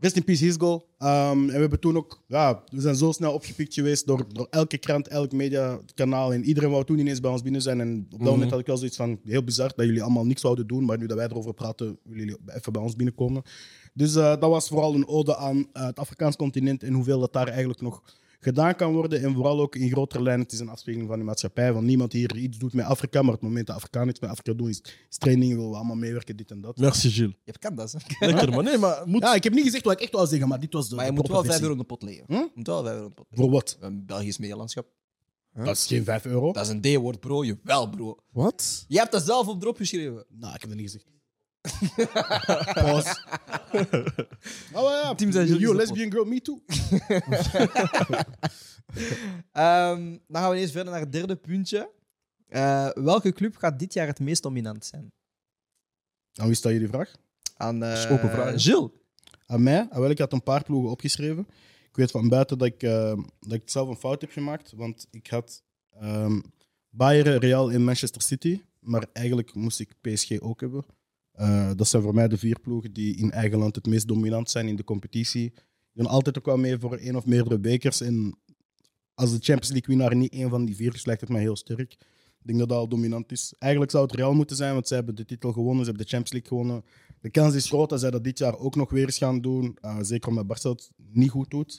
[SPEAKER 2] Rest in peace, Hisgo. Ehm, en we hebben toen ook, ja, we zijn zo snel opgepikt geweest door, door elke krant, elk mediakanaal. En iedereen wou toen ineens bij ons binnen zijn. En op dat
[SPEAKER 9] Mhm.
[SPEAKER 2] moment had ik wel zoiets van heel bizar dat jullie allemaal niks zouden doen. Maar nu dat wij erover praten, willen jullie even bij ons binnenkomen. Dus eh, dat was vooral een ode aan eh, het Afrikaans continent en hoeveel dat daar eigenlijk nog gedaan kan worden. En vooral ook in grotere lijnen. Het is een afspiegeling van de maatschappij. Van niemand hier iets doet met Afrika. Maar het moment dat Afrikaan iets met Afrika doen is, is training. Willen we allemaal meewerken, dit en dat.
[SPEAKER 9] Merci, Gilles.
[SPEAKER 1] Je kan dat, hè.
[SPEAKER 9] Lekker, man. Nee, maar moet...
[SPEAKER 2] Ja, ik heb niet gezegd wat ik echt wou zeggen, maar dit was de.
[SPEAKER 4] Maar je
[SPEAKER 2] de
[SPEAKER 4] moet wel
[SPEAKER 2] proper versie.
[SPEAKER 4] 5 euro in de pot leggen.
[SPEAKER 2] Hm?
[SPEAKER 4] Je moet wel 5 euro in de pot leggen.
[SPEAKER 2] Voor wat?
[SPEAKER 4] Een Belgisch medialandschap.
[SPEAKER 2] Dat is geen 5 euro.
[SPEAKER 4] Dat is een D-woord, bro. Jawel, bro.
[SPEAKER 8] Wat?
[SPEAKER 4] Je hebt dat zelf op drop geschreven.
[SPEAKER 2] Nou, ik heb het niet gezegd. Pause. oh ja,
[SPEAKER 1] Team zijn jullie
[SPEAKER 2] you a
[SPEAKER 1] zo
[SPEAKER 2] lesbian girl, me too.
[SPEAKER 1] Ehm, dan gaan we eens verder naar het derde puntje. Eh, welke club gaat dit jaar het meest dominant zijn?
[SPEAKER 2] Aan wie stel je die vraag?
[SPEAKER 1] Aan eh,
[SPEAKER 9] is open vraag, hè?
[SPEAKER 1] Gilles.
[SPEAKER 2] Aan mij? Ah, wel, ik had een paar ploegen opgeschreven. Ik weet van buiten dat ik, eh, dat ik zelf een fout heb gemaakt, want ik had ehm, Bayern, Real en Manchester City, maar eigenlijk moest ik PSG ook hebben. Eh, dat zijn voor mij de vier ploegen die in eigen land het meest dominant zijn in de competitie. Die doen altijd ook wel mee voor één of meerdere bekers. En als de Champions League winnaar niet één van die vier is, lijkt het mij heel sterk. Ik denk dat dat al dominant is. Eigenlijk zou het Real moeten zijn, want zij hebben de titel gewonnen, ze hebben de Champions League gewonnen. De kans is groot dat zij dat dit jaar ook nog weer eens gaan doen. Eh, zeker omdat Barca het niet goed doet.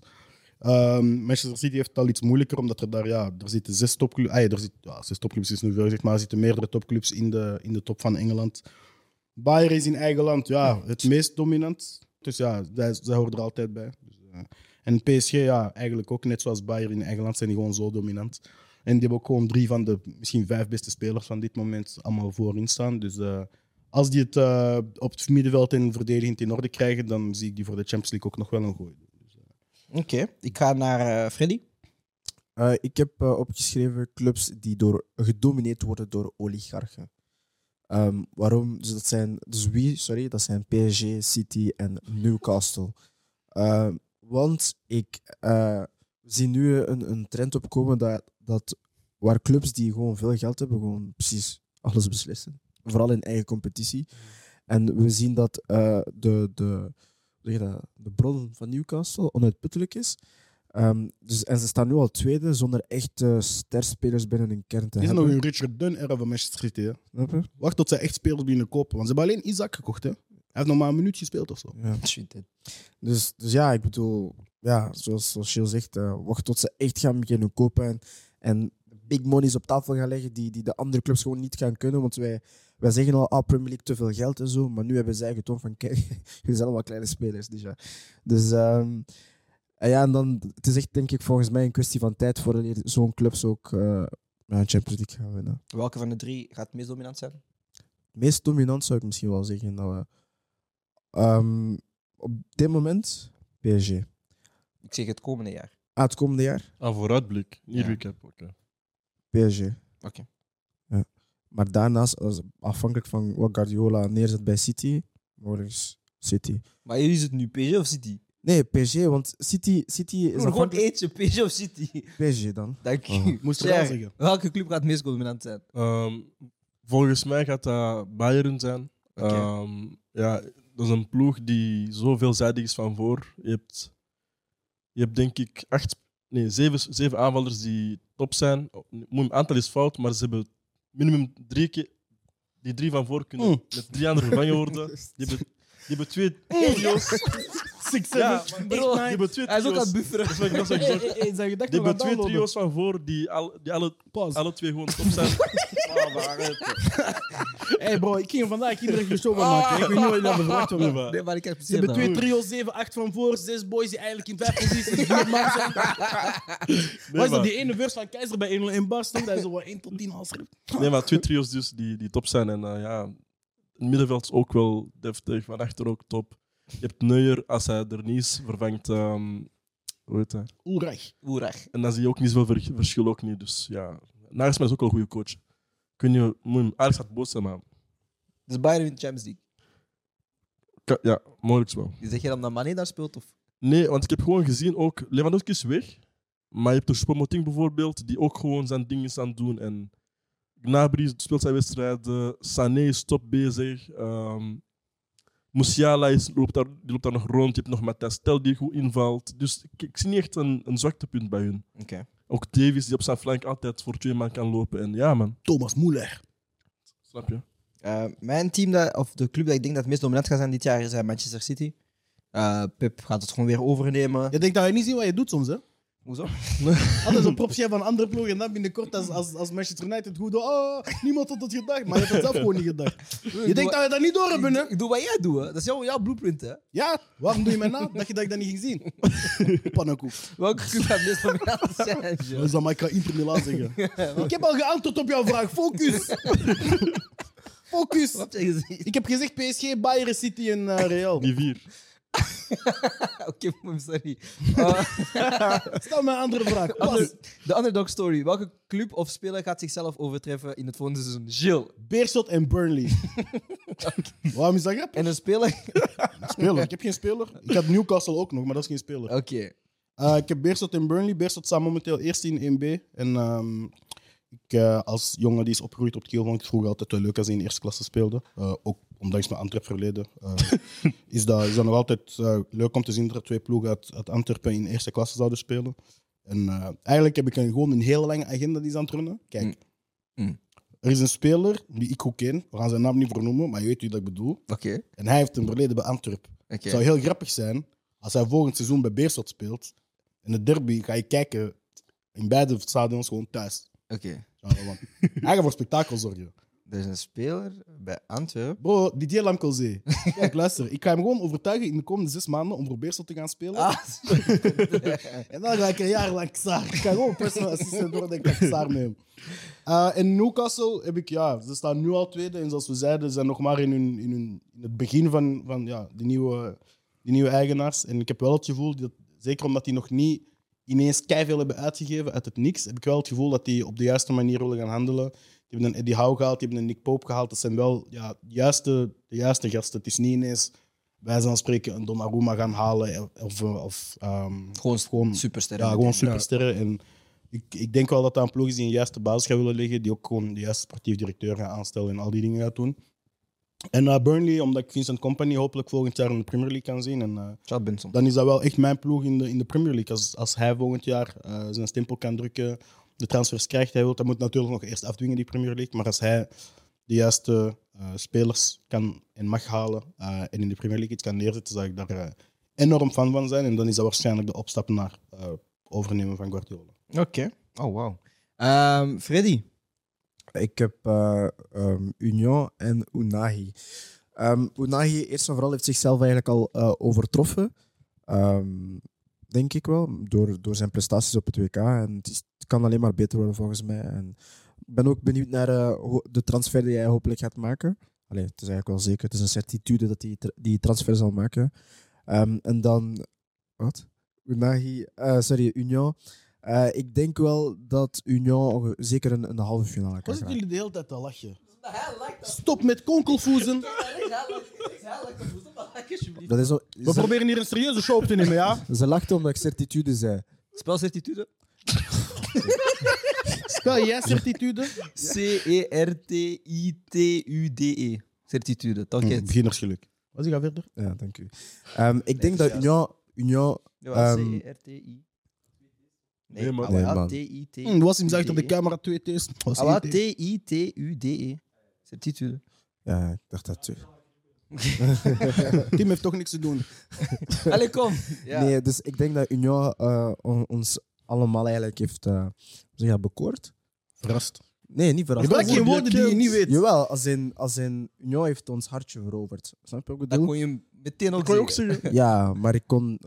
[SPEAKER 2] Ehm, Manchester City heeft het al iets moeilijker, omdat er daar ja, er zitten zes topclubs. Ah, ja, er zit, ja, zes topclubs is nu veel gezegd, maar er zitten meerdere topclubs in de, in de top van Engeland. Bayern is in eigen land ja, het meest dominant. Dus ja, zij, zij hoort er altijd bij. Dus, eh, en PSG, ja, eigenlijk ook net zoals Bayern in eigen land zijn die gewoon zo dominant. En die hebben ook gewoon drie van de misschien vijf beste spelers van dit moment allemaal voorin staan. Dus eh, als die het eh, op het middenveld en verdedigend in orde krijgen, dan zie ik die voor de Champions League ook nog wel een gooi.
[SPEAKER 1] Oké, ik ga naar eh, Freddy.
[SPEAKER 8] Eh, ik heb eh, opgeschreven clubs die door, gedomineerd worden door oligarchen. Ehm, waarom? Dus dat zijn, dus wie, sorry, dat zijn PSG, City en Newcastle. Ehm, want ik eh, zie nu een, een trend opkomen dat, dat waar clubs die gewoon veel geld hebben, gewoon precies alles beslissen. Vooral in eigen competitie. En we zien dat eh, de, de, hoe zeg je dat, de bron van Newcastle onuitputtelijk is. Ehm, dus, en ze staan nu al tweede zonder echt eh, sterspelers binnen hun kern te
[SPEAKER 2] Dit is nog
[SPEAKER 8] hebben.
[SPEAKER 2] een Richard Dunn-era van Manchester City. Hè.
[SPEAKER 8] Snap je?
[SPEAKER 2] Wacht tot zij echt spelers binnen kopen, want ze hebben alleen Isaac gekocht. Hè. Hij heeft nog maar een minuut gespeeld of zo.
[SPEAKER 8] Ja. Dus, dus ja, ik bedoel, ja, zoals, zoals Gilles zegt, eh, wacht tot ze echt gaan beginnen kopen en, en big monies op tafel gaan leggen die, die de andere clubs gewoon niet gaan kunnen. Want wij, wij zeggen al, ah, Premier League te veel geld en zo, maar nu hebben zij getoond van, kijk, jullie zijn allemaal kleine spelers. Dus ja, dus, ehm, en ja en dan, het is echt denk ik volgens mij een kwestie van tijd voor zo'n clubs ook eh, ja, een Champions League gaan winnen.
[SPEAKER 1] Welke van de drie gaat het meest dominant zijn?
[SPEAKER 8] Het meest dominant zou ik misschien wel zeggen dat we ehm, op dit moment PSG.
[SPEAKER 1] Ik zeg het komende jaar.
[SPEAKER 8] Ah, het komende jaar?
[SPEAKER 9] Ah, vooruitblik. Niet
[SPEAKER 1] Ja.
[SPEAKER 9] recap. Oké.
[SPEAKER 8] PSG.
[SPEAKER 1] Oké.
[SPEAKER 8] Ja. Maar daarnaast, als- afhankelijk van wat Guardiola neerzet bij City, morgens City.
[SPEAKER 1] Maar hier is het nu PSG of City?
[SPEAKER 8] Nee, PSG, want City, City is
[SPEAKER 1] Doe er gewoon
[SPEAKER 8] afhankelijk...
[SPEAKER 1] eentje, PSG of City.
[SPEAKER 8] PSG dan.
[SPEAKER 1] Dank
[SPEAKER 9] Ah.
[SPEAKER 1] je.
[SPEAKER 8] Oh.
[SPEAKER 2] Moest er wel
[SPEAKER 1] Zeg,
[SPEAKER 2] zeggen.
[SPEAKER 1] Welke club gaat het meest dominant zijn?
[SPEAKER 9] Ehm, volgens mij gaat dat Bayern zijn.
[SPEAKER 1] Oké.
[SPEAKER 9] Ehm, ja, dat is een ploeg die zo veelzijdig is van voor. Je hebt, je hebt denk ik acht, nee, zeven, zeven aanvallers die top zijn. Een aantal is fout, maar ze hebben minimum drie keer die drie van voor kunnen
[SPEAKER 2] Mm.
[SPEAKER 9] met drie anderen vervangen worden. Die hebben, die hebben twee trio's. Ja, maar-
[SPEAKER 1] Bro,
[SPEAKER 9] die hebben twee
[SPEAKER 1] Hij is ook aan
[SPEAKER 9] trio's.
[SPEAKER 1] het bufferen.
[SPEAKER 9] Dat is wat ik- dat is wat ik zeg. Die hebben twee trio's van voor die, al, die alle, alle twee gewoon top zijn. Ah, maar arrête.
[SPEAKER 2] hey bro, ik ging er vandaag iedere keer show van
[SPEAKER 9] Ah.
[SPEAKER 2] maken. Ik weet niet wat jullie hebben verwacht van me.
[SPEAKER 9] Maar-
[SPEAKER 1] Nee, maar ik heb
[SPEAKER 2] Ze hebben twee trio's, zeven, acht van voor, zes boys die eigenlijk in vijf posities vier man zijn.
[SPEAKER 9] Nee,
[SPEAKER 2] Wat is dat,
[SPEAKER 9] maar-
[SPEAKER 2] die ene verse van Keizer bij 1-0 in Bars? Dat is zo wat 1 tot 10 al schrift.
[SPEAKER 9] Nee, maar twee trio's dus die, die top zijn. En eh, ja, het middenveld is ook wel deftig, van achter ook top. Je hebt Neuer, als hij er niet is, vervangt... ehm, hoe heet hij?
[SPEAKER 2] Oerig.
[SPEAKER 1] Oerig.
[SPEAKER 9] En dan zie je ook niet zoveel ver- verschil ook niet. Dus ja, Nagelsman is ook wel een goede coach. Kun je... moet hem- Ajax gaat boos zijn, maar...
[SPEAKER 1] Dus Bayern wint de Champions League.
[SPEAKER 9] ka- Ja, mogelijk wel.
[SPEAKER 1] Dus zeg je dan dat Mané daar speelt? Of?
[SPEAKER 9] Nee, want ik heb gewoon gezien ook... Lewandowski is weg. Maar je hebt de Choupo-Moting bijvoorbeeld, die ook gewoon zijn ding is aan het doen. En Gnabry speelt zijn wedstrijden. Sané is top bezig. Ehm Musiala is, loopt, daar, die loopt daar nog rond. Je hebt nog Matthias Tel die goed invalt. Dus ik, ik zie niet echt een, een zwaktepunt bij hun.
[SPEAKER 1] Oké.
[SPEAKER 9] Ook Davies die op zijn flank altijd voor twee man kan lopen. En ja, man.
[SPEAKER 2] Thomas Muller.
[SPEAKER 9] Snap je?
[SPEAKER 1] Eh, mijn team, dat, of de club dat ik denk dat het meest dominant gaat zijn dit jaar, is eh, Manchester City. Eh, Pep gaat het gewoon weer overnemen.
[SPEAKER 2] Je denkt dat hij niet ziet wat je doet soms, hè?
[SPEAKER 1] Hoezo?
[SPEAKER 2] Altijd zo'n propje van andere ploegen en dan binnenkort als, als, als Manchester United goed doet. Oh, niemand had het gedacht, maar je hebt het zelf gewoon niet gedacht. Je denkt dat we dat niet door hebben, hè?
[SPEAKER 1] Ik doe wat jij doet, hè. Dat is jouw, jouw blueprint, hè.
[SPEAKER 2] Ja, waarom doe je mij na? Dacht je dat ik dat niet ging zien? Pannenkoek.
[SPEAKER 1] Welke club gaat dit voor mij aan zijn, joh?
[SPEAKER 2] Dat is dan maar ik ga Inter Milan zeggen. ik heb al geantwoord op jouw vraag. Focus. Focus.
[SPEAKER 1] Wat heb je gezien?
[SPEAKER 2] Ik heb gezegd PSG, Bayern City en eh, Real.
[SPEAKER 9] Die vier.
[SPEAKER 1] Oké, mom, sorry. Eh,
[SPEAKER 2] Stel mij een andere vraag. Pas.
[SPEAKER 1] under- De underdog story. Welke club of speler gaat zichzelf overtreffen in het volgende seizoen? Gilles.
[SPEAKER 2] Beerschot en Burnley. Waarom is dat grappig?
[SPEAKER 1] En een speler...
[SPEAKER 2] Speler. Ik heb geen speler. Ik had Newcastle ook nog, maar dat is geen speler.
[SPEAKER 1] Oké.
[SPEAKER 2] Eh, ik heb Beerschot en Burnley. Beerschot staat momenteel eerst in 1B. En ehm, ik, eh, als jongen die is opgegroeid op het Kiel, vond ik het vroeger altijd wel leuk als hij in eerste klasse speelde. Eh, ook ondanks mijn Antwerp-verleden eh, is, dat, is dat nog altijd eh, leuk om te zien dat er twee ploegen uit, uit Antwerpen in eerste klasse zouden spelen. En eh, eigenlijk heb ik een, gewoon een hele lange agenda die is aan het runnen. Kijk, er is een speler die ik goed ken. We gaan zijn naam niet vernoemen, maar je weet wie dat ik bedoel.
[SPEAKER 1] Oké.
[SPEAKER 2] En hij heeft een verleden bij Antwerp.
[SPEAKER 1] Oké.
[SPEAKER 2] Het zou heel grappig zijn als hij volgend seizoen bij Beerschot speelt. In de derby ga je kijken in beide stadions gewoon thuis.
[SPEAKER 1] Oké.
[SPEAKER 2] Ja, want hij gaat voor spektakel zorgen.
[SPEAKER 1] Er is een speler bij Antwerp.
[SPEAKER 2] Bro, Didier Lamkelzee. Kijk, luister. Ik ga hem gewoon overtuigen in de komende zes maanden om voor Beerschot te gaan spelen.
[SPEAKER 1] Ah.
[SPEAKER 2] En dan ga ik een jaar lang Xaar. Ik ga gewoon personal assistant worden en ik ga Xaar nemen. Eh, en Newcastle heb ik, ja, ze staan nu al tweede. En zoals we zeiden, ze zijn nog maar in, hun, in, hun, in het begin van, van ja, die, nieuwe, die nieuwe eigenaars. En ik heb wel het gevoel, dat, zeker omdat die nog niet ineens keiveel hebben uitgegeven uit het niks, heb ik wel het gevoel dat die op de juiste manier willen gaan handelen. Die hebben een Eddie Howe gehaald, die hebben een Nick Pope gehaald. Dat zijn wel ja, juiste, de juiste gasten. Het is niet ineens, wij zijn spreken, een Donnarumma gaan halen. eh, Of, of, ehm,
[SPEAKER 1] Gewoon,
[SPEAKER 2] gewoon
[SPEAKER 1] supersterren.
[SPEAKER 2] ja, gewoon supersterren. En ik, ik denk wel dat dat een ploeg is die een juiste basis gaat willen leggen, die ook gewoon de juiste sportief directeur gaat aanstellen en al die dingen gaat doen. En eh, Burnley, omdat ik Vincent Company hopelijk volgend jaar in de Premier League kan zien. En, eh,
[SPEAKER 1] Chad Benson.
[SPEAKER 2] dan is dat wel echt mijn ploeg in de, in de Premier League. Als, als hij volgend jaar eh, zijn stempel kan drukken, de transfers krijgt hij wil, dat moet natuurlijk nog eerst afdwingen, die Premier League. Maar als hij de juiste eh, spelers kan en mag halen eh, en in de Premier League iets kan neerzetten, zou ik daar eh, enorm fan van zijn. En dan is dat waarschijnlijk de opstap naar eh, overnemen van Guardiola.
[SPEAKER 1] Oké. Oh, wow. Ehm, Freddy.
[SPEAKER 8] Ik heb eh, ehm, Union en Unahi. Ehm, Unahi, eerst en vooral, heeft zichzelf eigenlijk al eh, overtroffen. Ehm, denk ik wel, door, door zijn prestaties op het WK. En het, is- het kan alleen maar beter worden volgens mij. En ik ben ook benieuwd naar eh, hoe- de transfer die hij hopelijk gaat maken. Allee, het is eigenlijk wel zeker, het is een certitude dat hij tra- die transfer zal maken. Ehm, en dan, wat? Unahi, eh, sorry, Union. Eh, ik denk wel dat Union onge- zeker een, een halve finale kan
[SPEAKER 2] Wat zitten
[SPEAKER 8] krijgen.
[SPEAKER 2] jullie de hele tijd te lachen? Stop met konkelvoezen.
[SPEAKER 8] Dat is, al-
[SPEAKER 2] We
[SPEAKER 8] ze,
[SPEAKER 2] proberen hier een serieuze show op te nemen, ja?
[SPEAKER 8] ze lachten omdat ik certitude zei.
[SPEAKER 1] Spelcertitude.
[SPEAKER 2] Spel jij certitude?
[SPEAKER 1] C-E-R-T-I-T-U-D-E. Certitude. Toch het.
[SPEAKER 2] Beginnersgeluk. Wat is ga verder?
[SPEAKER 8] Hmm, Ja, dank u. Ehm, ik denk dat Union... Union
[SPEAKER 1] Ja,
[SPEAKER 8] Ehm,
[SPEAKER 1] C-E-R-T-I.
[SPEAKER 9] Nee, man.
[SPEAKER 8] Nee,
[SPEAKER 1] Awa,
[SPEAKER 8] man.
[SPEAKER 1] T-I-T.
[SPEAKER 2] Hm, was hem zegt op de
[SPEAKER 1] UDE.
[SPEAKER 2] camera twee T's. Was
[SPEAKER 1] Awa,
[SPEAKER 2] één T.
[SPEAKER 1] T-I-T-U-D-E. Certitude.
[SPEAKER 8] ja, ik dacht dat... u-
[SPEAKER 2] Tim heeft toch niks te doen.
[SPEAKER 1] Allee, kom. Ja.
[SPEAKER 8] Nee, dus ik denk dat Union eh, on- ons allemaal eigenlijk heeft eh, hoe zeg je dat, bekoord.
[SPEAKER 2] Verrast.
[SPEAKER 8] Nee, niet verrast.
[SPEAKER 2] Je bent geen woorden die je niet weet.
[SPEAKER 8] Jawel, als in, als in Union heeft ons hartje veroverd. Snap je wat ik
[SPEAKER 1] Dat
[SPEAKER 8] bedoel?
[SPEAKER 1] kon je hem meteen ook
[SPEAKER 9] Kan je ook
[SPEAKER 1] zeggen.
[SPEAKER 9] zeggen.
[SPEAKER 8] Ja, maar ik kon,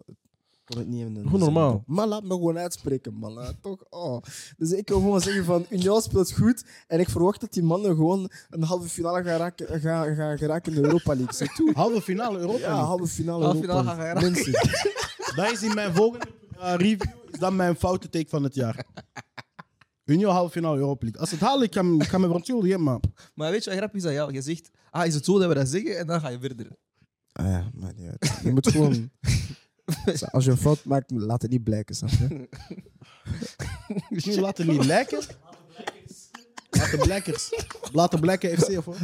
[SPEAKER 8] kon het niet in de
[SPEAKER 9] Gewoon normaal.
[SPEAKER 8] zin doen. Maar laat me gewoon uitspreken, man. hè, Toch? Oh. Dus ik wil gewoon zeggen van, Union speelt goed en ik verwacht dat die mannen gewoon een halve finale gaan raken, gaan, gaan geraken in de Europa League. Zeg toe.
[SPEAKER 2] Halve finale Europa.
[SPEAKER 8] Ja,
[SPEAKER 2] League.
[SPEAKER 8] halve finale
[SPEAKER 1] Halve
[SPEAKER 8] Europa
[SPEAKER 1] finale gaan
[SPEAKER 8] League. Mensen,
[SPEAKER 2] Dat is in mijn volgende eh, review is dat mijn foute take van het jaar. Union halve finale Europa League. Als ze het halen, ik ga me- ik ga me verontschuldigen, maar
[SPEAKER 1] Maar weet je wat grappig is aan jou? Je zegt, ah, is het zo dat we dat zeggen? En dan ga je verder.
[SPEAKER 8] Ah ja, maar niet uit. Je moet gewoon... Als je een fout maakt, laat het niet blijken, snap je?
[SPEAKER 2] nu laten niet lijken. Laten blijkers. Laten blijken FC, of wat?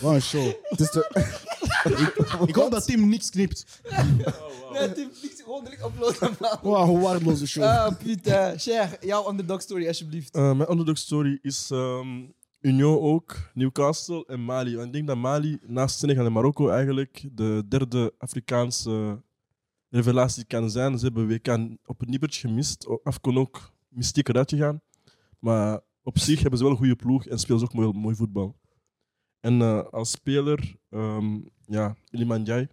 [SPEAKER 2] Wat een show.
[SPEAKER 8] Het is de-
[SPEAKER 2] Ik hoop dat Tim niks knipt.
[SPEAKER 1] Oh, Nee, Tim, niks. Gewoon direct uploaden. man.
[SPEAKER 2] Wow, een waardeloze show.
[SPEAKER 1] Ah, putain. Cher, jouw underdog story, alsjeblieft.
[SPEAKER 9] Eh, mijn underdog story is ehm, Union ook, Newcastle en Mali. Want ik denk dat Mali naast Senegal en Marokko eigenlijk de derde Afrikaanse revelatie kan zijn. Ze hebben WK op het nippertje gemist. O- Afcon ook mystiek eruit gegaan. Maar op zich hebben ze wel een goede ploeg en spelen ze ook mooi, mooi voetbal. En eh, als speler, ehm ja, Ilimanjai.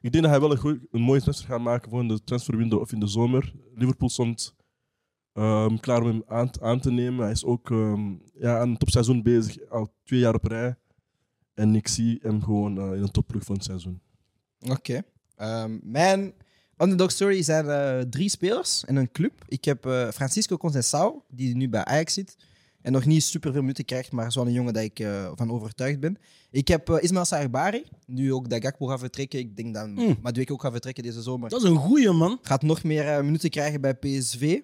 [SPEAKER 9] Ik denk dat hij wel een, goeie- een mooie transfer gaat maken voor in de transferwindow of in de zomer. Liverpool stond ehm, klaar om hem aan, aan te nemen. Hij is ook ehm, ja, aan een topseizoen bezig, al twee jaar op rij. En ik zie hem gewoon eh, in een topploeg van het seizoen.
[SPEAKER 1] Oké. Ehm, mijn underdog story zijn eh, drie spelers en een club. Ik heb eh, Francisco Conceição, die nu bij Ajax zit. En nog niet super veel minuten krijgt, maar is wel een jongen dat ik eh, van overtuigd ben. Ik heb eh, Ismail Saribari, nu ook dat Gakpo gaat vertrekken. Ik denk dat
[SPEAKER 2] Mm.
[SPEAKER 1] Madueke ook gaat vertrekken deze zomer.
[SPEAKER 2] Dat is een goeie, man.
[SPEAKER 1] Gaat nog meer eh, minuten krijgen bij PSV.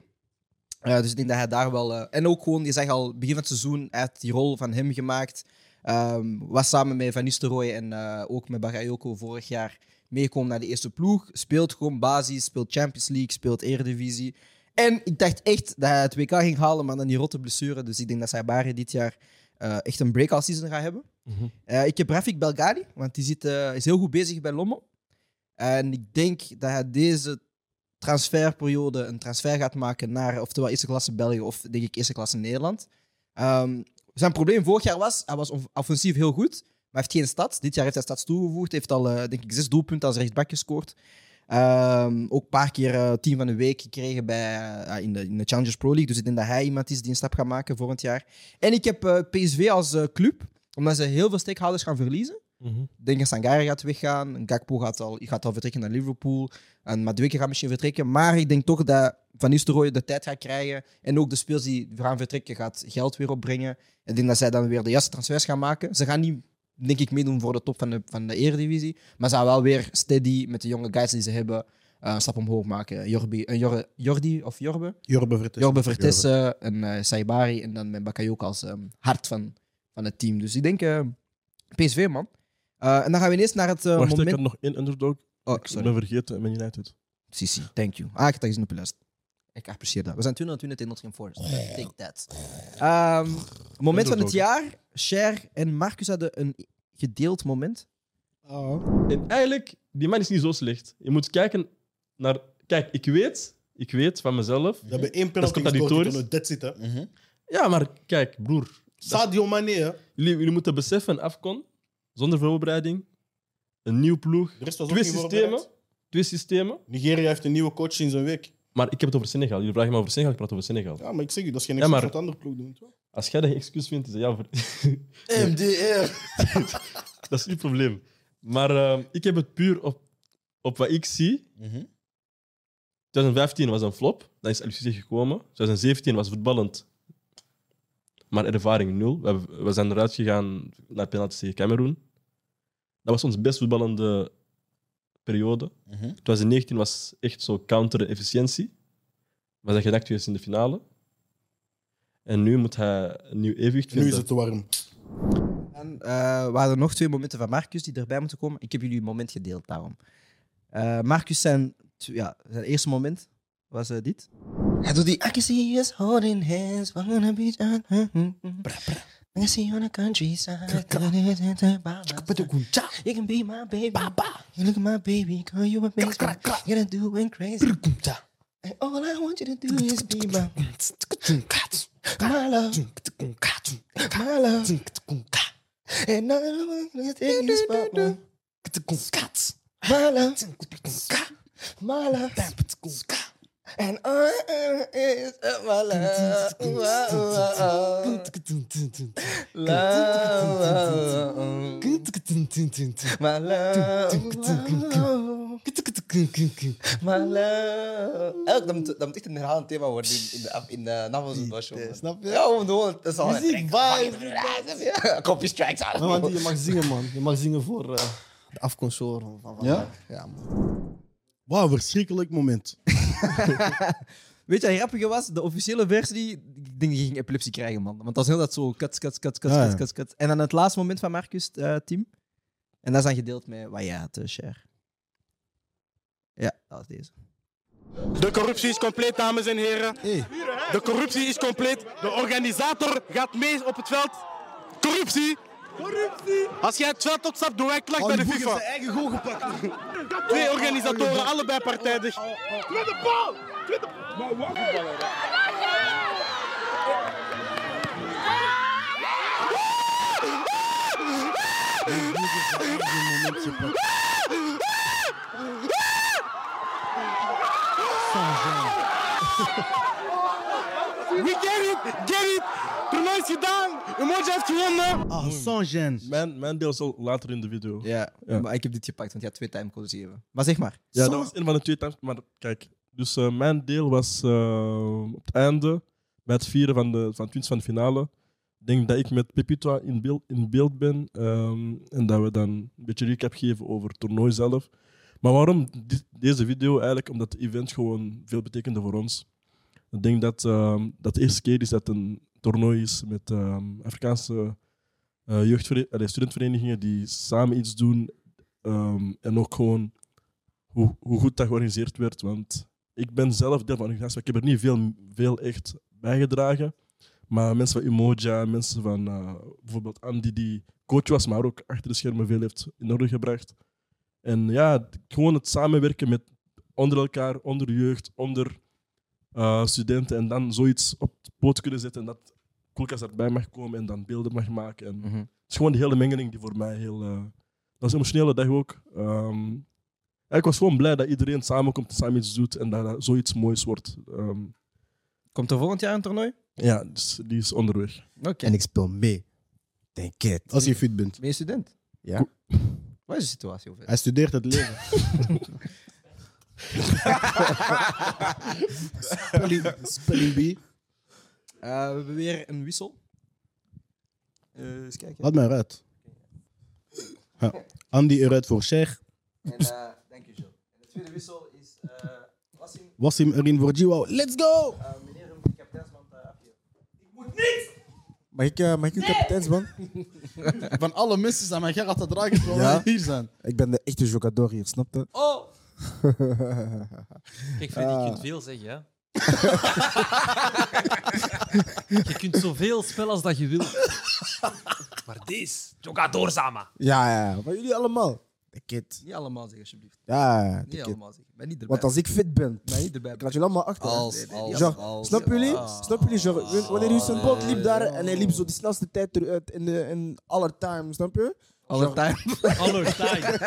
[SPEAKER 1] Eh, dus ik denk dat hij daar wel... eh, en ook gewoon, je zag al, begin van het seizoen, hij heeft die rol van hem gemaakt. Ehm, was samen met Van Nistelrooy en eh, ook met Bakayoko vorig jaar meegekomen naar de eerste ploeg. Speelt gewoon basis, speelt Champions League, speelt Eredivisie. En ik dacht echt dat hij het WK ging halen, maar dan die rotte blessure. Dus ik denk dat Saibari dit jaar eh, echt een breakout season gaat hebben.
[SPEAKER 2] Mhm.
[SPEAKER 1] Eh, ik heb Rafik Belgadi, want die zit, eh, is heel goed bezig bij Lommel. En ik denk dat hij deze transferperiode een transfer gaat maken naar oftewel eerste klasse België of denk ik eerste klasse Nederland. Ehm, zijn probleem vorig jaar was, hij was on- offensief heel goed, maar heeft geen stads. Dit jaar heeft hij stads toegevoegd, heeft al eh, denk ik zes doelpunten als rechtsback gescoord. Ehm, ook een paar keer eh, team van de week gekregen bij, eh, in, de, in de Challengers Pro League. Dus ik denk dat hij iemand is die een stap gaat maken volgend jaar. En ik heb eh, PSV als eh, club, omdat ze heel veel stakehouders gaan verliezen.
[SPEAKER 2] Mhm.
[SPEAKER 1] Ik denk dat Sangare gaat weggaan. Gakpo gaat al, gaat al vertrekken naar Liverpool. En Madueke gaat misschien vertrekken. Maar ik denk toch dat Van Nistelrooy de tijd gaat krijgen. En ook de speels die gaan vertrekken, gaat geld weer opbrengen. Ik denk dat zij dan weer de juiste transfers gaan maken. Ze gaan niet, denk ik, meedoen voor de top van de, van de Eredivisie. Maar ze gaan wel weer steady met de jonge guys die ze hebben eh, een stap omhoog maken. Jorbi, eh, Jor- Jordi of Jorbe?
[SPEAKER 2] Jorbe Vertes.
[SPEAKER 1] Jorbe Vertessen en eh, Saibari. En dan met Bakayoko als ehm, hart van, van het team. Dus ik denk eh, PSV, man. Eh, en dan gaan we ineens naar het eh,
[SPEAKER 9] Wacht, ik
[SPEAKER 1] moment...
[SPEAKER 9] had nog één underdog.
[SPEAKER 1] Oh,
[SPEAKER 9] Ik
[SPEAKER 1] sorry.
[SPEAKER 9] ben vergeten, Man United.
[SPEAKER 1] Sisi, thank you. Ah, ik heb dat gezien op je lijst. Ik apprecieer dat. We zijn 220 in Nottingham Forest.
[SPEAKER 9] Oh.
[SPEAKER 1] Take that. Ehm, moment van het jaar. Cher en Marcus hadden een gedeeld moment.
[SPEAKER 2] Oh.
[SPEAKER 11] En eigenlijk, die man is niet zo slecht. Je moet kijken naar... Kijk, ik weet, ik weet van mezelf...
[SPEAKER 2] We hebben één
[SPEAKER 11] Dat
[SPEAKER 2] penalty
[SPEAKER 11] is contradictorisch.
[SPEAKER 2] gescoord en dat zit, hè.
[SPEAKER 8] Mhm.
[SPEAKER 11] Ja, maar kijk, broer.
[SPEAKER 2] Sadio Mane, hè.
[SPEAKER 11] Jullie, jullie moeten beseffen, Afcon, zonder voorbereiding, een nieuw ploeg,
[SPEAKER 2] De rest was ook
[SPEAKER 11] twee
[SPEAKER 2] niet
[SPEAKER 11] systemen,
[SPEAKER 2] voorbereid.
[SPEAKER 11] twee systemen.
[SPEAKER 2] Nigeria heeft een nieuwe coach in zijn week.
[SPEAKER 11] Maar ik heb het over Senegal. Jullie vragen me over Senegal, ik praat over Senegal.
[SPEAKER 2] Ja, maar ik zeg je, dat is geen
[SPEAKER 11] Ja,
[SPEAKER 2] excuus
[SPEAKER 11] maar-
[SPEAKER 2] wat andere ploeg doen. toch?
[SPEAKER 11] Als jij dat geen excuus vindt, is dat jouw ver-
[SPEAKER 6] MDR.
[SPEAKER 11] dat is uw probleem. Maar ehm, ik heb het puur op, op wat ik zie. 2015 was een flop, dan is LCC gekomen. 2017 was voetballend, maar ervaring nul. We, hebben- we zijn eruit gegaan naar penalties tegen Cameroen. Dat was onze best voetballende periode. 2019 was echt zo counter en efficiëntie. We zijn gedakt geweest in de finale. En nu moet hij een nieuw evenwicht
[SPEAKER 2] Nu
[SPEAKER 11] vinden.
[SPEAKER 2] is het te warm.
[SPEAKER 1] En eh, we hadden nog twee momenten van Marcus die erbij moeten komen. Ik heb jullie een moment gedeeld daarom. Eh, Marcus, zijn, tw- ja, zijn eerste moment was eh, dit.
[SPEAKER 4] Hij doet die I can see us holding hands, we're gonna be done. I can see you on the countryside. You can be my baby. You look at my baby, girl, you amaze me. You're doing crazy. And all I want you to do is be my, my love, my love. And all I want you to take is my love, my love, my love. And all it is of my love. Ooh, ah, ooh, ah, ah. Love, ah, ah, ah. My love. ooh, ah, ah. My love. Elk, dat, eh, moet, dat moet echt een herhalend thema worden in, in de, af- in eh, de Navels Basho.
[SPEAKER 6] eh, Snap je?
[SPEAKER 4] Ja, we moeten gewoon... Dat is al
[SPEAKER 6] Muziek, vibes.
[SPEAKER 4] Ja, Copy strikes ah. aan.
[SPEAKER 6] Maar man, je mag zingen, man. Je mag zingen voor eh, de afconsor. Van, van,
[SPEAKER 5] Ja?
[SPEAKER 6] ja, man.
[SPEAKER 2] Wauw, verschrikkelijk moment.
[SPEAKER 1] Weet je wat grappige was? De officiële versie, ik denk dat je ging epilepsie krijgen, man. Want dat is heel dat zo, kats, kats, kats, kats,
[SPEAKER 2] Ah, ja.
[SPEAKER 1] kats, kats, kats. En dan het laatste moment van Marcus, eh team. En dat is dan gedeeld met wat jij had, eh, Cher. Ja, dat was deze.
[SPEAKER 10] De corruptie is compleet, dames en heren. De corruptie is compleet. De organisator gaat mee op het veld. Corruptie.
[SPEAKER 12] Corruptie! Als jij het veld opstapt, doe wij klacht bij de FIFA.
[SPEAKER 2] eigen goal gepakt.
[SPEAKER 12] Twee organisatoren, allebei partijdig. Tweede bal! Tweede bal! We get it, get it. Toernooi is gedaan. Umoja heeft gewonnen.
[SPEAKER 2] Ah, sans gêne.
[SPEAKER 9] Mijn, mijn deel zal later in de video.
[SPEAKER 1] Ja, maar ik heb dit gepakt, want je had twee timecodes gegeven. Maar zeg maar.
[SPEAKER 9] Ja, dat was een van de twee times. Maar kijk, dus eh, mijn deel was eh, op het einde, bij het vieren van de, van het winst van de finale. Ik denk dat ik met Pepito in beeld, in beeld ben ehm, en dat we dan een beetje recap geven over het toernooi zelf. Maar waarom dit- deze video? Eigenlijk omdat het event gewoon veel betekende voor ons. Ik denk dat ehm, dat de eerste keer is dat een toernooi is met ehm, Afrikaanse eh, jeugdvere- allee, studentverenigingen die samen iets doen. ehm, en ook gewoon hoe, hoe goed dat georganiseerd werd. Want ik ben zelf deel van de organisatie, maar ik heb er niet veel, veel echt bijgedragen. Maar mensen van Umoja, mensen van eh, bijvoorbeeld Andy, die coach was, maar ook achter de schermen veel heeft in orde gebracht. En ja, gewoon het samenwerken met onder elkaar, onder jeugd, onder eh, studenten. En dan zoiets op de poot kunnen zetten en dat Koelkast erbij mag komen en dan beelden mag maken. En
[SPEAKER 1] Mhm.
[SPEAKER 9] Het is gewoon die hele mengeling die voor mij heel... eh, dat is een emotionele dag ook. Ehm, ja, ik was gewoon blij dat iedereen samenkomt en samen iets doet en dat dat zoiets moois wordt. Ehm,
[SPEAKER 1] Komt er volgend jaar een toernooi?
[SPEAKER 9] Ja, dus die is onderweg.
[SPEAKER 8] En ik speel mee. Denk het.
[SPEAKER 2] Als je fit bent.
[SPEAKER 1] Ben je student?
[SPEAKER 8] Ja.
[SPEAKER 1] Wat is de situatie over?
[SPEAKER 2] Hij studeert het leven.
[SPEAKER 1] spelling, B. Eh, we hebben weer een wissel. Eh eens kijken.
[SPEAKER 2] Laat mij eruit. Ja. Andy eruit voor Sheikh.
[SPEAKER 1] En, eh, dank je, Jill. En de tweede wissel is eh Wassim.
[SPEAKER 2] Wassim erin voor Jiwao.
[SPEAKER 8] Oh,
[SPEAKER 2] Let's go!
[SPEAKER 1] Eh, meneer, een kapiteinsband eh, afgeven. Ik moet niks!
[SPEAKER 8] Mag ik, eh, mag ik uw
[SPEAKER 1] Nee!
[SPEAKER 8] kapiteinsband?
[SPEAKER 5] Van alle mensen zijn mijn Gerard te dragen terwijl
[SPEAKER 8] Ja?
[SPEAKER 5] wij hier zijn.
[SPEAKER 8] Ik ben de echte jogador hier, snap je?
[SPEAKER 3] Oh!
[SPEAKER 8] Kijk,
[SPEAKER 3] Kijk, Freddy, je
[SPEAKER 8] Ah.
[SPEAKER 3] kunt veel zeggen, hè? je kunt zoveel spellen als dat je wilt. Maar deze, Jogador Sama.
[SPEAKER 8] Ja, ja, ja. Maar jullie allemaal. De kid.
[SPEAKER 1] Niet allemaal zeggen, alsjeblieft.
[SPEAKER 8] Ja, ja,
[SPEAKER 1] Niet
[SPEAKER 8] de kid.
[SPEAKER 1] allemaal zeggen. Ben niet erbij.
[SPEAKER 8] Want als ik fit ben,
[SPEAKER 1] Ben niet erbij.
[SPEAKER 8] ik laat jullie allemaal achter. hè.
[SPEAKER 1] Als, Nee, nee, als,
[SPEAKER 8] Genre,
[SPEAKER 1] als, Ah.
[SPEAKER 8] snap jullie?
[SPEAKER 1] als.
[SPEAKER 8] snap jullie? genre, wanneer Usain Bolt liep daar
[SPEAKER 1] Oh.
[SPEAKER 8] en hij liep zo de snelste tijd ter- uit in, de- in aller time, snap je?
[SPEAKER 1] Aller
[SPEAKER 8] Genre-
[SPEAKER 1] time.
[SPEAKER 3] Aller time.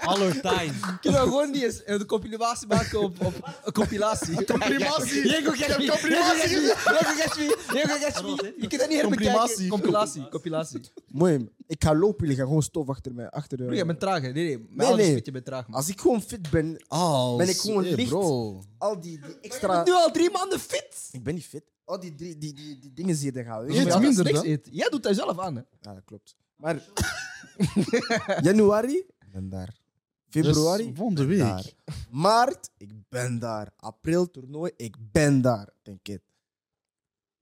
[SPEAKER 3] Aller time.
[SPEAKER 1] Kunnen we gewoon niet eens een compilatie maken op, op een compilatie?
[SPEAKER 5] Compilatie.
[SPEAKER 1] Diego Gasmi.
[SPEAKER 5] Ik
[SPEAKER 1] Diego
[SPEAKER 5] heb compilatie
[SPEAKER 1] Gasmi. Diego Gasmi. Diego Gasmi. Je kunt dat niet herbekijken.
[SPEAKER 5] Compilatie.
[SPEAKER 1] Compilatie. Compilatie.
[SPEAKER 8] Mooi, ik ga lopen, jullie gaan gewoon stof achter mij. Achter, eh,
[SPEAKER 1] Broer, jij bent traag. hè? Nee, nee. Mijn
[SPEAKER 8] Nee,
[SPEAKER 1] ouders
[SPEAKER 8] nee.
[SPEAKER 1] weten, je bent traag. man.
[SPEAKER 8] Als ik gewoon fit ben,
[SPEAKER 5] Oh,
[SPEAKER 8] ben ik gewoon
[SPEAKER 5] hey,
[SPEAKER 8] licht.
[SPEAKER 5] bro.
[SPEAKER 8] Al die, die extra...
[SPEAKER 1] Nu al drie maanden fit.
[SPEAKER 8] Ik ben niet fit. Al die, drie- die, die, die dingen zie je dan gaan. weet
[SPEAKER 1] Maar
[SPEAKER 8] je.
[SPEAKER 5] Eet
[SPEAKER 1] ja,
[SPEAKER 5] minder
[SPEAKER 1] niks
[SPEAKER 5] dan.
[SPEAKER 1] eten. Jij doet dat zelf aan. Hè?
[SPEAKER 8] Ja, dat klopt. Maar januari, ik ben daar. Februari,
[SPEAKER 5] Dus volgende
[SPEAKER 8] ik ben
[SPEAKER 5] week.
[SPEAKER 8] daar. Maart, ik ben daar. April, toernooi, ik ben daar. Denk het.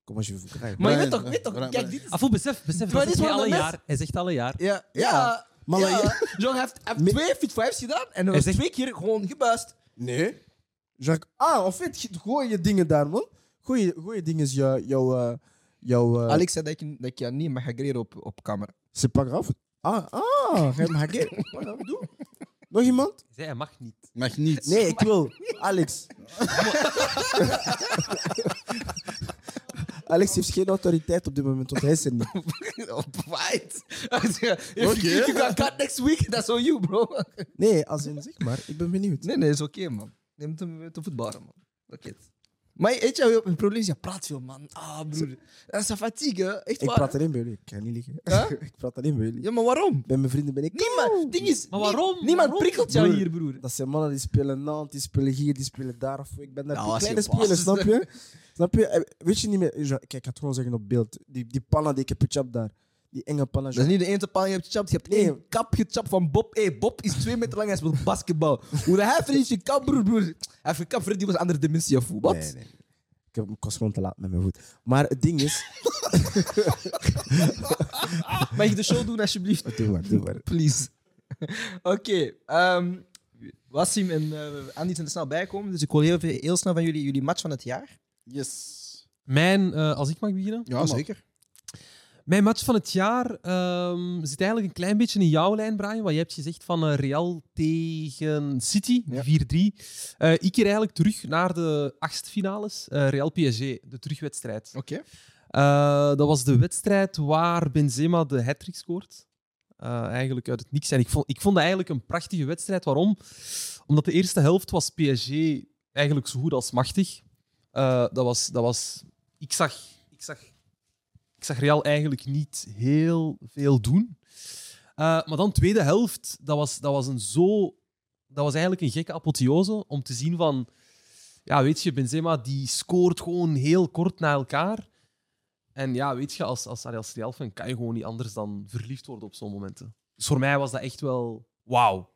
[SPEAKER 8] Kom als je wil krijgen.
[SPEAKER 1] Maar je
[SPEAKER 5] Brian,
[SPEAKER 1] weet toch, weet
[SPEAKER 5] eh,
[SPEAKER 1] toch.
[SPEAKER 5] Brian,
[SPEAKER 1] Kijk,
[SPEAKER 5] Brian.
[SPEAKER 1] dit is...
[SPEAKER 3] Afoe, besef, besef
[SPEAKER 1] Maar
[SPEAKER 3] dat
[SPEAKER 1] dit
[SPEAKER 3] is
[SPEAKER 1] is
[SPEAKER 3] Ah, hij
[SPEAKER 1] wel
[SPEAKER 3] alle
[SPEAKER 1] de
[SPEAKER 3] jaar. Hij zegt alle jaar.
[SPEAKER 1] Ja.
[SPEAKER 8] Ja.
[SPEAKER 1] Ja.
[SPEAKER 8] Maar
[SPEAKER 1] ja.
[SPEAKER 8] wat-
[SPEAKER 1] John heeft, heeft
[SPEAKER 8] Me-
[SPEAKER 1] twee fit fives gedaan en hij
[SPEAKER 3] Hij
[SPEAKER 1] was
[SPEAKER 3] zegt-
[SPEAKER 1] twee keer gewoon gebuist.
[SPEAKER 8] Nee. Zeg ik, ah, of het, gooi je dingen daar, man. Gooi je, gooi je dingen, jouw... Jou, eh, jou, eh,
[SPEAKER 1] Alex zei dat ik, dat ik jou niet mag agreren op, op camera.
[SPEAKER 8] C'est pas grave. Ah, ah, ga je me hakken? Wat dan? Doe. Nog iemand?
[SPEAKER 3] Zij, hij mag niet.
[SPEAKER 5] Mag niet.
[SPEAKER 8] Nee, ik wil. Alex. Alex heeft geen autoriteit op dit moment, want hij is er niet.
[SPEAKER 1] op white. If you, if you got cut next week, that's on you, bro.
[SPEAKER 8] Nee, als in zeg maar, ik ben benieuwd.
[SPEAKER 1] Nee, nee, is oké, man. Je moet hem te voetballen, man. Dat is Maar weet je, het probleem is, je praat veel, man. Ah, broer. Dat is een fatigue, hè. echt
[SPEAKER 8] Ik
[SPEAKER 1] waar.
[SPEAKER 8] praat alleen bij jullie, ik kan niet liegen.
[SPEAKER 1] Huh?
[SPEAKER 8] ik praat alleen bij jullie.
[SPEAKER 1] Ja, maar waarom?
[SPEAKER 8] Bij mijn vrienden ben ik.
[SPEAKER 1] Niemand, ding is,
[SPEAKER 3] Maar waarom?
[SPEAKER 1] niemand
[SPEAKER 3] Waarom?
[SPEAKER 1] prikkelt jou
[SPEAKER 8] Broer.
[SPEAKER 1] hier, broer.
[SPEAKER 8] Dat zijn mannen die spelen Nantes, die spelen hier, die spelen daar. Of, ik ben daar
[SPEAKER 1] Nou,
[SPEAKER 8] die
[SPEAKER 1] als je
[SPEAKER 8] kleine
[SPEAKER 1] baas
[SPEAKER 8] speler,
[SPEAKER 1] is,
[SPEAKER 8] snap je? snap je? Eh, Weet je niet meer... Ja, Kijk, ik ga het gewoon zeggen op beeld. Die, die panna die ik heb gechapt daar. Die enge panna.
[SPEAKER 1] Dat is niet de enige paal die je hebt gechapt. Je hebt
[SPEAKER 8] Nee.
[SPEAKER 1] één kap gechapt van Bob. Hey, Bob is twee meter lang en speelt basketbal. Hoe hij verdient je kap, broer, broer. Hij heeft gekapt, Freddy was een andere dimensie of wat?
[SPEAKER 8] Nee, nee, nee. Ik, heb, ik was gewoon te laat met mijn voet. Maar het ding is...
[SPEAKER 1] Mag ik de show doen, alsjeblieft?
[SPEAKER 8] Doe maar, doe maar.
[SPEAKER 1] Please. Oké. ehm Wassim en eh, Andy zijn er snel bij komen, dus ik wil heel, veel- heel snel van jullie jullie match van het jaar.
[SPEAKER 5] Yes.
[SPEAKER 3] Mijn, eh, als ik mag beginnen.
[SPEAKER 5] Ja, zeker.
[SPEAKER 3] Mijn match van het jaar ehm, zit eigenlijk een klein beetje in jouw lijn, Brian. Want je hebt gezegd van eh, Real tegen City, 4-3. Eh, ik keer eigenlijk terug naar de achtste finales. eh, Real PSG, de terugwedstrijd. Eh,
[SPEAKER 1] Oké.
[SPEAKER 3] dat was de wedstrijd waar Benzema de hat-trick scoort. Eh, eigenlijk uit het niks. En ik vond, ik vond dat eigenlijk een prachtige wedstrijd. Waarom? Omdat de eerste helft was PSG eigenlijk zo goed als machtig. Eh, dat was, dat was, ik, zag, ik zag ik zag Real eigenlijk niet heel veel doen. Eh, maar dan tweede helft, dat was, dat was een zo... Dat was eigenlijk een gekke apotheose om te zien van... Ja, weet je, Benzema die scoort gewoon heel kort na elkaar. En ja, weet je, als, als, als Real fan kan je gewoon niet anders dan verliefd worden op zo'n momenten. Dus voor mij was dat echt wel... Wauw.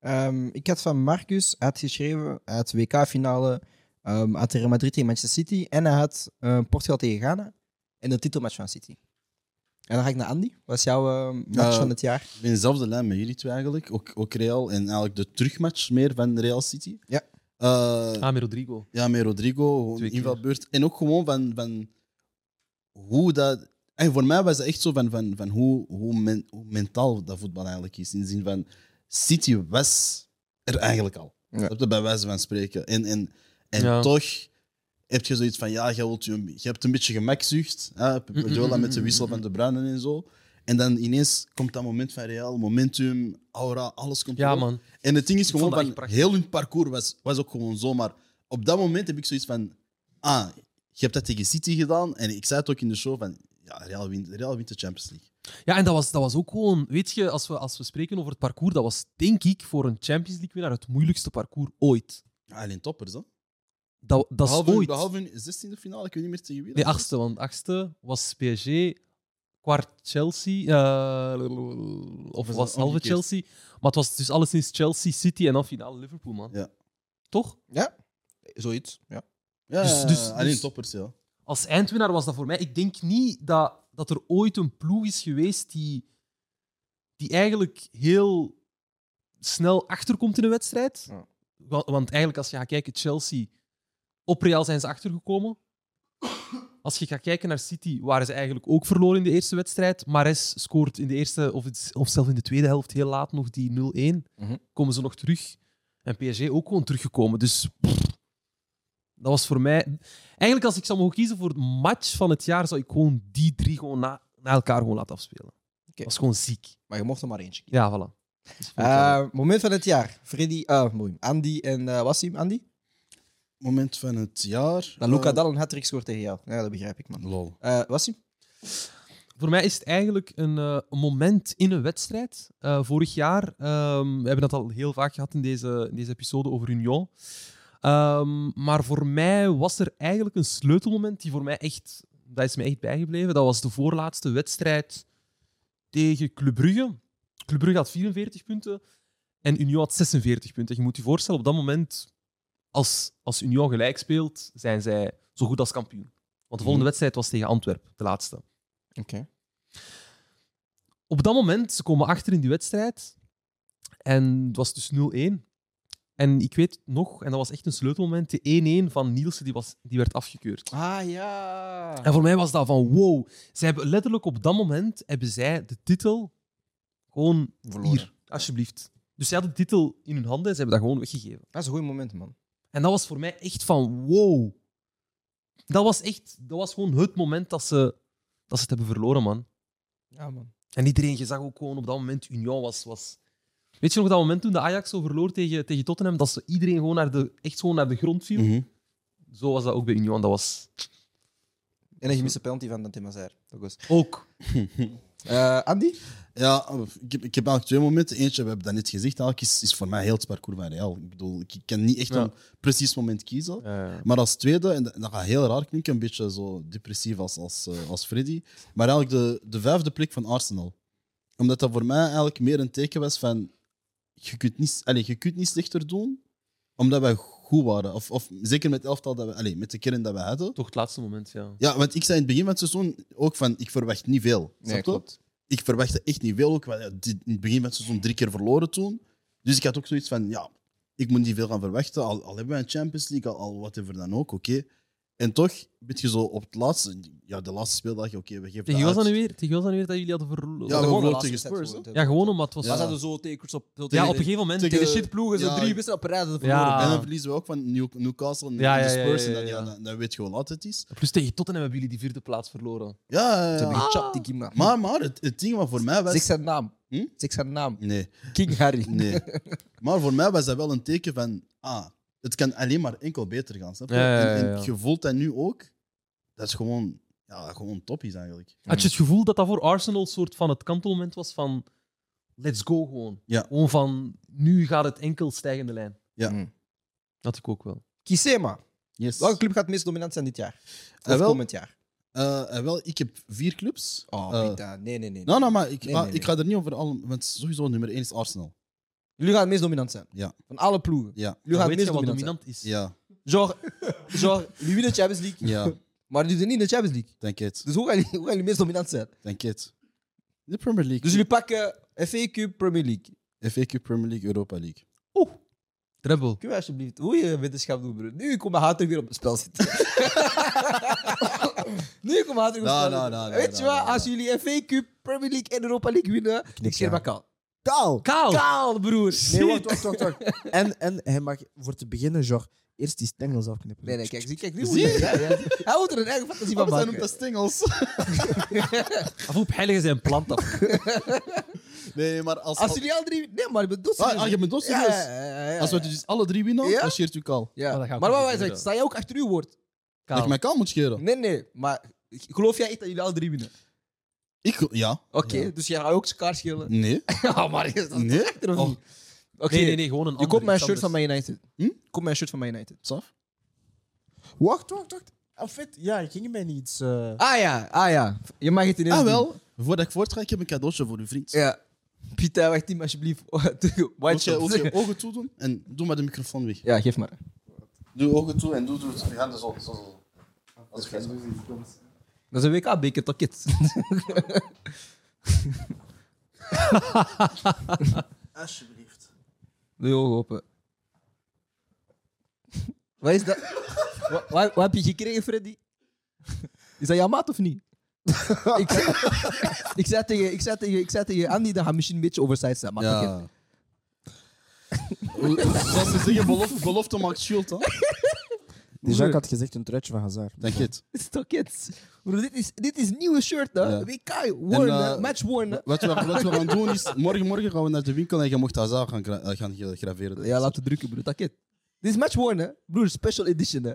[SPEAKER 1] Ehm, ik had van Marcus uitgeschreven uit WK-finale ehm uit Real Madrid tegen Manchester City. En hij had eh, Portugal tegen Ghana en de titelmatch van City. En dan ga ik naar Andy. Wat is jouw ehm, match
[SPEAKER 5] Eh,
[SPEAKER 1] van het jaar?
[SPEAKER 5] Ik ben in dezelfde lijn met jullie twee eigenlijk. Ook, ook Real en eigenlijk de terugmatch meer van Real City. Eh,
[SPEAKER 1] Ja.
[SPEAKER 3] Ah, met Rodrigo.
[SPEAKER 5] Ja, met Rodrigo. Gewoon
[SPEAKER 3] Twee keer.
[SPEAKER 5] invalbeurt. En ook gewoon van, van hoe dat... En voor mij was het echt zo van, van, van hoe, hoe, men- hoe mentaal dat voetbal eigenlijk is. In de zin van, City was er eigenlijk al. Op de bij wijze van spreken. En, en, en
[SPEAKER 3] Ja.
[SPEAKER 5] toch heb je zoiets van, ja, je, wilt je, je hebt een beetje gemakzucht. Hè? Pep Guardiola met de wissel van de Bruinen en zo. En dan ineens komt dat moment van Real, momentum, aura, alles komt
[SPEAKER 3] Ja,
[SPEAKER 5] erop.
[SPEAKER 3] man.
[SPEAKER 5] En het ding is
[SPEAKER 3] Ik
[SPEAKER 5] gewoon
[SPEAKER 3] vond dat echt
[SPEAKER 5] van, heel hun parcours was, was ook gewoon zo. Maar op dat moment heb ik zoiets van, ah, je hebt dat tegen City gedaan. En ik zei het ook in de show van, ja, Real wint, Real wint de Champions League.
[SPEAKER 3] Ja, en dat was, dat was ook gewoon, weet je, als we, als we spreken over het parcours, dat was denk ik voor een Champions League winnaar het moeilijkste parcours ooit.
[SPEAKER 5] Ja, alleen toppers, hè?
[SPEAKER 3] Dat, dat is
[SPEAKER 5] behalve,
[SPEAKER 3] ooit.
[SPEAKER 5] Behalve hun 16e finale, ik weet niet meer tegen wie. dat
[SPEAKER 3] Nee,
[SPEAKER 5] was.
[SPEAKER 3] achtste, want achtste was PSG, kwart Chelsea, eh, of
[SPEAKER 5] Of is
[SPEAKER 3] was
[SPEAKER 5] dat
[SPEAKER 3] halve
[SPEAKER 5] omgekeerd?
[SPEAKER 3] Chelsea. Maar het was dus alleszins Chelsea, City en dan finale Liverpool, man.
[SPEAKER 5] Ja.
[SPEAKER 3] Toch?
[SPEAKER 1] Ja, zoiets. Ja.
[SPEAKER 5] Ja,
[SPEAKER 3] Dus- dus-
[SPEAKER 5] alleen
[SPEAKER 3] dus-
[SPEAKER 5] toppers, ja.
[SPEAKER 3] Als eindwinnaar was dat voor mij. Ik denk niet dat, dat er ooit een ploeg is geweest die, die eigenlijk heel snel achterkomt in een wedstrijd. Wa- Want, eigenlijk, als je gaat kijken, Chelsea, op Real zijn ze achtergekomen. Als je gaat kijken naar City, waren ze eigenlijk ook verloren in de eerste wedstrijd. Mares scoort in de eerste, of, het- of zelfs in de tweede helft, heel laat nog die 0-1.
[SPEAKER 1] Mhm.
[SPEAKER 3] Komen ze nog terug. En PSG ook gewoon teruggekomen. Dus pff, dat was voor mij... Eigenlijk, als ik zou mogen kiezen voor het match van het jaar, zou ik gewoon die drie gewoon na, na elkaar gewoon laten afspelen. Dat was gewoon ziek.
[SPEAKER 1] Maar je mocht er maar eentje kiezen.
[SPEAKER 3] Ja, voilà.
[SPEAKER 1] Eh, moment van het jaar. Freddy, eh, mooi. Andy en eh, Wassim. Andy?
[SPEAKER 5] Moment van het jaar.
[SPEAKER 1] Dat Luca
[SPEAKER 5] eh,
[SPEAKER 1] Dal een hat-trick scoort tegen jou. Ja, dat begrijp ik, man.
[SPEAKER 5] Lol.
[SPEAKER 1] Eh, Wassim?
[SPEAKER 3] Voor mij is het eigenlijk een eh, moment in een wedstrijd. Eh, vorig jaar, ehm, we hebben dat al heel vaak gehad in deze, in deze episode over Union. Ehm, maar voor mij was er eigenlijk een sleutelmoment die voor mij echt, dat is mij echt bijgebleven. Dat was de voorlaatste wedstrijd tegen Club Brugge. Club Brugge had 44 punten en Union had 46 punten. Je moet je voorstellen, op dat moment, als, als Union gelijk speelt, zijn zij zo goed als kampioen. Want de volgende
[SPEAKER 1] Mhm.
[SPEAKER 3] wedstrijd was tegen Antwerpen, de laatste
[SPEAKER 1] Oké.
[SPEAKER 3] op dat moment, ze komen achter in die wedstrijd. En het was dus 0-1. En ik weet nog, en dat was echt een sleutelmoment, de 1-1 van Nielsen die, was, die werd afgekeurd.
[SPEAKER 1] Ah, ja.
[SPEAKER 3] En voor mij was dat van wow. Ze hebben letterlijk op dat moment hebben zij de titel gewoon hier, alsjeblieft. Dus zij hadden de titel in hun handen en ze hebben dat gewoon weggegeven.
[SPEAKER 1] Dat is een goed moment, man.
[SPEAKER 3] En dat was voor mij echt van wow. Dat was echt, dat was gewoon het moment dat ze, dat ze het hebben verloren, man.
[SPEAKER 1] Ja, man.
[SPEAKER 3] En iedereen, je zag ook gewoon op dat moment, Union was... was... Weet je nog dat moment toen de Ajax zo verloor tegen, tegen Tottenham, dat ze iedereen gewoon naar de, echt gewoon naar de grond viel?
[SPEAKER 5] Mhm.
[SPEAKER 3] Zo was dat ook bij Union, dat was...
[SPEAKER 1] En een gemiste penalty van Dante Mazaire. Dat was...
[SPEAKER 3] Ook. Eh,
[SPEAKER 1] Andy?
[SPEAKER 5] Ja, ik heb, ik heb eigenlijk twee momenten. Eentje, we hebben dat net gezegd, eigenlijk is, is voor mij heel het parcours van Real. Ik bedoel, ik ik kan niet echt
[SPEAKER 3] Ja.
[SPEAKER 5] een precies moment kiezen.
[SPEAKER 3] ja.
[SPEAKER 5] Maar als tweede, en dat, dat gaat heel raar klinken, een beetje zo depressief als, als, eh, als Freddy, maar eigenlijk de, de vijfde plek van Arsenal. Omdat dat voor mij eigenlijk meer een teken was van, je kunt niet, allez, je kunt niet slechter doen, omdat wij goed waren. Of, of zeker met het elftal, dat we, allez, met de kern dat we hadden.
[SPEAKER 3] Toch het laatste moment, ja.
[SPEAKER 5] Ja, want ik zei in het begin van het seizoen ook van, ik verwacht niet veel.
[SPEAKER 3] Nee,
[SPEAKER 5] Snap je?
[SPEAKER 3] klopt.
[SPEAKER 5] Ik verwachtte echt niet veel. Ook, want ja, dit- in het begin van het seizoen drie keer verloren toen. Dus ik had ook zoiets van, ja, ik moet niet veel gaan verwachten. Al, al hebben we een Champions League, al, al whatever dan ook, oké. En toch ben je zo op het laatste, ja, de laatste speeldag, oké, we geven
[SPEAKER 3] Tegen wie was
[SPEAKER 5] dat
[SPEAKER 3] dat nu
[SPEAKER 5] uit.
[SPEAKER 3] weer? Tegen wie was dat nu weer dat jullie hadden verloren?
[SPEAKER 5] Ja, we verloren tegen Spurs. hè?
[SPEAKER 3] Ja, gewoon omdat het was...
[SPEAKER 5] Ja.
[SPEAKER 3] Ja,
[SPEAKER 1] zo tekens op. zo
[SPEAKER 3] ja
[SPEAKER 1] tegen-
[SPEAKER 3] op een gegeven moment.
[SPEAKER 1] Tegen
[SPEAKER 5] tegen-
[SPEAKER 1] shitploegen, zo
[SPEAKER 5] ja.
[SPEAKER 1] drie wedstrijden op rij hadden verloren.
[SPEAKER 3] Ja.
[SPEAKER 5] En dan verliezen we ook van New- Newcastle en
[SPEAKER 3] Ja,
[SPEAKER 5] en de
[SPEAKER 3] ja, ja,
[SPEAKER 5] Spurs.
[SPEAKER 3] ja,
[SPEAKER 5] En dan, ja,
[SPEAKER 3] ja.
[SPEAKER 5] dan, dan weet je wel wat het is.
[SPEAKER 3] Plus tegen Tottenham hebben jullie die vierde plaats verloren.
[SPEAKER 5] Ja, ja, ja.
[SPEAKER 1] Ze hebben gechapt,
[SPEAKER 3] Ah.
[SPEAKER 1] die Gimna.
[SPEAKER 5] Maar, maar het, het ding wat voor mij was...
[SPEAKER 1] Zeg zijn naam.
[SPEAKER 5] Hm?
[SPEAKER 1] Zeg zijn naam.
[SPEAKER 5] Nee,
[SPEAKER 1] King Harry.
[SPEAKER 5] nee. maar voor mij was dat wel een teken van... Ah, het kan alleen maar enkel beter gaan, snap je?
[SPEAKER 3] Ja, ja, ja,
[SPEAKER 5] En,
[SPEAKER 3] ja.
[SPEAKER 5] en je voelt dat nu ook. Dat is gewoon... Ja, gewoon top is eigenlijk.
[SPEAKER 3] Had je het gevoel dat dat voor Arsenal soort van het kantelmoment was van... Let's go gewoon.
[SPEAKER 5] Ja.
[SPEAKER 3] Gewoon van, nu gaat het enkel stijgende lijn.
[SPEAKER 5] Ja.
[SPEAKER 1] Mm.
[SPEAKER 3] Dat ik ook wel.
[SPEAKER 1] Kisema.
[SPEAKER 5] Yes.
[SPEAKER 1] Welke club gaat het meest dominant zijn dit jaar? Of
[SPEAKER 5] Eh, wel.
[SPEAKER 1] komend jaar?
[SPEAKER 5] Eh, eh, wel, ik heb vier clubs.
[SPEAKER 1] Oh,
[SPEAKER 5] Eh,
[SPEAKER 1] Pita, nee, nee, nee.
[SPEAKER 5] nou, nou, maar, ik,
[SPEAKER 1] Nee,
[SPEAKER 5] maar
[SPEAKER 1] nee,
[SPEAKER 5] ik ga er niet over al, want sowieso nummer één is Arsenal.
[SPEAKER 1] Jullie gaan het meest dominant zijn.
[SPEAKER 5] Ja.
[SPEAKER 1] Van alle ploegen.
[SPEAKER 5] Ja,
[SPEAKER 1] Jullie
[SPEAKER 3] Dan
[SPEAKER 1] gaan het
[SPEAKER 3] weet
[SPEAKER 1] meest
[SPEAKER 3] je wat
[SPEAKER 1] dominant zijn.
[SPEAKER 3] dominant is.
[SPEAKER 5] ja,
[SPEAKER 1] Genre, genre, jullie winnen de Champions League,
[SPEAKER 5] ja.
[SPEAKER 1] maar jullie doen niet de Champions League.
[SPEAKER 5] Denk het,
[SPEAKER 1] Dus hoe gaan jullie, hoe gaan jullie meest dominant zijn?
[SPEAKER 5] denk het. De Premier League.
[SPEAKER 1] Dus jullie pakken FA Cup Premier League.
[SPEAKER 5] FAQ Premier League, Europa League.
[SPEAKER 3] Treble.
[SPEAKER 1] Kun je alsjeblieft, hoe je wetenschap doet, broer. Nu komt mijn haat terug weer op het spel zitten. nu komt mijn haat terug op
[SPEAKER 5] Nou,
[SPEAKER 1] het spel
[SPEAKER 5] nou,
[SPEAKER 1] zitten.
[SPEAKER 5] nou, nou,
[SPEAKER 1] Weet je
[SPEAKER 5] nou,
[SPEAKER 1] wat,
[SPEAKER 5] nou,
[SPEAKER 1] als jullie FA Cup Premier League en Europa League winnen, ik scheer
[SPEAKER 8] ja.
[SPEAKER 1] maar kaal.
[SPEAKER 8] Kaal!
[SPEAKER 3] Kaal!
[SPEAKER 1] Kaal, broer.
[SPEAKER 8] Nee, wacht, wacht, wacht. wacht. en, en hij mag voor te beginnen, genre, eerst die stengels afknippen.
[SPEAKER 1] Nee, nee, kijk, zie, kijk, nu moet je- ja, ja. Hij moet er een eigen fantasie
[SPEAKER 5] Oh,
[SPEAKER 1] van maken.
[SPEAKER 5] stengels.
[SPEAKER 3] Af op heiligen zijn plant af.
[SPEAKER 5] Nee, maar als...
[SPEAKER 1] Als jullie al drie... Nee, maar ik bedoel...
[SPEAKER 5] Ah, ah, je bent dood
[SPEAKER 1] Ja,
[SPEAKER 5] serieus?
[SPEAKER 1] ja, ja, ja,
[SPEAKER 5] Als we
[SPEAKER 1] ja.
[SPEAKER 5] dus alle drie winnen,
[SPEAKER 1] Ja?
[SPEAKER 5] dan scheert u kaal.
[SPEAKER 1] Ja.
[SPEAKER 3] Maar dat gaat
[SPEAKER 1] Maar
[SPEAKER 3] ook
[SPEAKER 1] wat
[SPEAKER 3] niet
[SPEAKER 1] wij zeggen,
[SPEAKER 3] gebeuren.
[SPEAKER 1] sta jij ook achter uw woord?
[SPEAKER 5] Dat ik
[SPEAKER 3] Kaal.
[SPEAKER 5] mijn kaal moet scheren.
[SPEAKER 1] Nee, nee, maar geloof jij echt dat jullie alle drie winnen?
[SPEAKER 5] Ik... Ja.
[SPEAKER 1] Oké, dus jij gaat ook elkaar schillen.
[SPEAKER 5] Nee.
[SPEAKER 1] Ja, maar is dat
[SPEAKER 5] Nee.
[SPEAKER 1] echt of
[SPEAKER 5] Oh.
[SPEAKER 1] niet? Oké,
[SPEAKER 3] Nee, nee, nee, gewoon een
[SPEAKER 1] je
[SPEAKER 3] ander,
[SPEAKER 1] koopt mijn
[SPEAKER 3] iets
[SPEAKER 1] shirt van
[SPEAKER 3] anders.
[SPEAKER 1] Man United.
[SPEAKER 5] Hm?
[SPEAKER 1] Koop mijn shirt van Man United.
[SPEAKER 5] Saf?
[SPEAKER 8] Wacht, wacht, wacht. En fit, ja, ging je mij niet iets... eh,
[SPEAKER 1] Ah ja, ah ja. Je mag het ineens
[SPEAKER 5] Ah
[SPEAKER 1] doen.
[SPEAKER 5] wel, voordat ik voortga, ik heb een cadeautje voor uw vriend.
[SPEAKER 1] Ja. Pieter, wacht hem alsjeblieft. White
[SPEAKER 5] Moet je, moet
[SPEAKER 1] shirt.
[SPEAKER 5] je ogen toedoen en doe maar de microfoon weg.
[SPEAKER 1] Ja, geef maar.
[SPEAKER 5] Doe ogen toe en doe, doe het. Ja, zo, zo, zo. Als ik
[SPEAKER 1] Dat is een WK-beker, toch, kids?
[SPEAKER 5] Alsjeblieft.
[SPEAKER 1] Doe je ogen open. Wat is dat? wat, wat, wat heb je gekregen, Freddy? Is dat jouw maat of niet? ik, zei, ik, zei tegen, ik, zei tegen, ik zei tegen Andy dat hij misschien een beetje oversized is. Maar
[SPEAKER 5] Ja.
[SPEAKER 1] oké.
[SPEAKER 5] Zoals ze zeggen, belofte, belofte maakt schuld, hè?
[SPEAKER 8] Dus ik had gezegd een truitje van Hazard.
[SPEAKER 5] Denk je het?
[SPEAKER 1] Dit is toch kids? Bro, dit, is, dit is nieuwe shirt, hè?
[SPEAKER 5] Ja.
[SPEAKER 1] WK, worn, hè?
[SPEAKER 5] eh,
[SPEAKER 1] match worn. hè?
[SPEAKER 5] Wat we, wat we gaan doen is, morgen, morgen gaan we naar de winkel en je mocht Hazard gaan, gra- eh, gaan gra- graveren.
[SPEAKER 1] Ja, laten drukken, broer. Takket. Dit is match worn, hè? Broer, special edition, hè?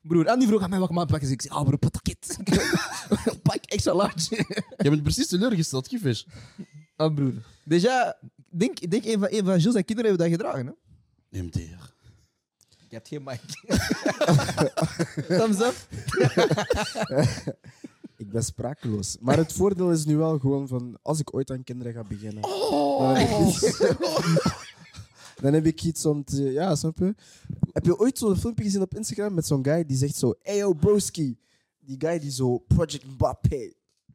[SPEAKER 1] Broer, Andy vroeg aan mij wat ik maat pak. Ik zei, ah, broer, takket. pak extra large.
[SPEAKER 5] Je bent precies teleurgesteld, Kiefers.
[SPEAKER 1] Ah, broer. Déjà, ik denk, ik denk een, van, een van Jules zijn kinderen hebben dat gedragen, hè?
[SPEAKER 5] MDR.
[SPEAKER 1] Je hebt geen mic. Thumbs up.
[SPEAKER 8] Ik ben sprakeloos. Maar het voordeel is nu wel gewoon van, als ik ooit aan kinderen ga beginnen, dan, heb
[SPEAKER 1] Oh.
[SPEAKER 8] ik iets, dan heb ik iets om te... Ja, snap je? Heb je ooit zo'n filmpje gezien op Instagram met zo'n guy die zegt zo, hey yo broski. Die guy die zo Project Mbappé,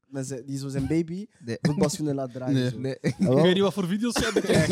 [SPEAKER 8] met zijn- die zo zijn baby
[SPEAKER 1] Nee.
[SPEAKER 8] voetbalschoenen laat dragen.
[SPEAKER 5] Nee.
[SPEAKER 8] zo. Ah,
[SPEAKER 1] Nee.
[SPEAKER 8] Jawel,
[SPEAKER 3] Ik weet niet wat voor video's jij bekijkt.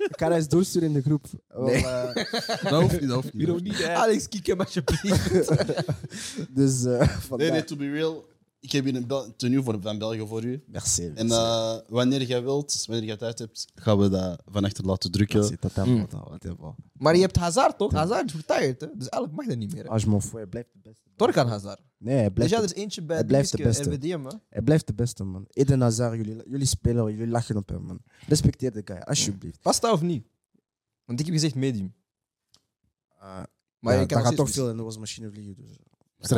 [SPEAKER 8] ik ga dat eens doorsturen in de groep. Wel, eh,
[SPEAKER 5] Dat hoeft niet, dat hoeft niet.
[SPEAKER 1] Alex, kijk hem alsjeblieft.
[SPEAKER 8] dus eh vandaar.
[SPEAKER 5] Nee, nee, to be real. Ik heb hier een Bel- tenue voor, van België voor u.
[SPEAKER 8] Merci.
[SPEAKER 5] En
[SPEAKER 8] merci.
[SPEAKER 5] eh, wanneer jij wilt, wanneer jij tijd hebt, gaan we dat van achter laten drukken. Mm.
[SPEAKER 8] Merci, tot dan, tot dan, tot dan.
[SPEAKER 1] Maar je hebt Hazard, toch? Hazard is retired, hè? Dus eigenlijk mag dat niet meer. hè?
[SPEAKER 8] Als je me voor, hij blijft de beste.
[SPEAKER 1] Torkan Hazard.
[SPEAKER 8] Nee, hij
[SPEAKER 1] Dus
[SPEAKER 8] blijft,
[SPEAKER 1] ja, er
[SPEAKER 8] de,
[SPEAKER 1] is eentje bij
[SPEAKER 8] Hij blijft de
[SPEAKER 1] dingetje,
[SPEAKER 8] beste.
[SPEAKER 1] RWDM, hè?
[SPEAKER 8] hij blijft de beste, man. Eden Hazard, jullie, jullie spelen, jullie lachen op hem, man. Respecteer de guy, alsjeblieft.
[SPEAKER 1] Past dat of niet? Want ik heb gezegd medium.
[SPEAKER 8] Eh,
[SPEAKER 1] Maar
[SPEAKER 8] ja,
[SPEAKER 1] je kan
[SPEAKER 8] dat
[SPEAKER 1] nog
[SPEAKER 8] gaat toch
[SPEAKER 1] steeds
[SPEAKER 8] veel in de wasmachine vliegen. Dus. Dat gaat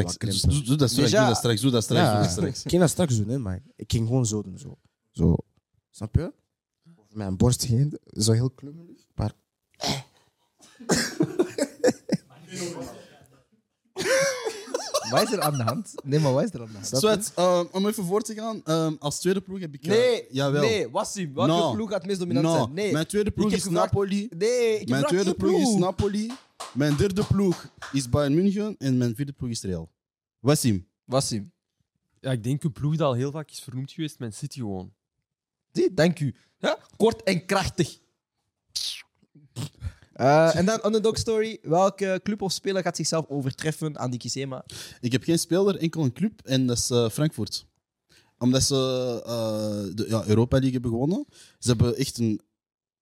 [SPEAKER 8] wel
[SPEAKER 5] Straks. Dus
[SPEAKER 8] krimpen.
[SPEAKER 5] Doe, doe dat straks,
[SPEAKER 1] Déjà-
[SPEAKER 5] doe dat straks, doe dat straks, doe dat straks.
[SPEAKER 8] Ik ging dat straks doen, hè, maar ik ging gewoon zo doen. Zo. zo. Snap je? Over mijn borst heen, zo heel klungelig. Maar...
[SPEAKER 1] Wat is er aan de hand? Nee, maar wat is er aan de hand?
[SPEAKER 5] Zwet, ehm, om even voor te gaan, ehm, als tweede ploeg heb ik... eh,
[SPEAKER 1] Nee,
[SPEAKER 5] jawel.
[SPEAKER 1] nee, Wassim. Welke
[SPEAKER 5] No.
[SPEAKER 1] ploeg gaat het meest dominant
[SPEAKER 5] No,
[SPEAKER 1] zijn? Nee,
[SPEAKER 5] mijn tweede ploeg
[SPEAKER 1] heb
[SPEAKER 5] is
[SPEAKER 1] gevraagd-
[SPEAKER 5] Napoli.
[SPEAKER 1] nee ik heb
[SPEAKER 5] Mijn
[SPEAKER 1] vraag
[SPEAKER 5] tweede
[SPEAKER 1] één
[SPEAKER 5] ploeg is Napoli. Mijn derde ploeg is Bayern München. En mijn vierde ploeg is Real. Wassim.
[SPEAKER 1] Wassim.
[SPEAKER 3] Ja, ik denk een ploeg die al heel vaak is vernoemd geweest, Man City gewoon.
[SPEAKER 1] Zie, dank u. Ja? Kort en krachtig. Eh, en dan underdog story. Welke club of speler gaat zichzelf overtreffen aan die Kisema?
[SPEAKER 5] Ik heb geen speler, enkel een club en dat is eh, Frankfurt. Omdat ze eh, de ja, Europa League hebben gewonnen. Ze hebben echt een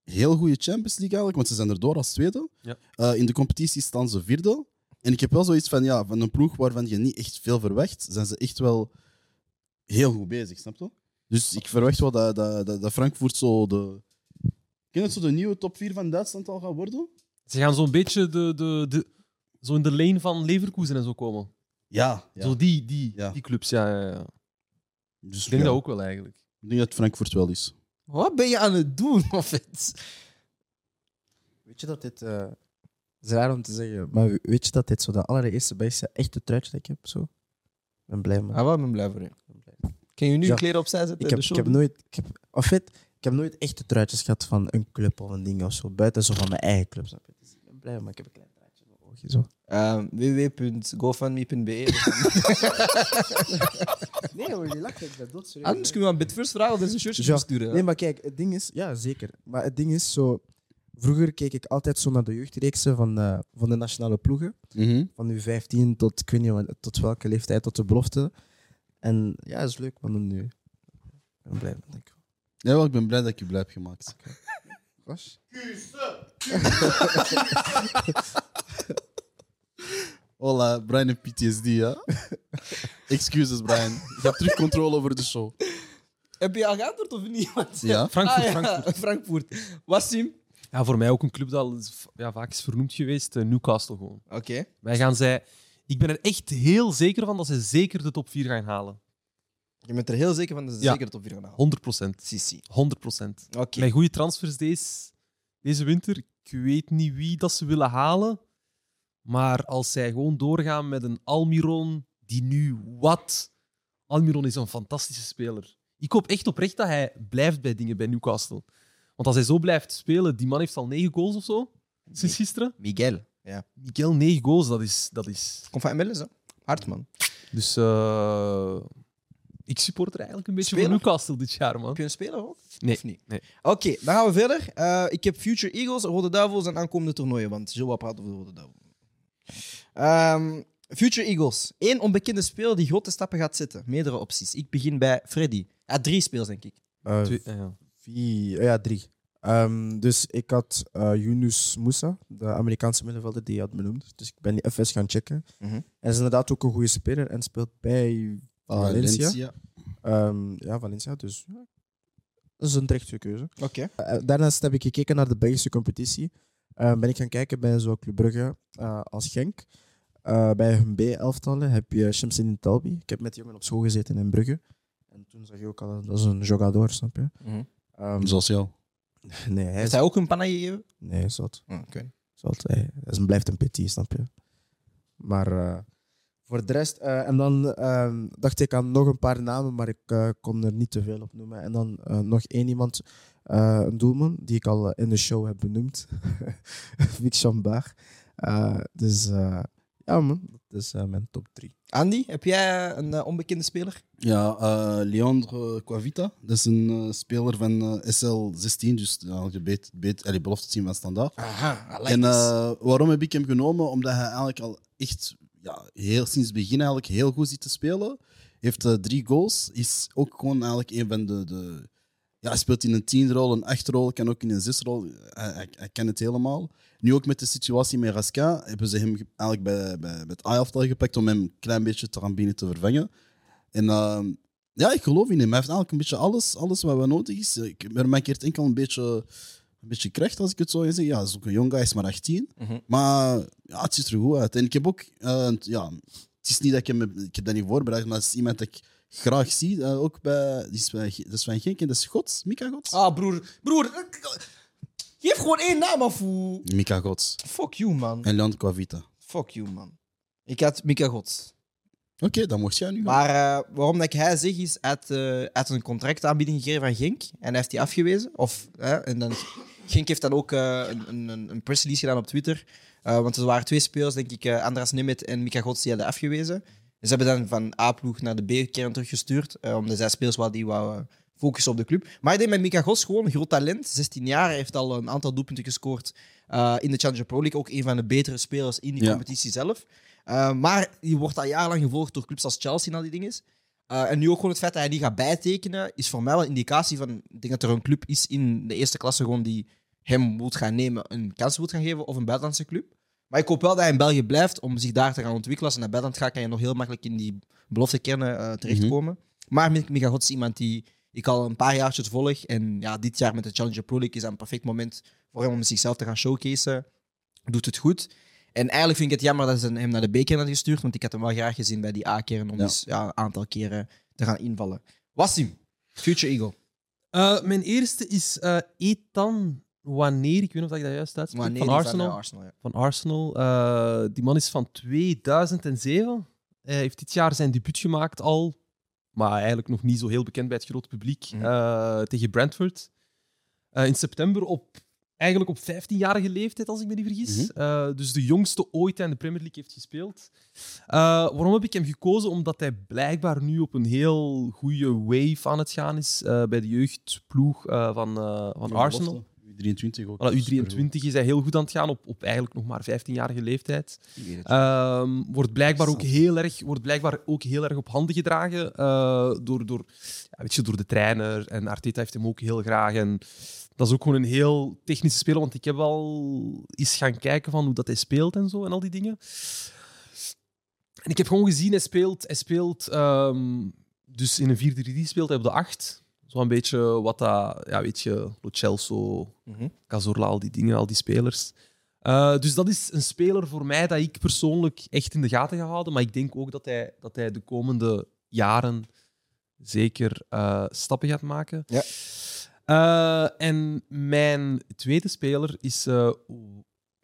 [SPEAKER 5] heel goede Champions League eigenlijk, want ze zijn erdoor als tweede.
[SPEAKER 3] Ja.
[SPEAKER 5] Eh, in de competitie staan ze vierde. En ik heb wel zoiets van, ja, van een ploeg waarvan je niet echt veel verwacht, zijn ze echt wel heel goed bezig, snap je? Dus ik verwacht wel dat, dat, dat, dat Frankfurt zo de... Ken je dat zo de nieuwe top 4 van Duitsland al gaat worden?
[SPEAKER 3] Ze gaan zo'n beetje de, de, de, zo in de lane van Leverkusen en zo komen.
[SPEAKER 5] Ja. ja.
[SPEAKER 3] Zo die, die,
[SPEAKER 5] Ja.
[SPEAKER 3] die clubs, ja. ja, ja.
[SPEAKER 5] Dus
[SPEAKER 3] ik denk
[SPEAKER 5] ja.
[SPEAKER 3] dat ook wel eigenlijk.
[SPEAKER 5] Ik denk dat Frankfurt wel is.
[SPEAKER 1] Wat ben je aan het doen, Moffat?
[SPEAKER 8] Weet je dat dit. eh het is raar om te zeggen, maar weet je dat dit zo de allereerste Belgische echte truitje dat ik heb? Zo? Ik ben blij, man.
[SPEAKER 1] Ah, wel, ik ben blij voor je. Kun je nu
[SPEAKER 8] Ja.
[SPEAKER 1] een kleren opzij zetten?
[SPEAKER 8] Ik
[SPEAKER 1] en
[SPEAKER 8] heb,
[SPEAKER 1] de
[SPEAKER 8] ik
[SPEAKER 1] show
[SPEAKER 8] heb
[SPEAKER 1] doen?
[SPEAKER 8] nooit. Ik heb, of het, ik heb nooit echte truitjes gehad van een club of een ding of zo. Buiten zo van mijn eigen club. Snap je? Dus ik ben blij, maar ik heb een klein truitje in mijn oogje. Zo.
[SPEAKER 1] Ehm, www.gofundme.be.
[SPEAKER 8] Nee hoor, die lak ik dat dood
[SPEAKER 5] Ah,
[SPEAKER 8] serieus.
[SPEAKER 5] dus-
[SPEAKER 1] Anders Ah, dus kunnen we aan Bitfirst vragen of er is een shirtje
[SPEAKER 8] Ja,
[SPEAKER 1] te sturen.
[SPEAKER 8] Nee, maar kijk, het ding is, ja zeker. Maar het ding is zo. Vroeger keek ik altijd zo naar de jeugdreeksen van, eh, van de nationale ploegen.
[SPEAKER 5] Mhm.
[SPEAKER 8] Van nu 15 tot ik weet niet wat- tot welke leeftijd, tot de belofte. En ja, is leuk man om nu. Ik ben blij, denk ik.
[SPEAKER 5] Ja, wel, ik ben blij dat ik je blij heb gemaakt.
[SPEAKER 8] Was?
[SPEAKER 5] Hola, Brian en PTSD, ja? Excuses, Brian. Je hebt terug controle over de show.
[SPEAKER 1] Heb je al geantwoord of niet? Want-
[SPEAKER 5] Ja.
[SPEAKER 3] Frankfurt,
[SPEAKER 1] Ah, ja,
[SPEAKER 3] Frankfurt.
[SPEAKER 1] Frankfurt. Wassim?
[SPEAKER 3] Ja, voor mij ook een club dat al is- ja, vaak is vernoemd geweest, eh, Newcastle gewoon.
[SPEAKER 1] Oké.
[SPEAKER 3] Wij gaan zij... Ik ben er echt heel zeker van dat ze zeker de top 4 gaan halen.
[SPEAKER 1] Je bent er heel zeker van dat ze
[SPEAKER 3] Ja.
[SPEAKER 1] zeker de top 4 gaan halen.
[SPEAKER 3] 100 procent.
[SPEAKER 1] Sissi.
[SPEAKER 3] 100 procent.
[SPEAKER 1] Oké.
[SPEAKER 3] Met goede transfers deze, deze winter. Ik weet niet wie dat ze willen halen. Maar als zij gewoon doorgaan met een Almiron, die nu wat. Almiron is een fantastische speler. Ik hoop echt oprecht dat hij blijft bij dingen bij Newcastle. Want als hij zo blijft spelen, die man heeft al negen goals of zo. Sinds gisteren.
[SPEAKER 1] Miguel. Ja.
[SPEAKER 3] Miguel, negen goals, dat is. Dat is.
[SPEAKER 1] Komt van MLS, hè? Hard, man.
[SPEAKER 3] Dus eh, ik support er eigenlijk een beetje
[SPEAKER 1] Speler?
[SPEAKER 3] voor Newcastle dit jaar, man.
[SPEAKER 1] Kunnen spelen ook?
[SPEAKER 3] Nee.
[SPEAKER 1] Of niet?
[SPEAKER 3] nee.
[SPEAKER 1] Oké, dan gaan we verder. Eh, ik heb Future Eagles, Rode Duivels en aankomende toernooien, want Joe praat over de Rode Duivels. Ehm, Future Eagles. Eén onbekende speler die grote stappen gaat zetten. Meerdere opties. Ik begin bij Freddy. Ja, drie speels, denk ik.
[SPEAKER 8] Eh,
[SPEAKER 3] Twee- eh, ja.
[SPEAKER 8] Vier, eh, ja, drie. Ehm, dus ik had eh Yunus Moussa, de Amerikaanse middenvelder die je had benoemd. Dus ik ben die FS gaan checken.
[SPEAKER 1] Mhm.
[SPEAKER 8] Hij is inderdaad ook een goede speler en speelt bij Valencia.
[SPEAKER 5] Valencia.
[SPEAKER 8] Ehm, ja, Valencia. Dus ja, dat is een terechte keuze.
[SPEAKER 1] Oké.
[SPEAKER 8] Eh, daarnaast heb ik gekeken naar de Belgische competitie. Eh, ben ik gaan kijken bij zo'n Club Brugge eh, als Genk. Eh, bij hun B-elftallen heb je Shamsin Talbi. Ik heb met die jongen op school gezeten in Brugge. En toen zag je ook al, dat is een jogador, snap je?
[SPEAKER 1] Mhm.
[SPEAKER 8] Ehm,
[SPEAKER 5] Zoals jou.
[SPEAKER 8] Nee, hij
[SPEAKER 1] Heeft
[SPEAKER 8] is...
[SPEAKER 1] hij ook een panna gegeven?
[SPEAKER 8] Nee, zot.
[SPEAKER 1] Oh, Oké.
[SPEAKER 8] zot. Hij is een, blijft een petit, snap je? Maar eh, voor de rest... eh, en dan ehm, dacht ik aan nog een paar namen, maar ik eh, kon er niet te veel op noemen. En dan eh, nog één iemand, eh, een doelman, die ik al eh, in de show heb benoemd. Vic Chambaar. Eh, dus eh, ja, man. Dat is eh, mijn top drie.
[SPEAKER 1] Andy, heb jij een eh, onbekende speler?
[SPEAKER 5] Ja, eh Leandro Quavita. Dat is een eh, speler van eh, SL16, dus ja, je weet, weet, allee, belofte-team van standaard.
[SPEAKER 1] Aha, I
[SPEAKER 5] en eh, waarom heb ik hem genomen? Omdat hij eigenlijk al echt ja, heel, sinds het begin eigenlijk heel goed zit te spelen. Heeft eh, drie goals. Is ook gewoon eigenlijk een van de. de ja, hij speelt in een tienrol, een achtrol, kan ook in een zesrol. Hij, hij, hij kan het helemaal. Nu ook met de situatie met Raska hebben ze hem ge- eigenlijk bij, bij, bij het A-elftal gepakt om hem een klein beetje te gaan binnen te vervangen. En ehm, ja, ik geloof in hem. Hij heeft eigenlijk een beetje alles, alles wat wel nodig is. Ik, er mankeert enkel een beetje, een beetje kracht, als ik het zo zeg. Ja, hij is ook een jong guy, hij is maar 18.
[SPEAKER 1] Mhm.
[SPEAKER 5] Maar ja, het ziet er goed uit. En ik heb ook... eh, een- ja, het is niet dat ik hem... heb- Ik heb dat niet voorbereid, maar het is iemand dat ik graag zie. eh, ook bij... Die is bij dat is van Genk en dat is Gods. Mika Gods.
[SPEAKER 1] Ah, broer. Broer. Geef gewoon één naam af. hoe-
[SPEAKER 5] Mika Gods.
[SPEAKER 1] Fuck you, man.
[SPEAKER 5] En Leon Quavita. Oké,
[SPEAKER 1] Fuck you, man. Ik had Mika Gods.
[SPEAKER 5] dan mocht jij nu gaan.
[SPEAKER 1] Maar eh, waarom dat ik hij zeg is, hij had, eh, hij had een contractaanbieding gegeven van Genk en hij heeft die afgewezen. Of, hè, en dan, Genk heeft dan ook eh, een- een, een, een pressrelease gedaan op Twitter. eh, want er waren twee spelers, denk ik, eh, Andras Nimet en Mika Gods, die hadden afgewezen. En ze hebben dan van A-ploeg naar de B-kern teruggestuurd, eh, omdat zij spelers wel die wouden focussen op de club. Maar ik denk met Mika Gods gewoon een groot talent. 16 jaar, hij heeft al een aantal doelpunten gescoord. Eh, Eh, in de Challenger Pro League ook een van de betere spelers in die
[SPEAKER 5] Ja.
[SPEAKER 1] competitie zelf. Eh, maar die wordt al jarenlang gevolgd door clubs als Chelsea en al die dingen. Eh, en nu ook gewoon het feit dat hij die gaat bijtekenen, is voor mij wel een indicatie van... Ik denk dat er een club is in de eerste klasse gewoon die hem moet gaan nemen, een kans moet gaan geven, of een buitenlandse club. Maar ik hoop wel dat hij in België blijft om zich daar te gaan ontwikkelen. Als hij naar buitenland gaat, kan je nog heel makkelijk in die belofte kernen eh, terechtkomen. Maar Mick Michagots is iemand die ik al een paar jaartjes volg. En ja, dit jaar met de Challenger Pro League is dat een perfect moment voor hem om zichzelf te gaan showcasen. Doet het goed. En eigenlijk vind ik het jammer dat ze hem naar de B-kern hadden gestuurd. Want ik had hem wel graag gezien bij die A-kern om
[SPEAKER 5] Ja.
[SPEAKER 1] eens ja, een aantal keren te gaan invallen. Wassim, Future Eagle.
[SPEAKER 3] Eh, mijn eerste is eh Ethan Wanneer. Ik weet niet of ik dat juist uitspreek.
[SPEAKER 1] Wanneer
[SPEAKER 3] van
[SPEAKER 1] is
[SPEAKER 3] Arsenal.
[SPEAKER 1] van, eh, Arsenal, ja.
[SPEAKER 3] Van Arsenal. Eh, die man is van 2007. Hij heeft dit jaar zijn debuut gemaakt al. Maar eigenlijk nog niet zo heel bekend bij het grote publiek.
[SPEAKER 1] Mhm.
[SPEAKER 3] eh, tegen Brentford. Eh, in september op... Eigenlijk op 15-jarige leeftijd, als ik me niet vergis.
[SPEAKER 1] Mhm.
[SPEAKER 3] Eh, dus de jongste ooit die in de Premier League heeft gespeeld. Eh, waarom heb ik hem gekozen? Omdat hij blijkbaar nu op een heel goede wave aan het gaan is eh, bij de jeugdploeg eh, van, eh, van
[SPEAKER 5] belofte.
[SPEAKER 3] Arsenal.
[SPEAKER 5] U23 ook.
[SPEAKER 3] Voilà, U23 is hij heel goed aan het gaan op, op eigenlijk nog maar 15-jarige leeftijd.
[SPEAKER 5] Ik weet het.
[SPEAKER 3] Ehm, wordt, blijkbaar ook heel erg, wordt blijkbaar ook heel erg op handen gedragen eh, door, door, ja, weet je, door de trainer. En Arteta heeft hem ook heel graag. En dat is ook gewoon een heel technische speler, want ik heb al eens gaan kijken van hoe dat hij speelt en zo en al die dingen. En ik heb gewoon gezien, hij speelt, hij speelt ehm, dus in een 4-3-3 speelt hij op de 8. Zo'n beetje wat dat, ja, weet je, Lo Celso,
[SPEAKER 1] Mhm.
[SPEAKER 3] Cazorla, al die dingen, al die spelers. Eh, dus dat is een speler voor mij dat ik persoonlijk echt in de gaten ga houden. Maar ik denk ook dat hij, dat hij de komende jaren zeker eh, stappen gaat maken.
[SPEAKER 1] Ja.
[SPEAKER 3] Eh, en mijn tweede speler is. eh,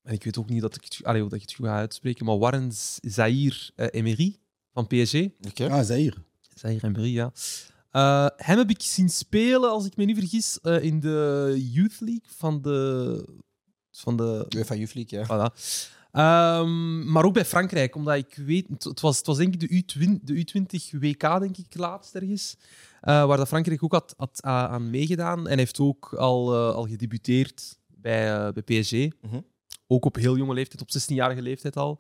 [SPEAKER 3] en ik weet ook niet dat ik het, goed- allee, of dat ik het goed ga uitspreken, maar Warren Zaïr Emery van PSG.
[SPEAKER 5] Ah, Zaïr.
[SPEAKER 3] Zaïr Emery, ja. Eh, hem heb ik zien spelen, als ik me niet vergis, eh, in de Youth League van de. Van de
[SPEAKER 1] UEFA Youth League, ja.
[SPEAKER 3] Voilà. Ehm, maar ook bij Frankrijk, omdat ik weet, het- het was, het was denk ik de, U20, de U20 WK, denk ik, laatst ergens. eh, waar dat Frankrijk ook had, had a- aan meegedaan. En hij heeft ook al, eh, al gedebuteerd bij, eh, bij PSG.
[SPEAKER 1] Mhm.
[SPEAKER 3] Ook op heel jonge leeftijd, op 16-jarige leeftijd al.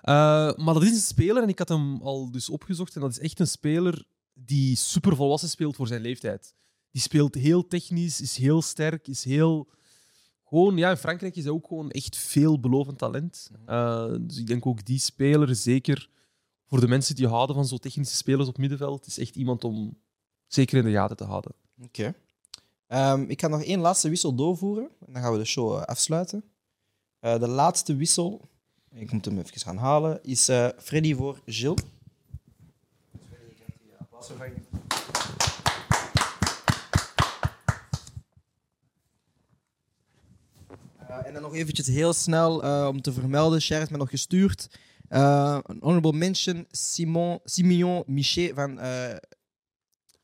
[SPEAKER 3] Eh, maar dat is een speler, en ik had hem al dus opgezocht. En dat is echt een speler die super volwassen speelt voor zijn leeftijd. Die speelt heel technisch, is heel sterk, is heel. Gewoon, ja, in Frankrijk is hij ook gewoon echt veelbelovend talent.
[SPEAKER 13] Mhm.
[SPEAKER 3] Eh, dus ik denk ook die speler, zeker voor de mensen die houden van zo'n technische spelers op middenveld, is echt iemand om zeker in de gaten te houden.
[SPEAKER 1] Oké. Ehm, ik ga nog één laatste wissel doorvoeren. En dan gaan we de show eh, afsluiten. Eh, de laatste wissel, ik moet hem even gaan halen, is eh, Freddy voor Gilles. Eh, en dan nog eventjes heel snel eh, om te vermelden, Sher heeft me nog gestuurd. eh, Een honorable mention, Simon, Simeon Michet van eh,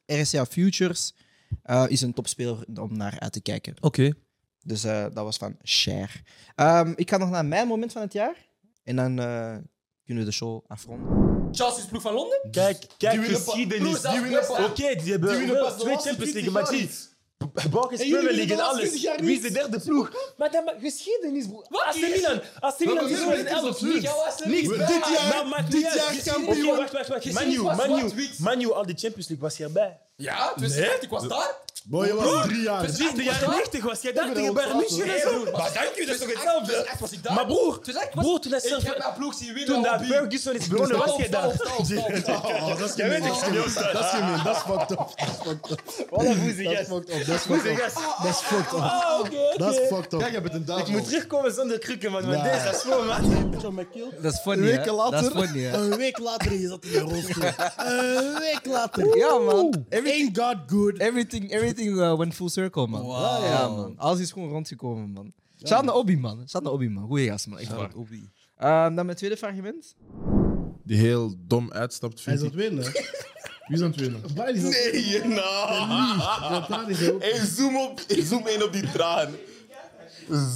[SPEAKER 1] RSA Futures eh, is een topspeler om naar uit te kijken. Oké. Dus eh, dat was van Cher. Ehm, ik ga nog naar mijn moment van het jaar. En dan eh, kunnen we de show afronden.
[SPEAKER 13] Chelsea's ploeg van Londen? Kijk,
[SPEAKER 1] Die
[SPEAKER 13] kijk,
[SPEAKER 1] winnen pas-
[SPEAKER 13] geschiedenis.
[SPEAKER 1] broer, dat is best,
[SPEAKER 13] Oké,
[SPEAKER 1] hè?
[SPEAKER 13] die
[SPEAKER 1] Die
[SPEAKER 13] hebben
[SPEAKER 1] winnen
[SPEAKER 13] wel
[SPEAKER 1] pas de
[SPEAKER 13] twee
[SPEAKER 1] laatste
[SPEAKER 13] Champions League,
[SPEAKER 1] 20
[SPEAKER 13] maar
[SPEAKER 1] jaar
[SPEAKER 13] die...
[SPEAKER 1] niet.
[SPEAKER 13] Balk is
[SPEAKER 12] En jullie winnen
[SPEAKER 13] Premier League en
[SPEAKER 12] de laatste 20
[SPEAKER 13] alles.
[SPEAKER 12] jaar
[SPEAKER 13] Wie is de
[SPEAKER 12] niet.
[SPEAKER 13] derde ploeg?
[SPEAKER 12] Maar dat maakt geschiedenis, broer.
[SPEAKER 13] Wat?
[SPEAKER 12] AC Milan. AC Milan
[SPEAKER 13] Welke
[SPEAKER 12] is
[SPEAKER 13] geschiedenis?
[SPEAKER 12] 2011.
[SPEAKER 13] Absurd.
[SPEAKER 12] Niks.
[SPEAKER 13] Dit
[SPEAKER 12] bij.
[SPEAKER 13] jaar-
[SPEAKER 12] Nou, maakt
[SPEAKER 13] dit
[SPEAKER 12] niet uit.
[SPEAKER 13] jaar
[SPEAKER 12] Geschiedenis-
[SPEAKER 13] kampioen.
[SPEAKER 12] Oké, wacht, wacht, wacht.
[SPEAKER 13] Geschiedenis
[SPEAKER 12] Manu,
[SPEAKER 13] was
[SPEAKER 12] Manu,
[SPEAKER 13] zwart-wit.
[SPEAKER 12] Manu, al die Champions League was hierbij.
[SPEAKER 13] Ja, 2008, ik was daar.
[SPEAKER 12] Boy, je was
[SPEAKER 13] Broer,
[SPEAKER 12] drie jaar.
[SPEAKER 13] precies,
[SPEAKER 12] Ik was daar. Ik ben
[SPEAKER 13] Bayern
[SPEAKER 12] ontslagen.
[SPEAKER 13] München
[SPEAKER 12] Nee, broer,
[SPEAKER 13] Maar
[SPEAKER 12] maar
[SPEAKER 13] dank u, dat is toch
[SPEAKER 12] dus
[SPEAKER 13] hetzelfde?
[SPEAKER 12] echt was ik daar.
[SPEAKER 13] Maar broer,
[SPEAKER 12] Dus echt was-
[SPEAKER 13] broer, toen dat
[SPEAKER 12] Ik
[SPEAKER 13] zelf-
[SPEAKER 12] heb mijn ploeg zien winnen
[SPEAKER 13] Toen
[SPEAKER 12] op
[SPEAKER 13] dat
[SPEAKER 12] Wien.
[SPEAKER 13] Ferguson is begonnen,
[SPEAKER 12] Dus
[SPEAKER 13] was
[SPEAKER 12] dat
[SPEAKER 13] jij daar.
[SPEAKER 12] opstaan, opstaan, opstaan.
[SPEAKER 13] Oh, dat is
[SPEAKER 12] Jij weet
[SPEAKER 13] gemeen,
[SPEAKER 12] ik
[SPEAKER 13] dat is
[SPEAKER 12] zie dat.
[SPEAKER 13] gemeen,
[SPEAKER 12] Dat is gemeen, dat is fucked up. Dat is fucked up. Dat is fucked up, dat is fucked up. Dat is fucked up.
[SPEAKER 13] Ah, oké, oké.
[SPEAKER 12] Dat is fucked up.
[SPEAKER 13] Kijk, je bent een duivel.
[SPEAKER 12] Ik moet terugkomen zonder krukken, want
[SPEAKER 13] Nee.
[SPEAKER 12] mijn deze is voor, man.
[SPEAKER 1] Dat is funny,
[SPEAKER 12] Een week
[SPEAKER 1] hè?
[SPEAKER 12] later,
[SPEAKER 1] Dat is funny, hè?
[SPEAKER 12] Een week later, je zat in je rolstoel. Een week later.
[SPEAKER 1] Ja, man.
[SPEAKER 12] Everything got good.
[SPEAKER 1] Everything, everything uh, went full circle, man.
[SPEAKER 12] Wauw.
[SPEAKER 1] Ja, man. Alles is gewoon rondgekomen, man. Shout naar Obi, man. Shout naar Obi, man. Goeie gast, man. Echt
[SPEAKER 14] Shout
[SPEAKER 1] waar.
[SPEAKER 14] out
[SPEAKER 1] Ehm, dan mijn tweede fragment.
[SPEAKER 14] Die heel dom uitstapt,
[SPEAKER 1] Hij
[SPEAKER 14] vind
[SPEAKER 1] is
[SPEAKER 14] ik.
[SPEAKER 1] aan het winnen.
[SPEAKER 14] Wie is aan het winnen?
[SPEAKER 7] Nee, nou. Hey, zoom, op, zoom in op die traan.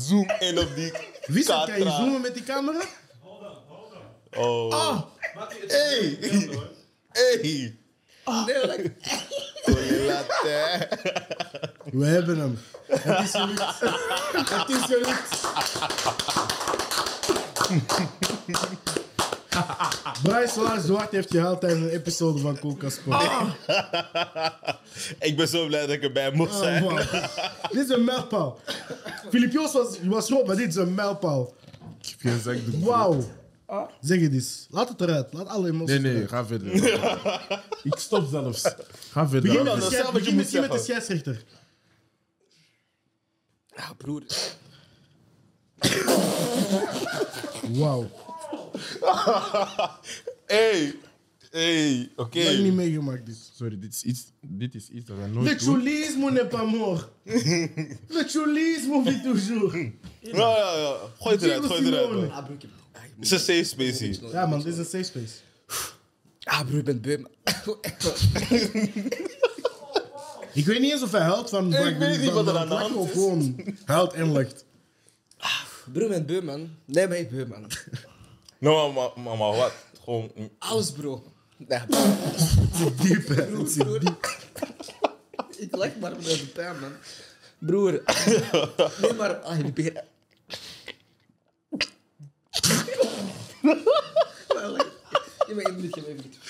[SPEAKER 7] Zoom in op die
[SPEAKER 15] Wie zegt, kan je
[SPEAKER 7] kaartraan.
[SPEAKER 15] zoomen met die camera?
[SPEAKER 7] Oh.
[SPEAKER 15] Ah!
[SPEAKER 7] Hey! Hey! Oh. Colette.
[SPEAKER 12] We hebben hem.
[SPEAKER 15] Het is gelukt. Het is gelukt.
[SPEAKER 14] Bryce Laar Zwart heeft gehaald tijdens een episode van Coca Sport.
[SPEAKER 15] Ah.
[SPEAKER 7] Ik ben zo blij dat ik erbij mocht zijn.
[SPEAKER 14] Oh, wow. dit is een mijlpaal. Filip Joos was, was rood, maar dit is een mijlpaal.
[SPEAKER 7] Ik heb geen zak doen.
[SPEAKER 14] Wauw. Zeg het eens. Laat het eruit. Laat alle emoties
[SPEAKER 7] Nee, nee,
[SPEAKER 14] eruit.
[SPEAKER 7] ga verder.
[SPEAKER 14] Ik stop zelfs. Ga verder. Begin,
[SPEAKER 7] Begin
[SPEAKER 14] met,
[SPEAKER 7] dan,
[SPEAKER 14] de
[SPEAKER 7] dat is
[SPEAKER 14] schei-
[SPEAKER 7] wat je
[SPEAKER 14] begin
[SPEAKER 7] moet
[SPEAKER 14] misschien met de
[SPEAKER 7] zeggen.
[SPEAKER 14] scheidsrechter.
[SPEAKER 4] Ah, broer.
[SPEAKER 14] Wauw.
[SPEAKER 7] Hey, hey, oké.
[SPEAKER 14] Ik heb niet meegemaakt dit.
[SPEAKER 7] Sorry, dit is iets, dit is iets dat wij
[SPEAKER 14] Le chulisme n'est pas mort. Le chulisme vit toujours.
[SPEAKER 7] Ja, ja, ja. Gooi het eruit,
[SPEAKER 14] Diego
[SPEAKER 7] gooi het eruit.
[SPEAKER 14] Simeone.
[SPEAKER 7] man. Het is een safe space hier.
[SPEAKER 14] Ja man, dit is een safe space.
[SPEAKER 4] Ah broer, ik ben beu.
[SPEAKER 14] Ik weet niet eens of hij huilt van...
[SPEAKER 7] Ik weet niet
[SPEAKER 14] van-
[SPEAKER 7] wat er
[SPEAKER 14] van
[SPEAKER 7] aan de
[SPEAKER 14] plakken
[SPEAKER 7] hand
[SPEAKER 14] Of
[SPEAKER 7] is. Ah,
[SPEAKER 14] gewoon huilt en lacht.
[SPEAKER 4] Broer, ik ben beu, man. Nee, maar ik ben beu, man.
[SPEAKER 7] Nou, maar, maar, maar wat? Gewoon...
[SPEAKER 4] Alles, bro. Ja.
[SPEAKER 14] Diep, hè.
[SPEAKER 4] Broer, Ik lach maar met de pijn, man. Broer. Nee, maar... Ah, je begrijpt... Je bent één minuutje, één minuutje.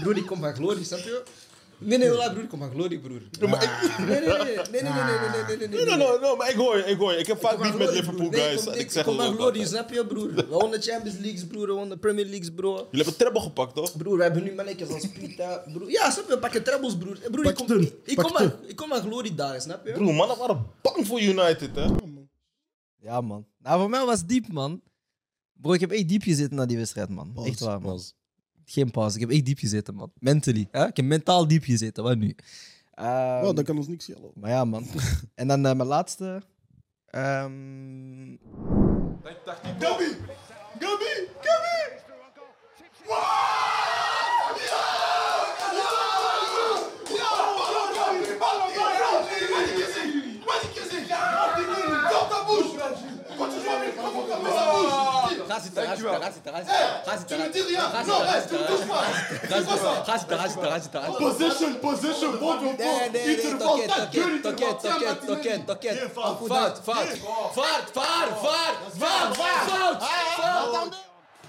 [SPEAKER 4] Broer, ik kom van glorie, snap je? Nee, nee, voilà, broer, ik kom van glorie, broer. Nee, nee, nee, nee, nee, nee, nee, nee, nee, nee, nee,
[SPEAKER 7] Nee, nee, nee, nee, maar ik hoor je, ik hoor je. Ik heb vaak niet met Liverpool,
[SPEAKER 4] Nee,
[SPEAKER 7] guys.
[SPEAKER 4] kom,
[SPEAKER 7] en
[SPEAKER 4] ik
[SPEAKER 7] Ik zeg
[SPEAKER 4] kom
[SPEAKER 7] het
[SPEAKER 4] maar
[SPEAKER 7] ook.
[SPEAKER 4] glorie, snap je, broer? We wonnen Champions Leagues, broer. We wonnen Premier Leagues, bro. Jullie
[SPEAKER 7] hebben treble gepakt, toch?
[SPEAKER 4] Broer, we hebben nu mannetjes als Pita, broer. Ja, snap je? We pakken trebles, broer. Eh, broer ik, kom, ik, ik kom aan, ik kom aan glorie dagen, snap je?
[SPEAKER 7] Broer, mannen waren bang voor United, hè?
[SPEAKER 1] Ja, man. Nou, voor mij was het diep, man. Bro, ik heb echt diep gezeten na die wedstrijd, man. echt waar, man. Geen pauze. Ik heb echt diep gezeten, man. Mentally. Hè? Ik heb mentaal diep gezeten. Wat nu? Ehm,
[SPEAKER 2] Oh, dat kan ons niks schelen.
[SPEAKER 1] Maar ja, man. en dan eh, mijn laatste. Ehm,
[SPEAKER 7] Gabi! Gabi! Gabi!
[SPEAKER 4] Ga zitten, ga zitten, ga zitten, ga zitten. Ga zitten, ga zitten. Ga zitten, ga zitten, ga zitten. Ga zitten, ga zitten, ga zitten, ga
[SPEAKER 12] Position,
[SPEAKER 4] zitten.
[SPEAKER 12] position, bond op
[SPEAKER 4] Nee, nee, nee,
[SPEAKER 12] Interval,
[SPEAKER 4] toket, toket, toket, toket, toket, toket. Fout, fout. Vaart, vaart, vaart, vaart, fout, fout.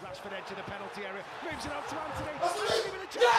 [SPEAKER 12] Rashford into the penalty area, moves it up to Anthony.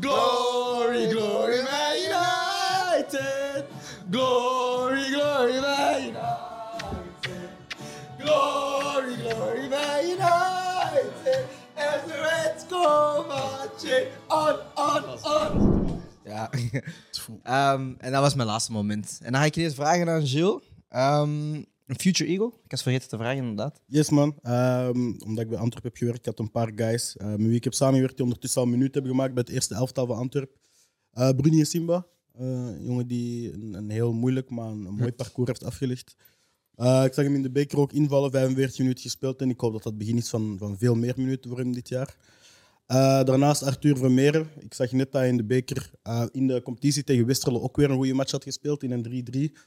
[SPEAKER 4] Glory, glory, Man United. Glory, glory, Man United. Glory, glory, Man United. As the Reds go marching on, on, on.
[SPEAKER 1] Ja. Ehm, en dat was mijn laatste moment. En dan ga ik eerst vragen aan Gilles. Ehm, een future eagle. Ik was vergeten te vragen, inderdaad.
[SPEAKER 2] Yes, man. Ehm, omdat ik bij Antwerp heb gewerkt, had een paar guys eh, met wie ik heb samengewerkt, die ondertussen al een minuut hebben gemaakt bij het eerste elftal van Antwerp. Eh Bruni Simba, Eh, een jongen die een, een heel moeilijk, maar een, een mooi parcours heeft afgelegd. Eh, ik zag hem in de beker ook invallen, 45 minuten gespeeld. En ik hoop dat dat het begin is van, van veel meer minuten voor hem dit jaar. Eh, daarnaast Arthur Vermeeren. Ik zag net dat hij in de beker eh, in de competitie tegen Westerlo ook weer een goede match had gespeeld in een 3-3.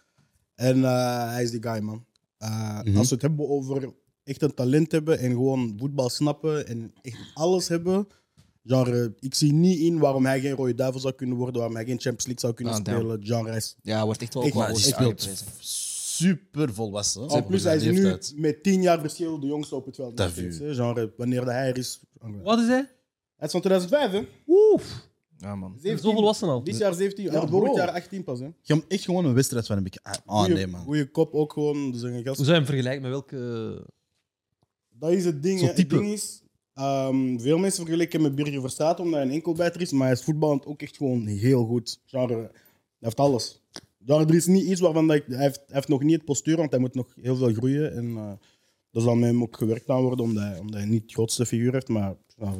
[SPEAKER 2] En eh, hij is die guy, man. Eh,
[SPEAKER 5] Mhm.
[SPEAKER 2] Als we het hebben over echt een talent hebben en gewoon voetbal snappen en echt alles hebben. Genre, eh, ik zie niet in waarom hij geen rode duivel zou kunnen worden, waarom hij geen Champions League zou kunnen
[SPEAKER 1] Ah, damn.
[SPEAKER 2] spelen. Genre, hij is
[SPEAKER 1] Ja, wordt echt wel
[SPEAKER 2] Echt,
[SPEAKER 1] wel-
[SPEAKER 2] maar die
[SPEAKER 1] echt
[SPEAKER 2] speelt
[SPEAKER 1] aangeprezen.
[SPEAKER 5] Super volwassen.
[SPEAKER 2] en plus, hij is nu
[SPEAKER 5] Leeftijd.
[SPEAKER 2] met 10 jaar verschil de jongste op het veld. nog
[SPEAKER 5] T'as
[SPEAKER 2] steeds,
[SPEAKER 5] vu.
[SPEAKER 2] hè. Genre, wanneer hij er is.
[SPEAKER 3] Wat is hij?
[SPEAKER 2] Hij is van 2005, hè?
[SPEAKER 1] Ja, man.
[SPEAKER 2] 17.
[SPEAKER 3] Zo volwassen al.
[SPEAKER 2] Dit jaar 17,
[SPEAKER 5] Ja,
[SPEAKER 2] ja,
[SPEAKER 5] bro.
[SPEAKER 2] vorig jaar 18 pas, hè?
[SPEAKER 5] Je hebt echt gewoon een wedstrijd van een beetje. Ah, ah, nee, man.
[SPEAKER 2] Goeie kop ook gewoon. Dus een gast.
[SPEAKER 3] Hoe zou je hem vergelijken met welke...
[SPEAKER 2] Dat is het ding.
[SPEAKER 3] Zo'n
[SPEAKER 2] hè.
[SPEAKER 3] type.
[SPEAKER 2] Het ding is, ehm, veel mensen vergelijken hem met Birger Verstaat omdat hij een enkelbijter is, maar hij is voetballend ook echt gewoon heel goed. Genre, hij heeft alles. Genre, er is niet iets waarvan dat ik, hij, heeft, hij heeft nog niet het postuur, want hij moet nog heel veel groeien. En eh dat zal met hem ook gewerkt aan worden, omdat hij, omdat hij niet het grootste figuur heeft, maar nou,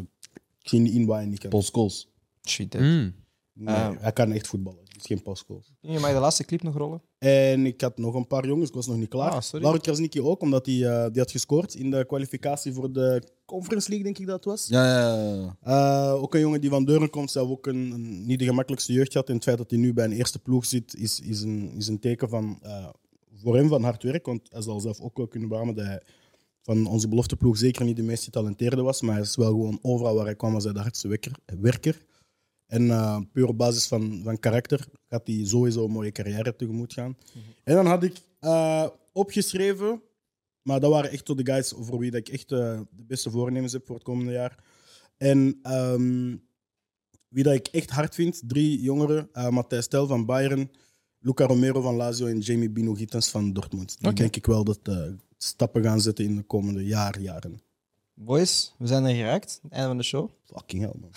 [SPEAKER 2] ik zie niet in waar hij niet kan.
[SPEAKER 5] Paul Scholes.
[SPEAKER 1] Shit,
[SPEAKER 3] Hmm.
[SPEAKER 2] Nee, hij kan echt voetballen. Misschien Pasco.
[SPEAKER 1] Je mag de laatste clip nog rollen.
[SPEAKER 2] En ik had nog een paar jongens, ik was nog niet klaar.
[SPEAKER 1] Ah,
[SPEAKER 2] Ah,
[SPEAKER 1] sorry.
[SPEAKER 2] Krasnicki ook, omdat hij eh, die had gescoord in de kwalificatie voor de Conference League, denk ik dat het was.
[SPEAKER 5] Ja, ja, ja, ja.
[SPEAKER 2] Eh, ook een jongen die van Deuren komt, zelf ook een, een- niet de gemakkelijkste jeugd had. En het feit dat hij nu bij een eerste ploeg zit, is, is, een, is een teken van, eh, voor hem van hard werk. Want hij zal zelf ook wel kunnen beamen dat hij van onze belofteploeg zeker niet de meest getalenteerde was. Maar hij is wel gewoon overal waar hij kwam, was hij de hardste wekker- werker. En eh, puur op basis van, van karakter gaat hij sowieso een mooie carrière tegemoet gaan.
[SPEAKER 5] Mhm.
[SPEAKER 2] En dan had ik eh, opgeschreven, maar dat waren echt tot de guys voor wie dat ik echt eh, de beste voornemens heb voor het komende jaar. En ehm, wie dat ik echt hard vind, drie jongeren, eh Matthijs Tel van Bayern, Luca Romero van Lazio en Jamie Bino Gittens van Dortmund. Die
[SPEAKER 1] Oké.
[SPEAKER 2] denk ik wel dat eh, stappen gaan zetten in de komende jaar, jaren.
[SPEAKER 1] Boys, we zijn er geraakt. Einde van de show.
[SPEAKER 2] Fucking hell, man.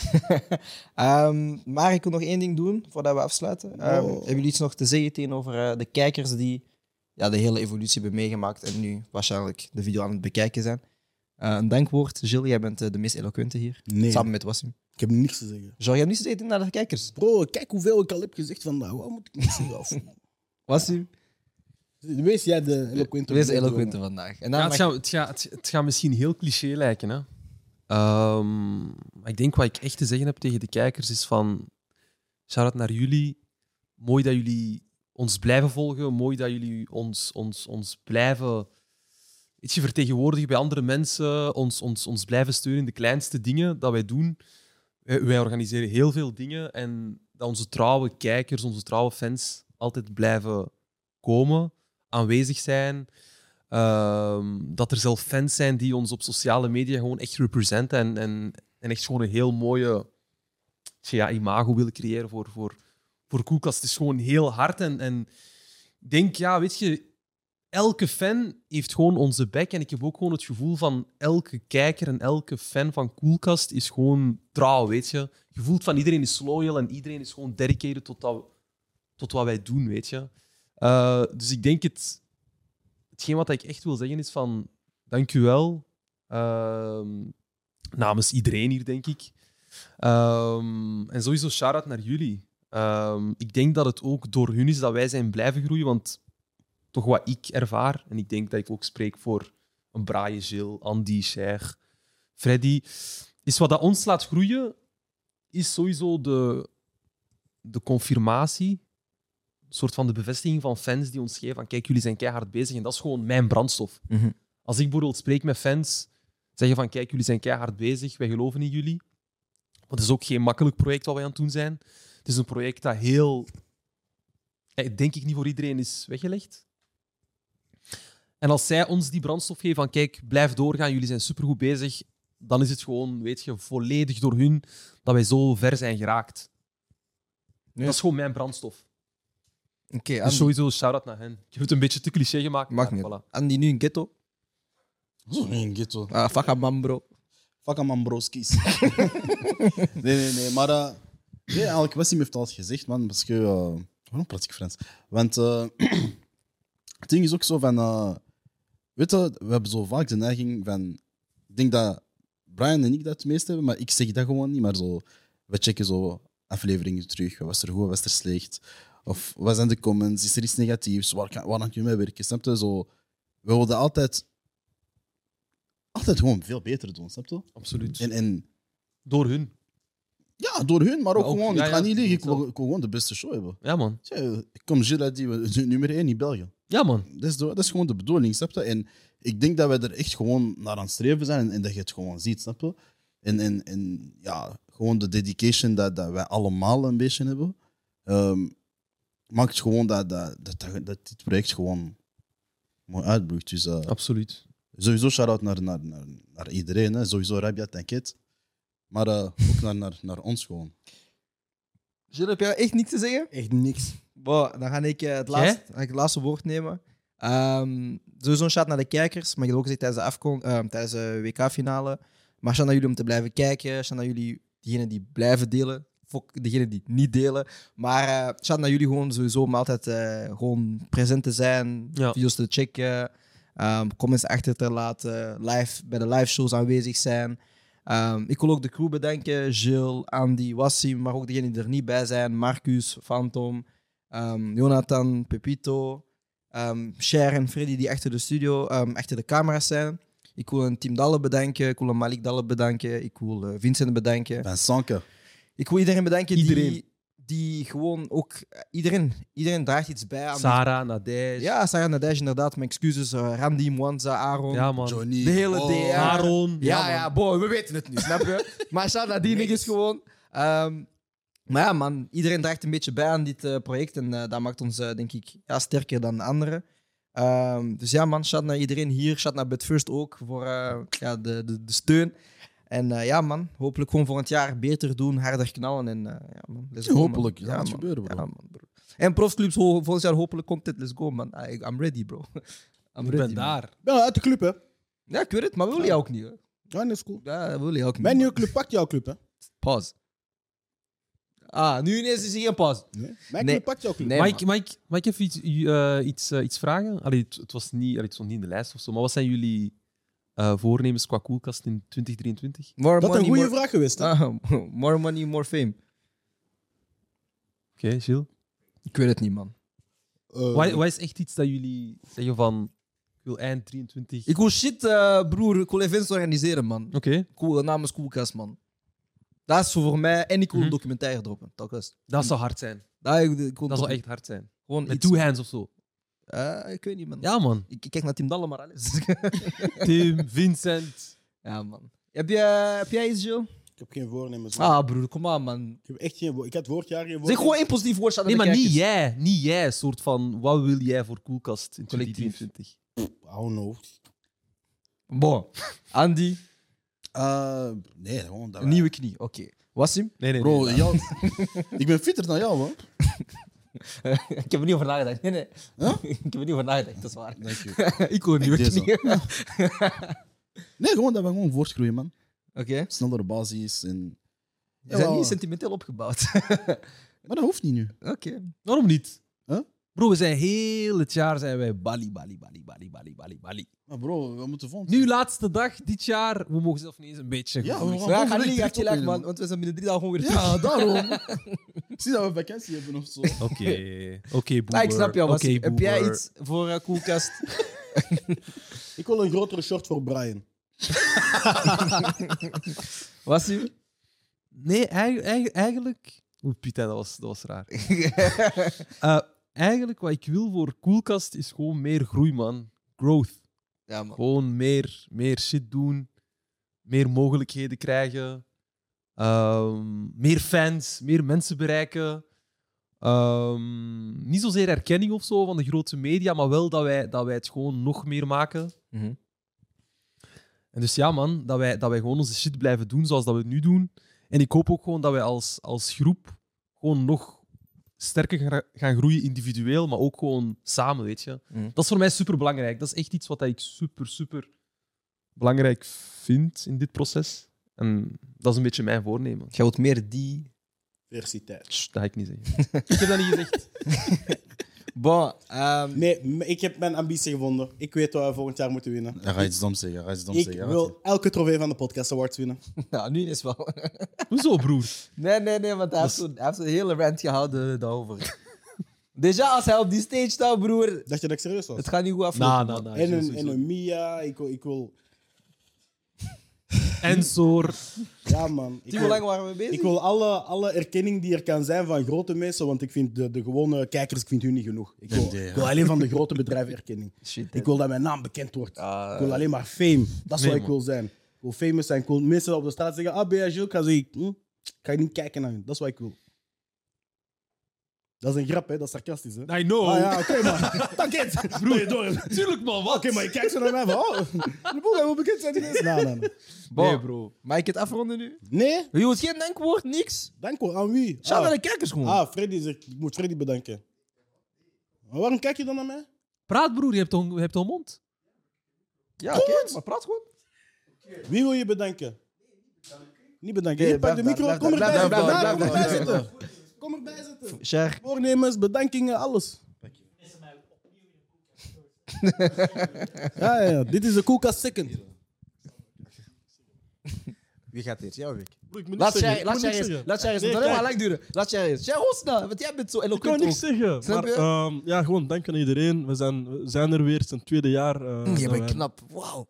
[SPEAKER 1] Ehm, maar ik wil nog één ding doen voordat we afsluiten. Ehm,
[SPEAKER 2] Oh.
[SPEAKER 1] Hebben jullie iets nog te zeggen tegenover eh, de kijkers die ja, de hele evolutie hebben meegemaakt en nu waarschijnlijk de video aan het bekijken zijn? Eh, een dankwoord. Gilles, jij bent eh, de meest eloquente hier.
[SPEAKER 2] Nee.
[SPEAKER 1] Samen met Wassim.
[SPEAKER 2] Ik heb niks te zeggen.
[SPEAKER 1] Zou jij niets te zeggen naar de kijkers?
[SPEAKER 2] Bro, kijk hoeveel ik al heb gezegd vandaag. Wat moet ik nog zeggen? Of-
[SPEAKER 1] Wassim?
[SPEAKER 6] Wees jij de eloquente
[SPEAKER 1] Wees eloquente vandaag. En dan
[SPEAKER 3] Ja, het,
[SPEAKER 1] mag-
[SPEAKER 3] gaat, het, gaat, het- het gaat misschien heel cliché lijken. Hè? Ehm, maar ik denk wat ik echt te zeggen heb tegen de kijkers is van... Shout-out naar jullie. Mooi dat jullie ons blijven volgen. Mooi dat jullie ons, ons, ons blijven ietsje vertegenwoordigen bij andere mensen. Ons, ons, ons blijven steunen in de kleinste dingen dat wij doen. Wij, Eh, wij organiseren heel veel dingen. En dat onze trouwe kijkers, onze trouwe fans altijd blijven komen, aanwezig zijn. Ehm, dat er zelf fans zijn die ons op sociale media gewoon echt representen en, en, en echt gewoon een heel mooie ja, imago willen creëren voor, voor, voor Koelkast. Het is gewoon heel hard. En, en ik denk, ja, weet je, elke fan heeft gewoon onze bek. En ik heb ook gewoon het gevoel van elke kijker en elke fan van Koelkast is gewoon trouw, weet je. Je voelt van iedereen is loyal en iedereen is gewoon dedicated tot, dat, tot wat wij doen, weet je. Eh, dus ik denk het... Hetgeen wat ik echt wil zeggen is van... Dank u wel. Ehm, namens iedereen hier, denk ik. Ehm, en sowieso shout-out naar jullie. Ehm, ik denk dat het ook door hun is dat wij zijn blijven groeien, want toch wat ik ervaar, en ik denk dat ik ook spreek voor een braaie Gilles, Andy, Cher, Freddy, is wat dat ons laat groeien, is sowieso de, de confirmatie, een soort van de bevestiging van fans die ons geven van kijk, jullie zijn keihard bezig en dat is gewoon mijn brandstof.
[SPEAKER 1] Mhm.
[SPEAKER 3] Als ik bijvoorbeeld spreek met fans, zeggen van kijk, jullie zijn keihard bezig, wij geloven in jullie. Want het is ook geen makkelijk project wat wij aan het doen zijn. Het is een project dat heel, eh, denk ik, niet voor iedereen is weggelegd. En als zij ons die brandstof geven van kijk, blijf doorgaan, jullie zijn supergoed bezig, dan is het gewoon, weet je, volledig door hun dat wij zo ver zijn geraakt. Dat is gewoon mijn brandstof.
[SPEAKER 1] Oké,
[SPEAKER 3] Dus
[SPEAKER 1] Andy.
[SPEAKER 3] sowieso shout-out naar hen. Ik heb het een beetje te cliché gemaakt,
[SPEAKER 1] Mag
[SPEAKER 3] maar
[SPEAKER 1] niet.
[SPEAKER 3] voilà.
[SPEAKER 1] Andy, nu in ghetto.
[SPEAKER 5] Zo niet in ghetto.
[SPEAKER 1] Ah, fuck a man, bro.
[SPEAKER 2] Fuck a man, broskies.
[SPEAKER 5] nee, nee, nee. Maar eh, nee, eigenlijk, Wessim heeft al gezegd, man. Parce que, eh, waarom praat ik Frans? Want eh, het ding is ook zo van... eh, weet je, we hebben zo vaak de neiging van... Ik denk dat Brian en ik dat het meest hebben, maar ik zeg dat gewoon niet. Maar zo, we checken zo afleveringen terug. Wat was er goed, wat was er slecht? Of wat zijn de comments? Is er iets negatiefs? Waar kan, waar kan je mee werken? Snap je? Zo, we wilden altijd... Altijd gewoon veel beter doen, snap je?
[SPEAKER 3] Absoluut.
[SPEAKER 5] En, en
[SPEAKER 3] Door hun.
[SPEAKER 5] Ja, door hun, maar ook,
[SPEAKER 3] Maar ook-
[SPEAKER 5] gewoon.
[SPEAKER 3] ja,
[SPEAKER 5] ik
[SPEAKER 3] ja,
[SPEAKER 5] ga niet liggen, ik
[SPEAKER 3] zelf.
[SPEAKER 5] wil, ik wil gewoon de beste show hebben.
[SPEAKER 3] Ja, man.
[SPEAKER 5] Ik kom Gilles uit die we- de nummer 1 in België.
[SPEAKER 3] Ja, man.
[SPEAKER 5] Dat is, de- dat is gewoon de bedoeling, snap je? En ik denk dat wij er echt gewoon naar aan het streven zijn en, en dat je het gewoon ziet, snap je? En, en, en ja, gewoon de dedication dat, dat wij allemaal een beetje hebben, ehm, maakt gewoon dat, dat, dat, dat, dat dit project gewoon mooi uitbloeit. Dus, eh,
[SPEAKER 3] Absoluut.
[SPEAKER 5] Sowieso shout-out naar, naar, naar, naar iedereen, hè. sowieso Rabiat en Kit. Maar eh, ook naar, naar, naar ons gewoon.
[SPEAKER 1] Gilles, heb jij echt niks te zeggen?
[SPEAKER 6] Echt niks.
[SPEAKER 1] Wow, dan ga ik, eh, het,
[SPEAKER 5] Jij?
[SPEAKER 1] laatste, dan ga ik het laatste woord nemen. Ehm, sowieso een shout naar de kijkers, maar ik heb ook gezegd tijdens de, afkon- ehm, tijdens de WK-finale. Maar shout naar jullie om te blijven kijken. Shout naar jullie, diegenen die blijven delen. Fok, degenen die niet delen. Maar eh shout naar jullie gewoon sowieso om altijd eh, gewoon present te zijn.
[SPEAKER 3] Ja.
[SPEAKER 1] Video's te checken. ehm, comments achter te laten. Live, bij de live shows aanwezig zijn. Ehm, ik wil ook de crew bedanken. Jill, Andy, Wassim, maar ook degenen die er niet bij zijn. Marcus, Phantom, ehm, Jonathan, Pepito, ehm Cher en Freddy die achter de studio, ehm, achter de camera's zijn. Ik wil een Tim Dalle bedanken. Ik wil een Malik Dalle bedanken. Ik wil eh, Vincent bedanken.
[SPEAKER 5] Ben Sanke.
[SPEAKER 1] Ik wil iedereen bedanken die... Die gewoon ook... eh, Iedereen, iedereen draagt iets bij aan...
[SPEAKER 3] Sarah, Nadej.
[SPEAKER 1] Ja, Sarah Nadej, inderdaad. Mijn excuses. eh, Randy, Mwanza, Aaron.
[SPEAKER 3] Ja, man. Johnny.
[SPEAKER 1] De hele
[SPEAKER 3] Oh.
[SPEAKER 1] DR.
[SPEAKER 3] Aaron. Ja,
[SPEAKER 1] Ja,
[SPEAKER 3] man.
[SPEAKER 1] ja, boy, we weten het nu, snap je? maar shout naar die niggas gewoon. Ehm, maar ja, man, iedereen draagt een beetje bij aan dit eh, project. En eh, dat maakt ons, eh, denk ik, ja, sterker dan de anderen. Ehm, dus ja, man, shout naar iedereen hier. Shout naar Bud First ook voor eh, ja, de, de, de steun. En eh, ja, man, hopelijk gewoon volgend jaar beter doen, harder knallen. En, eh, ja, man, let's
[SPEAKER 5] Ja,
[SPEAKER 1] go, man.
[SPEAKER 5] hopelijk. Dat gaat
[SPEAKER 1] man.
[SPEAKER 5] gebeuren, bro.
[SPEAKER 1] Ja, man, bro. En profclubs, ho- volgend jaar hopelijk content. Let's go, man. I- I'm ready, bro. I'm ready, man.
[SPEAKER 2] Ja, uit de club, hè?
[SPEAKER 1] Ja, ik weet het, maar we willen jou ook niet, hè?
[SPEAKER 2] Ja, dat is cool.
[SPEAKER 1] Ja, dat wil je ook niet.
[SPEAKER 2] Mijn nieuwe club, pak jouw club, hè?
[SPEAKER 1] Pause. Ah, nu ineens is hij geen pas.
[SPEAKER 2] Nee. Mijn
[SPEAKER 3] Nee.
[SPEAKER 2] club, pak jouw club.
[SPEAKER 3] mag, ik, mag, ik, mag ik even iets, u- eh, iets, eh, iets vragen? Allee, het, het was niet, allee, het stond niet in de lijst of zo, maar wat zijn jullie eh, voornemens qua koelkast in 2023?
[SPEAKER 1] More
[SPEAKER 3] is
[SPEAKER 1] money, more-
[SPEAKER 3] Oké,
[SPEAKER 1] Ah, more money, more fame.
[SPEAKER 3] Gilles?
[SPEAKER 1] Ik weet het niet, man.
[SPEAKER 3] Wat wat is echt iets dat jullie zeggen van... Ik wil eind 23...
[SPEAKER 1] Ik wil shit, eh, broer. Ik wil events organiseren, man. Oké.
[SPEAKER 3] Cool,
[SPEAKER 1] namens Koelkast, man. Dat is voor mij. En ik wil
[SPEAKER 3] Mhm.
[SPEAKER 1] een documentaire droppen. Dat, is.
[SPEAKER 3] Dat zou hard zijn.
[SPEAKER 1] Dat, ik, ik wil
[SPEAKER 3] Dat zou
[SPEAKER 1] docu-
[SPEAKER 3] echt hard zijn.
[SPEAKER 1] Gewoon
[SPEAKER 3] Met
[SPEAKER 1] iets-
[SPEAKER 3] two hands of zo.
[SPEAKER 1] Eh, ik weet niet, man.
[SPEAKER 3] Ja, man.
[SPEAKER 1] Ik, ik kijk naar Tim Dalle, maar alles.
[SPEAKER 3] Tim, Vincent.
[SPEAKER 1] Ja, man. Heb, jij heb jij iets, Jill?
[SPEAKER 2] Ik heb geen voornemens. man.
[SPEAKER 1] Ah, broer, kom aan, man.
[SPEAKER 2] Ik heb echt geen wo- Ik had vorig jaar geen
[SPEAKER 1] Zeg
[SPEAKER 2] voornemens.
[SPEAKER 1] gewoon één positief woord aan de
[SPEAKER 3] Nee, maar niet
[SPEAKER 1] kijkers.
[SPEAKER 3] jij. Niet jij. soort van, wat wil jij voor koelkast in
[SPEAKER 1] Collectief.
[SPEAKER 3] 2023?
[SPEAKER 2] I don't
[SPEAKER 5] nou.
[SPEAKER 2] know.
[SPEAKER 1] Bon. Andy.
[SPEAKER 5] Eh, nee, gewoon dat
[SPEAKER 1] Een nieuwe knie, oké. Wassim?
[SPEAKER 3] Nee, nee,
[SPEAKER 5] Bro, jou- ik ben fitter dan jou, man.
[SPEAKER 1] ik heb er niet over nagedacht. Nee, nee. ik heb er niet over nagedacht, dat is waar. ik hoor
[SPEAKER 5] hoor
[SPEAKER 1] een nieuwe knie.
[SPEAKER 5] nee, gewoon dat we gewoon voortgroeien, man.
[SPEAKER 1] Oké.
[SPEAKER 5] Snellere basis en...
[SPEAKER 1] Ze zijn niet sentimenteel opgebouwd.
[SPEAKER 5] maar dat hoeft niet nu.
[SPEAKER 1] Oké.
[SPEAKER 3] Waarom niet? Bro, we zijn heel het jaar zijn wij Bali, Bali, Bali, Bali, Bali, Bali, Bali.
[SPEAKER 5] Maar bro, we moeten volgend
[SPEAKER 3] Nu, laatste dag dit jaar, we mogen zelf niet eens een beetje.
[SPEAKER 5] Ja,
[SPEAKER 3] gevoelig
[SPEAKER 5] we
[SPEAKER 3] zijn.
[SPEAKER 5] gaan volgende week
[SPEAKER 1] je
[SPEAKER 5] terug
[SPEAKER 1] laat, man,
[SPEAKER 5] opnemen.
[SPEAKER 1] want we zijn binnen drie dagen gewoon weer
[SPEAKER 5] Ja, daarom. Ik Zie dat we vakantie hebben of zo.
[SPEAKER 3] Oké, oké,
[SPEAKER 1] Ah, ik snap jou,
[SPEAKER 3] Oké,
[SPEAKER 1] Wassim. Heb jij
[SPEAKER 3] boomer.
[SPEAKER 1] iets voor eh, Koelkast?
[SPEAKER 2] Ik wil een grotere short voor Brian.
[SPEAKER 1] Wassim?
[SPEAKER 3] Nee, eigenlijk... eigenlijk, eigenlijk... Oeh, Piet, hè, dat was, dat was raar. Eh, eigenlijk, wat ik wil voor Koelkast is gewoon meer groei, man. Growth.
[SPEAKER 1] Ja, man.
[SPEAKER 3] Gewoon meer, meer shit doen. Meer mogelijkheden krijgen. Ehm, meer fans. Meer mensen bereiken. Ehm, niet zozeer erkenning of zo van de grote media, maar wel dat wij, dat wij het gewoon nog meer maken. En dus ja, man, dat wij, dat wij gewoon onze shit blijven doen zoals dat we het nu doen. En ik hoop ook gewoon dat wij als, als groep gewoon nog sterker gaan- gaan groeien individueel, maar ook gewoon samen, weet je.
[SPEAKER 1] Mhm.
[SPEAKER 3] Dat is voor mij super belangrijk. Dat is echt iets wat ik super, super belangrijk vind in dit proces. En dat is een beetje mijn voornemen.
[SPEAKER 1] Jij wilt meer die...
[SPEAKER 2] Diversiteit.
[SPEAKER 3] Sst, Dat ga ik niet zeggen. ik heb dat niet gezegd.
[SPEAKER 1] Bon, ehm,
[SPEAKER 2] Nee, m- ik heb mijn ambitie gevonden. Ik weet wat we volgend jaar moeten winnen.
[SPEAKER 5] Ja, ga je iets doms zeggen, ga je iets doms
[SPEAKER 2] Ik
[SPEAKER 5] zeggen.
[SPEAKER 2] wil elke trofee van de Podcast Awards winnen.
[SPEAKER 1] Nou, nu is wel.
[SPEAKER 3] Hoezo, broer?
[SPEAKER 1] Nee, nee, nee, want hij heeft zo'n- hij heeft een hele rant gehouden daarover. Déjà, als hij op die stage staat, broer...
[SPEAKER 2] Dat je dat serieus was?
[SPEAKER 1] Het gaat niet goed
[SPEAKER 5] Nou,
[SPEAKER 1] aflopen.
[SPEAKER 3] Nah, nah, nah,
[SPEAKER 1] man.
[SPEAKER 2] En een, en een Mia, ik wil... Ik wil
[SPEAKER 3] En soort.
[SPEAKER 2] ja, man. Ik
[SPEAKER 1] Tien,
[SPEAKER 2] wil-
[SPEAKER 1] hoe lang waren we bezig?
[SPEAKER 2] Ik wil alle, alle erkenning die er kan zijn van grote mensen, want ik vind de, de gewone kijkers ik vind hun niet genoeg. Ik wil,
[SPEAKER 5] Nee, ja.
[SPEAKER 2] ik wil alleen van de grote bedrijven erkenning. ik wil dat mijn naam bekend wordt.
[SPEAKER 1] Ah.
[SPEAKER 2] ik wil alleen maar fame. Dat is
[SPEAKER 5] Nee,
[SPEAKER 2] wat ik
[SPEAKER 5] man.
[SPEAKER 2] wil zijn. Ik wil famous zijn. Ik wil mensen op de straat zeggen, ah, ben jij Jules? Ik ga zeggen, hm, ik ga niet kijken naar hun. Dat is wat ik wil. Dat is een grap, hè? Dat is sarcastisch, hè?
[SPEAKER 3] I know.
[SPEAKER 2] Ah ja, oké, maar... Pak het! Broer, door.
[SPEAKER 3] Tuurlijk, man, wat?
[SPEAKER 2] Oké, maar je kijkt zo naar mij van, oh, de boel gaat wel bekend zijn. die mensen. Nee, nee, nee.
[SPEAKER 1] Bon,
[SPEAKER 3] Nee, bro.
[SPEAKER 1] Mag ik het afronden nu?
[SPEAKER 2] Nee?
[SPEAKER 1] Je hoeft geen dankwoord, niks.
[SPEAKER 2] Dankwoord aan wie?
[SPEAKER 1] Shout
[SPEAKER 2] Ah.
[SPEAKER 1] naar de kijkers gewoon.
[SPEAKER 2] Ah, Freddy zegt, ik moet Freddy bedanken. Maar waarom kijk je dan naar mij?
[SPEAKER 3] Praat, broer, je hebt al, je hebt al mond.
[SPEAKER 1] ja, oké, maar praat gewoon.
[SPEAKER 2] Wie wil je bedanken? Niet bedanken.
[SPEAKER 1] Nee,
[SPEAKER 2] Hier, pak de
[SPEAKER 1] blijf
[SPEAKER 2] micro,
[SPEAKER 1] daar, blijf
[SPEAKER 2] kom
[SPEAKER 1] daar,
[SPEAKER 2] erbij
[SPEAKER 1] blijf daar,
[SPEAKER 2] zitten.
[SPEAKER 1] blijf
[SPEAKER 2] Kom erbij
[SPEAKER 1] daar, blijf daar.
[SPEAKER 2] zitten. Kom erbij zitten. Voornemens, bedankingen, alles. Ja, ja, dit is de Koelkast Second.
[SPEAKER 1] Wie gaat dit? Jouw week?
[SPEAKER 11] Bro, ik moet
[SPEAKER 1] laat
[SPEAKER 11] niks
[SPEAKER 1] jij,
[SPEAKER 11] zeggen,
[SPEAKER 1] laat
[SPEAKER 11] ik moet
[SPEAKER 1] jij
[SPEAKER 11] niks
[SPEAKER 1] eens,
[SPEAKER 11] zeggen.
[SPEAKER 1] laat jij eens.
[SPEAKER 11] Nee,
[SPEAKER 1] Het moet alleen maar
[SPEAKER 11] kijk.
[SPEAKER 1] lang duren. Laat jij eens. Jij hoort snel, want jij bent zo
[SPEAKER 11] Ik kan
[SPEAKER 1] eloquent.
[SPEAKER 11] niks
[SPEAKER 1] ook.
[SPEAKER 11] zeggen.
[SPEAKER 1] Snap
[SPEAKER 11] Maar
[SPEAKER 1] je?
[SPEAKER 11] ehm, ja, gewoon dank aan iedereen. We zijn, we zijn er weer, zijn tweede jaar. eh,
[SPEAKER 1] Mm, je
[SPEAKER 11] zijn
[SPEAKER 1] bent
[SPEAKER 11] wij.
[SPEAKER 1] knap. Wauw.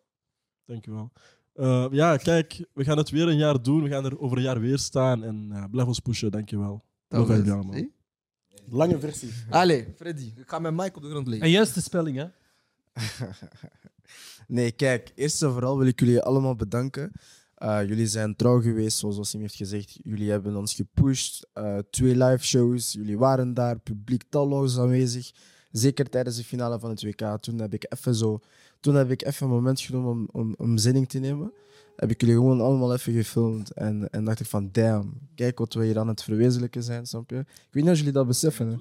[SPEAKER 11] Dankjewel. Eh ja, kijk, we gaan het weer een jaar doen. We gaan er over een jaar weer staan. En ja, blijf ons pushen, dankjewel.
[SPEAKER 1] Dat
[SPEAKER 11] Love
[SPEAKER 1] was-
[SPEAKER 11] jullie allemaal.
[SPEAKER 6] Lange versie.
[SPEAKER 1] Allee, Freddy, ik ga mijn mic op de grond leggen.
[SPEAKER 3] En juiste spelling, hè?
[SPEAKER 8] Nee, kijk, eerst en vooral wil ik jullie allemaal bedanken. Eh, jullie zijn trouw geweest, zoals Osim heeft gezegd. Jullie hebben ons gepusht. Eh, twee live shows, jullie waren daar, publiek talloos aanwezig. Zeker tijdens de finale van het WK. Toen heb ik even zo, toen heb ik even een moment genomen om, om, om zinning te nemen. Heb ik jullie gewoon allemaal even gefilmd. En, en dacht ik van, damn, kijk wat we hier aan het verwezenlijken zijn, snap je? Ik weet niet of jullie dat beseffen. Hè?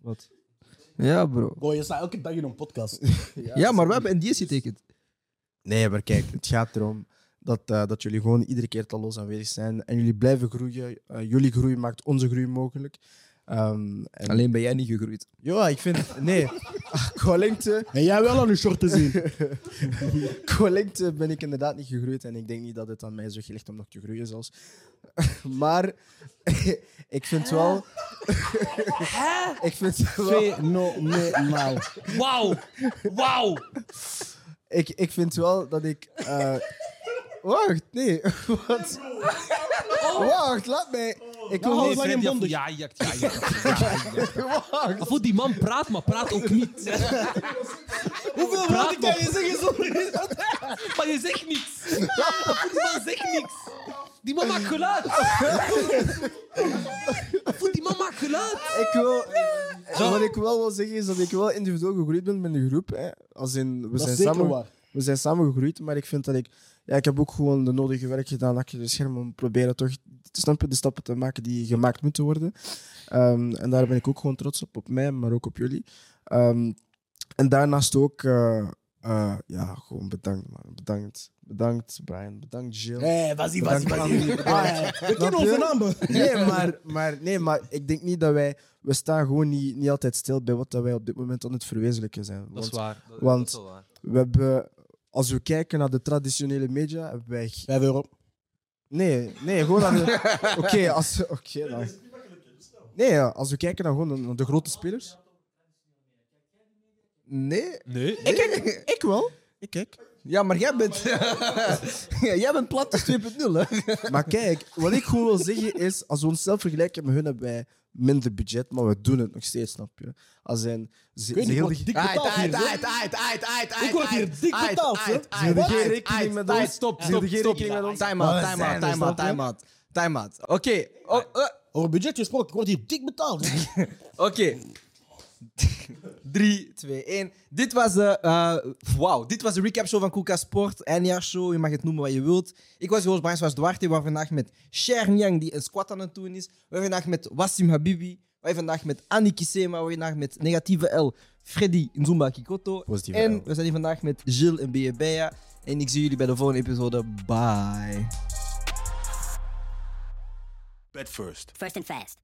[SPEAKER 8] Wat? Ja, bro.
[SPEAKER 2] Bro, je staat elke dag in een podcast.
[SPEAKER 1] Ja, maar we hebben NDS getekend.
[SPEAKER 8] Nee, maar kijk, het gaat erom dat, eh, dat jullie gewoon iedere keer talloos aanwezig zijn. En jullie blijven groeien. Eh, jullie groei maakt onze groei mogelijk. Alleen ben jij niet gegroeid. Ja, ik vind... Nee. Ah, Qua lengte...
[SPEAKER 2] En jij wel aan uw short te zien.
[SPEAKER 8] Qua lengte ben ik inderdaad niet gegroeid. En ik denk niet dat het aan mij is weggelegd om nog te groeien zelfs. maar ik vind wel... ik vind wel...
[SPEAKER 2] Fenomenaal.
[SPEAKER 3] Wauw. Wauw.
[SPEAKER 8] ik, ik vind wel dat ik... eh, Wacht, nee. Wat?
[SPEAKER 6] Oh,
[SPEAKER 8] Wacht, laat mij. Ik wil
[SPEAKER 6] Nou,
[SPEAKER 3] Nee,
[SPEAKER 8] niet
[SPEAKER 3] Freddy, afvoer- Ja, ja, ja. ja, ja. Afvoer, die man praat, maar praat ook niet.
[SPEAKER 12] Hoeveel
[SPEAKER 3] Praat
[SPEAKER 12] woorden kan je
[SPEAKER 3] nog.
[SPEAKER 12] zeggen zonder
[SPEAKER 3] Maar je zegt niks. Afvoer, Die man zegt niks. Die man maakt geluid. Afvoer, die man maakt geluid.
[SPEAKER 8] Ik wil... Wat ik wel wil zeggen is dat ik wel individueel gegroeid ben met de groep. Hè. Als in, we,
[SPEAKER 6] Dat is
[SPEAKER 8] zijn
[SPEAKER 6] zeker
[SPEAKER 8] samen,
[SPEAKER 6] waar.
[SPEAKER 8] we zijn samen gegroeid, maar ik vind dat ik... Ja, ik heb ook gewoon de nodige werk gedaan achter de schermen om proberen toch te snappen, de stappen te maken die gemaakt moeten worden. Ehm, en daar ben ik ook gewoon trots op, op mij, maar ook op jullie. Ehm, en daarnaast ook... eh, eh, ja, gewoon bedankt, man. Bedankt. Bedankt, Brian. Bedankt, Jill.
[SPEAKER 2] Hé, vas-y, vas-y,
[SPEAKER 8] Bedankt,
[SPEAKER 2] vas-y.
[SPEAKER 8] Andy.
[SPEAKER 2] Ah, ja. We kennen
[SPEAKER 8] Snap je?
[SPEAKER 2] onze namen.
[SPEAKER 8] Nee, maar, maar, nee, maar ik denk niet dat wij... We staan gewoon niet, niet altijd stil bij wat dat wij op dit moment aan het verwezenlijken zijn.
[SPEAKER 3] Dat is waar. Dat- dat is
[SPEAKER 8] want
[SPEAKER 3] wel waar.
[SPEAKER 8] we hebben... Als we kijken naar de traditionele media, hebben wij...
[SPEAKER 2] Vijf euro.
[SPEAKER 8] Nee, nee, gewoon naar de... Oké, als... Oké, dan... Nee, ja, als we kijken naar, gewoon naar- naar de grote spelers... Nee.
[SPEAKER 3] Nee.
[SPEAKER 1] Ik, ik,
[SPEAKER 8] ik wel. Ik kijk.
[SPEAKER 1] Ja, maar jij bent... jij bent Plattus 2.0, hè?
[SPEAKER 8] Maar kijk, wat ik gewoon wil zeggen is, als we onszelf vergelijken met hun, hebben wij minder budget, maar we doen het nog steeds, snap je? Als zijn ze,
[SPEAKER 12] Ik weet
[SPEAKER 8] ze
[SPEAKER 12] niet,
[SPEAKER 8] hielden-
[SPEAKER 12] wordt dik betaald Aight, hier, aight, hoor. aight, aight, aight, aight, Ik word hier aight, dik aight, betaald, aight, hoor.
[SPEAKER 8] Ze hielden geen
[SPEAKER 1] Aight,
[SPEAKER 8] rekening
[SPEAKER 1] aight,
[SPEAKER 8] met
[SPEAKER 1] aight,
[SPEAKER 8] ons.
[SPEAKER 1] stop,
[SPEAKER 8] Ze hielden
[SPEAKER 1] stop,
[SPEAKER 8] geen
[SPEAKER 1] stop.
[SPEAKER 8] rekening met ons.
[SPEAKER 1] Time
[SPEAKER 2] Oh,
[SPEAKER 1] out, time out, time out, time out. Time out. Oké. oh, eh.
[SPEAKER 2] Over budget gesproken, ik word hier dik betaald.
[SPEAKER 1] Oké. 3, 2, 1. Dit was de, eh, wauw. Dit was de recap show van Kuka Sport. Eindjaarshow, je mag het noemen wat je wilt. Ik was Joost Brands, was Duarte. We waren vandaag met Sher Nyang, die een squat aan het doen is. We waren vandaag met Wassim Habibi. We waren vandaag met Annie Kisema. We waren vandaag met Negatieve L, Freddy Nzumba Kikoto.
[SPEAKER 8] Positieve
[SPEAKER 1] en we zijn hier vandaag met Gilles en Beyebeya. En ik zie jullie bij de volgende episode. Bye.
[SPEAKER 15] Bed first. First and fast.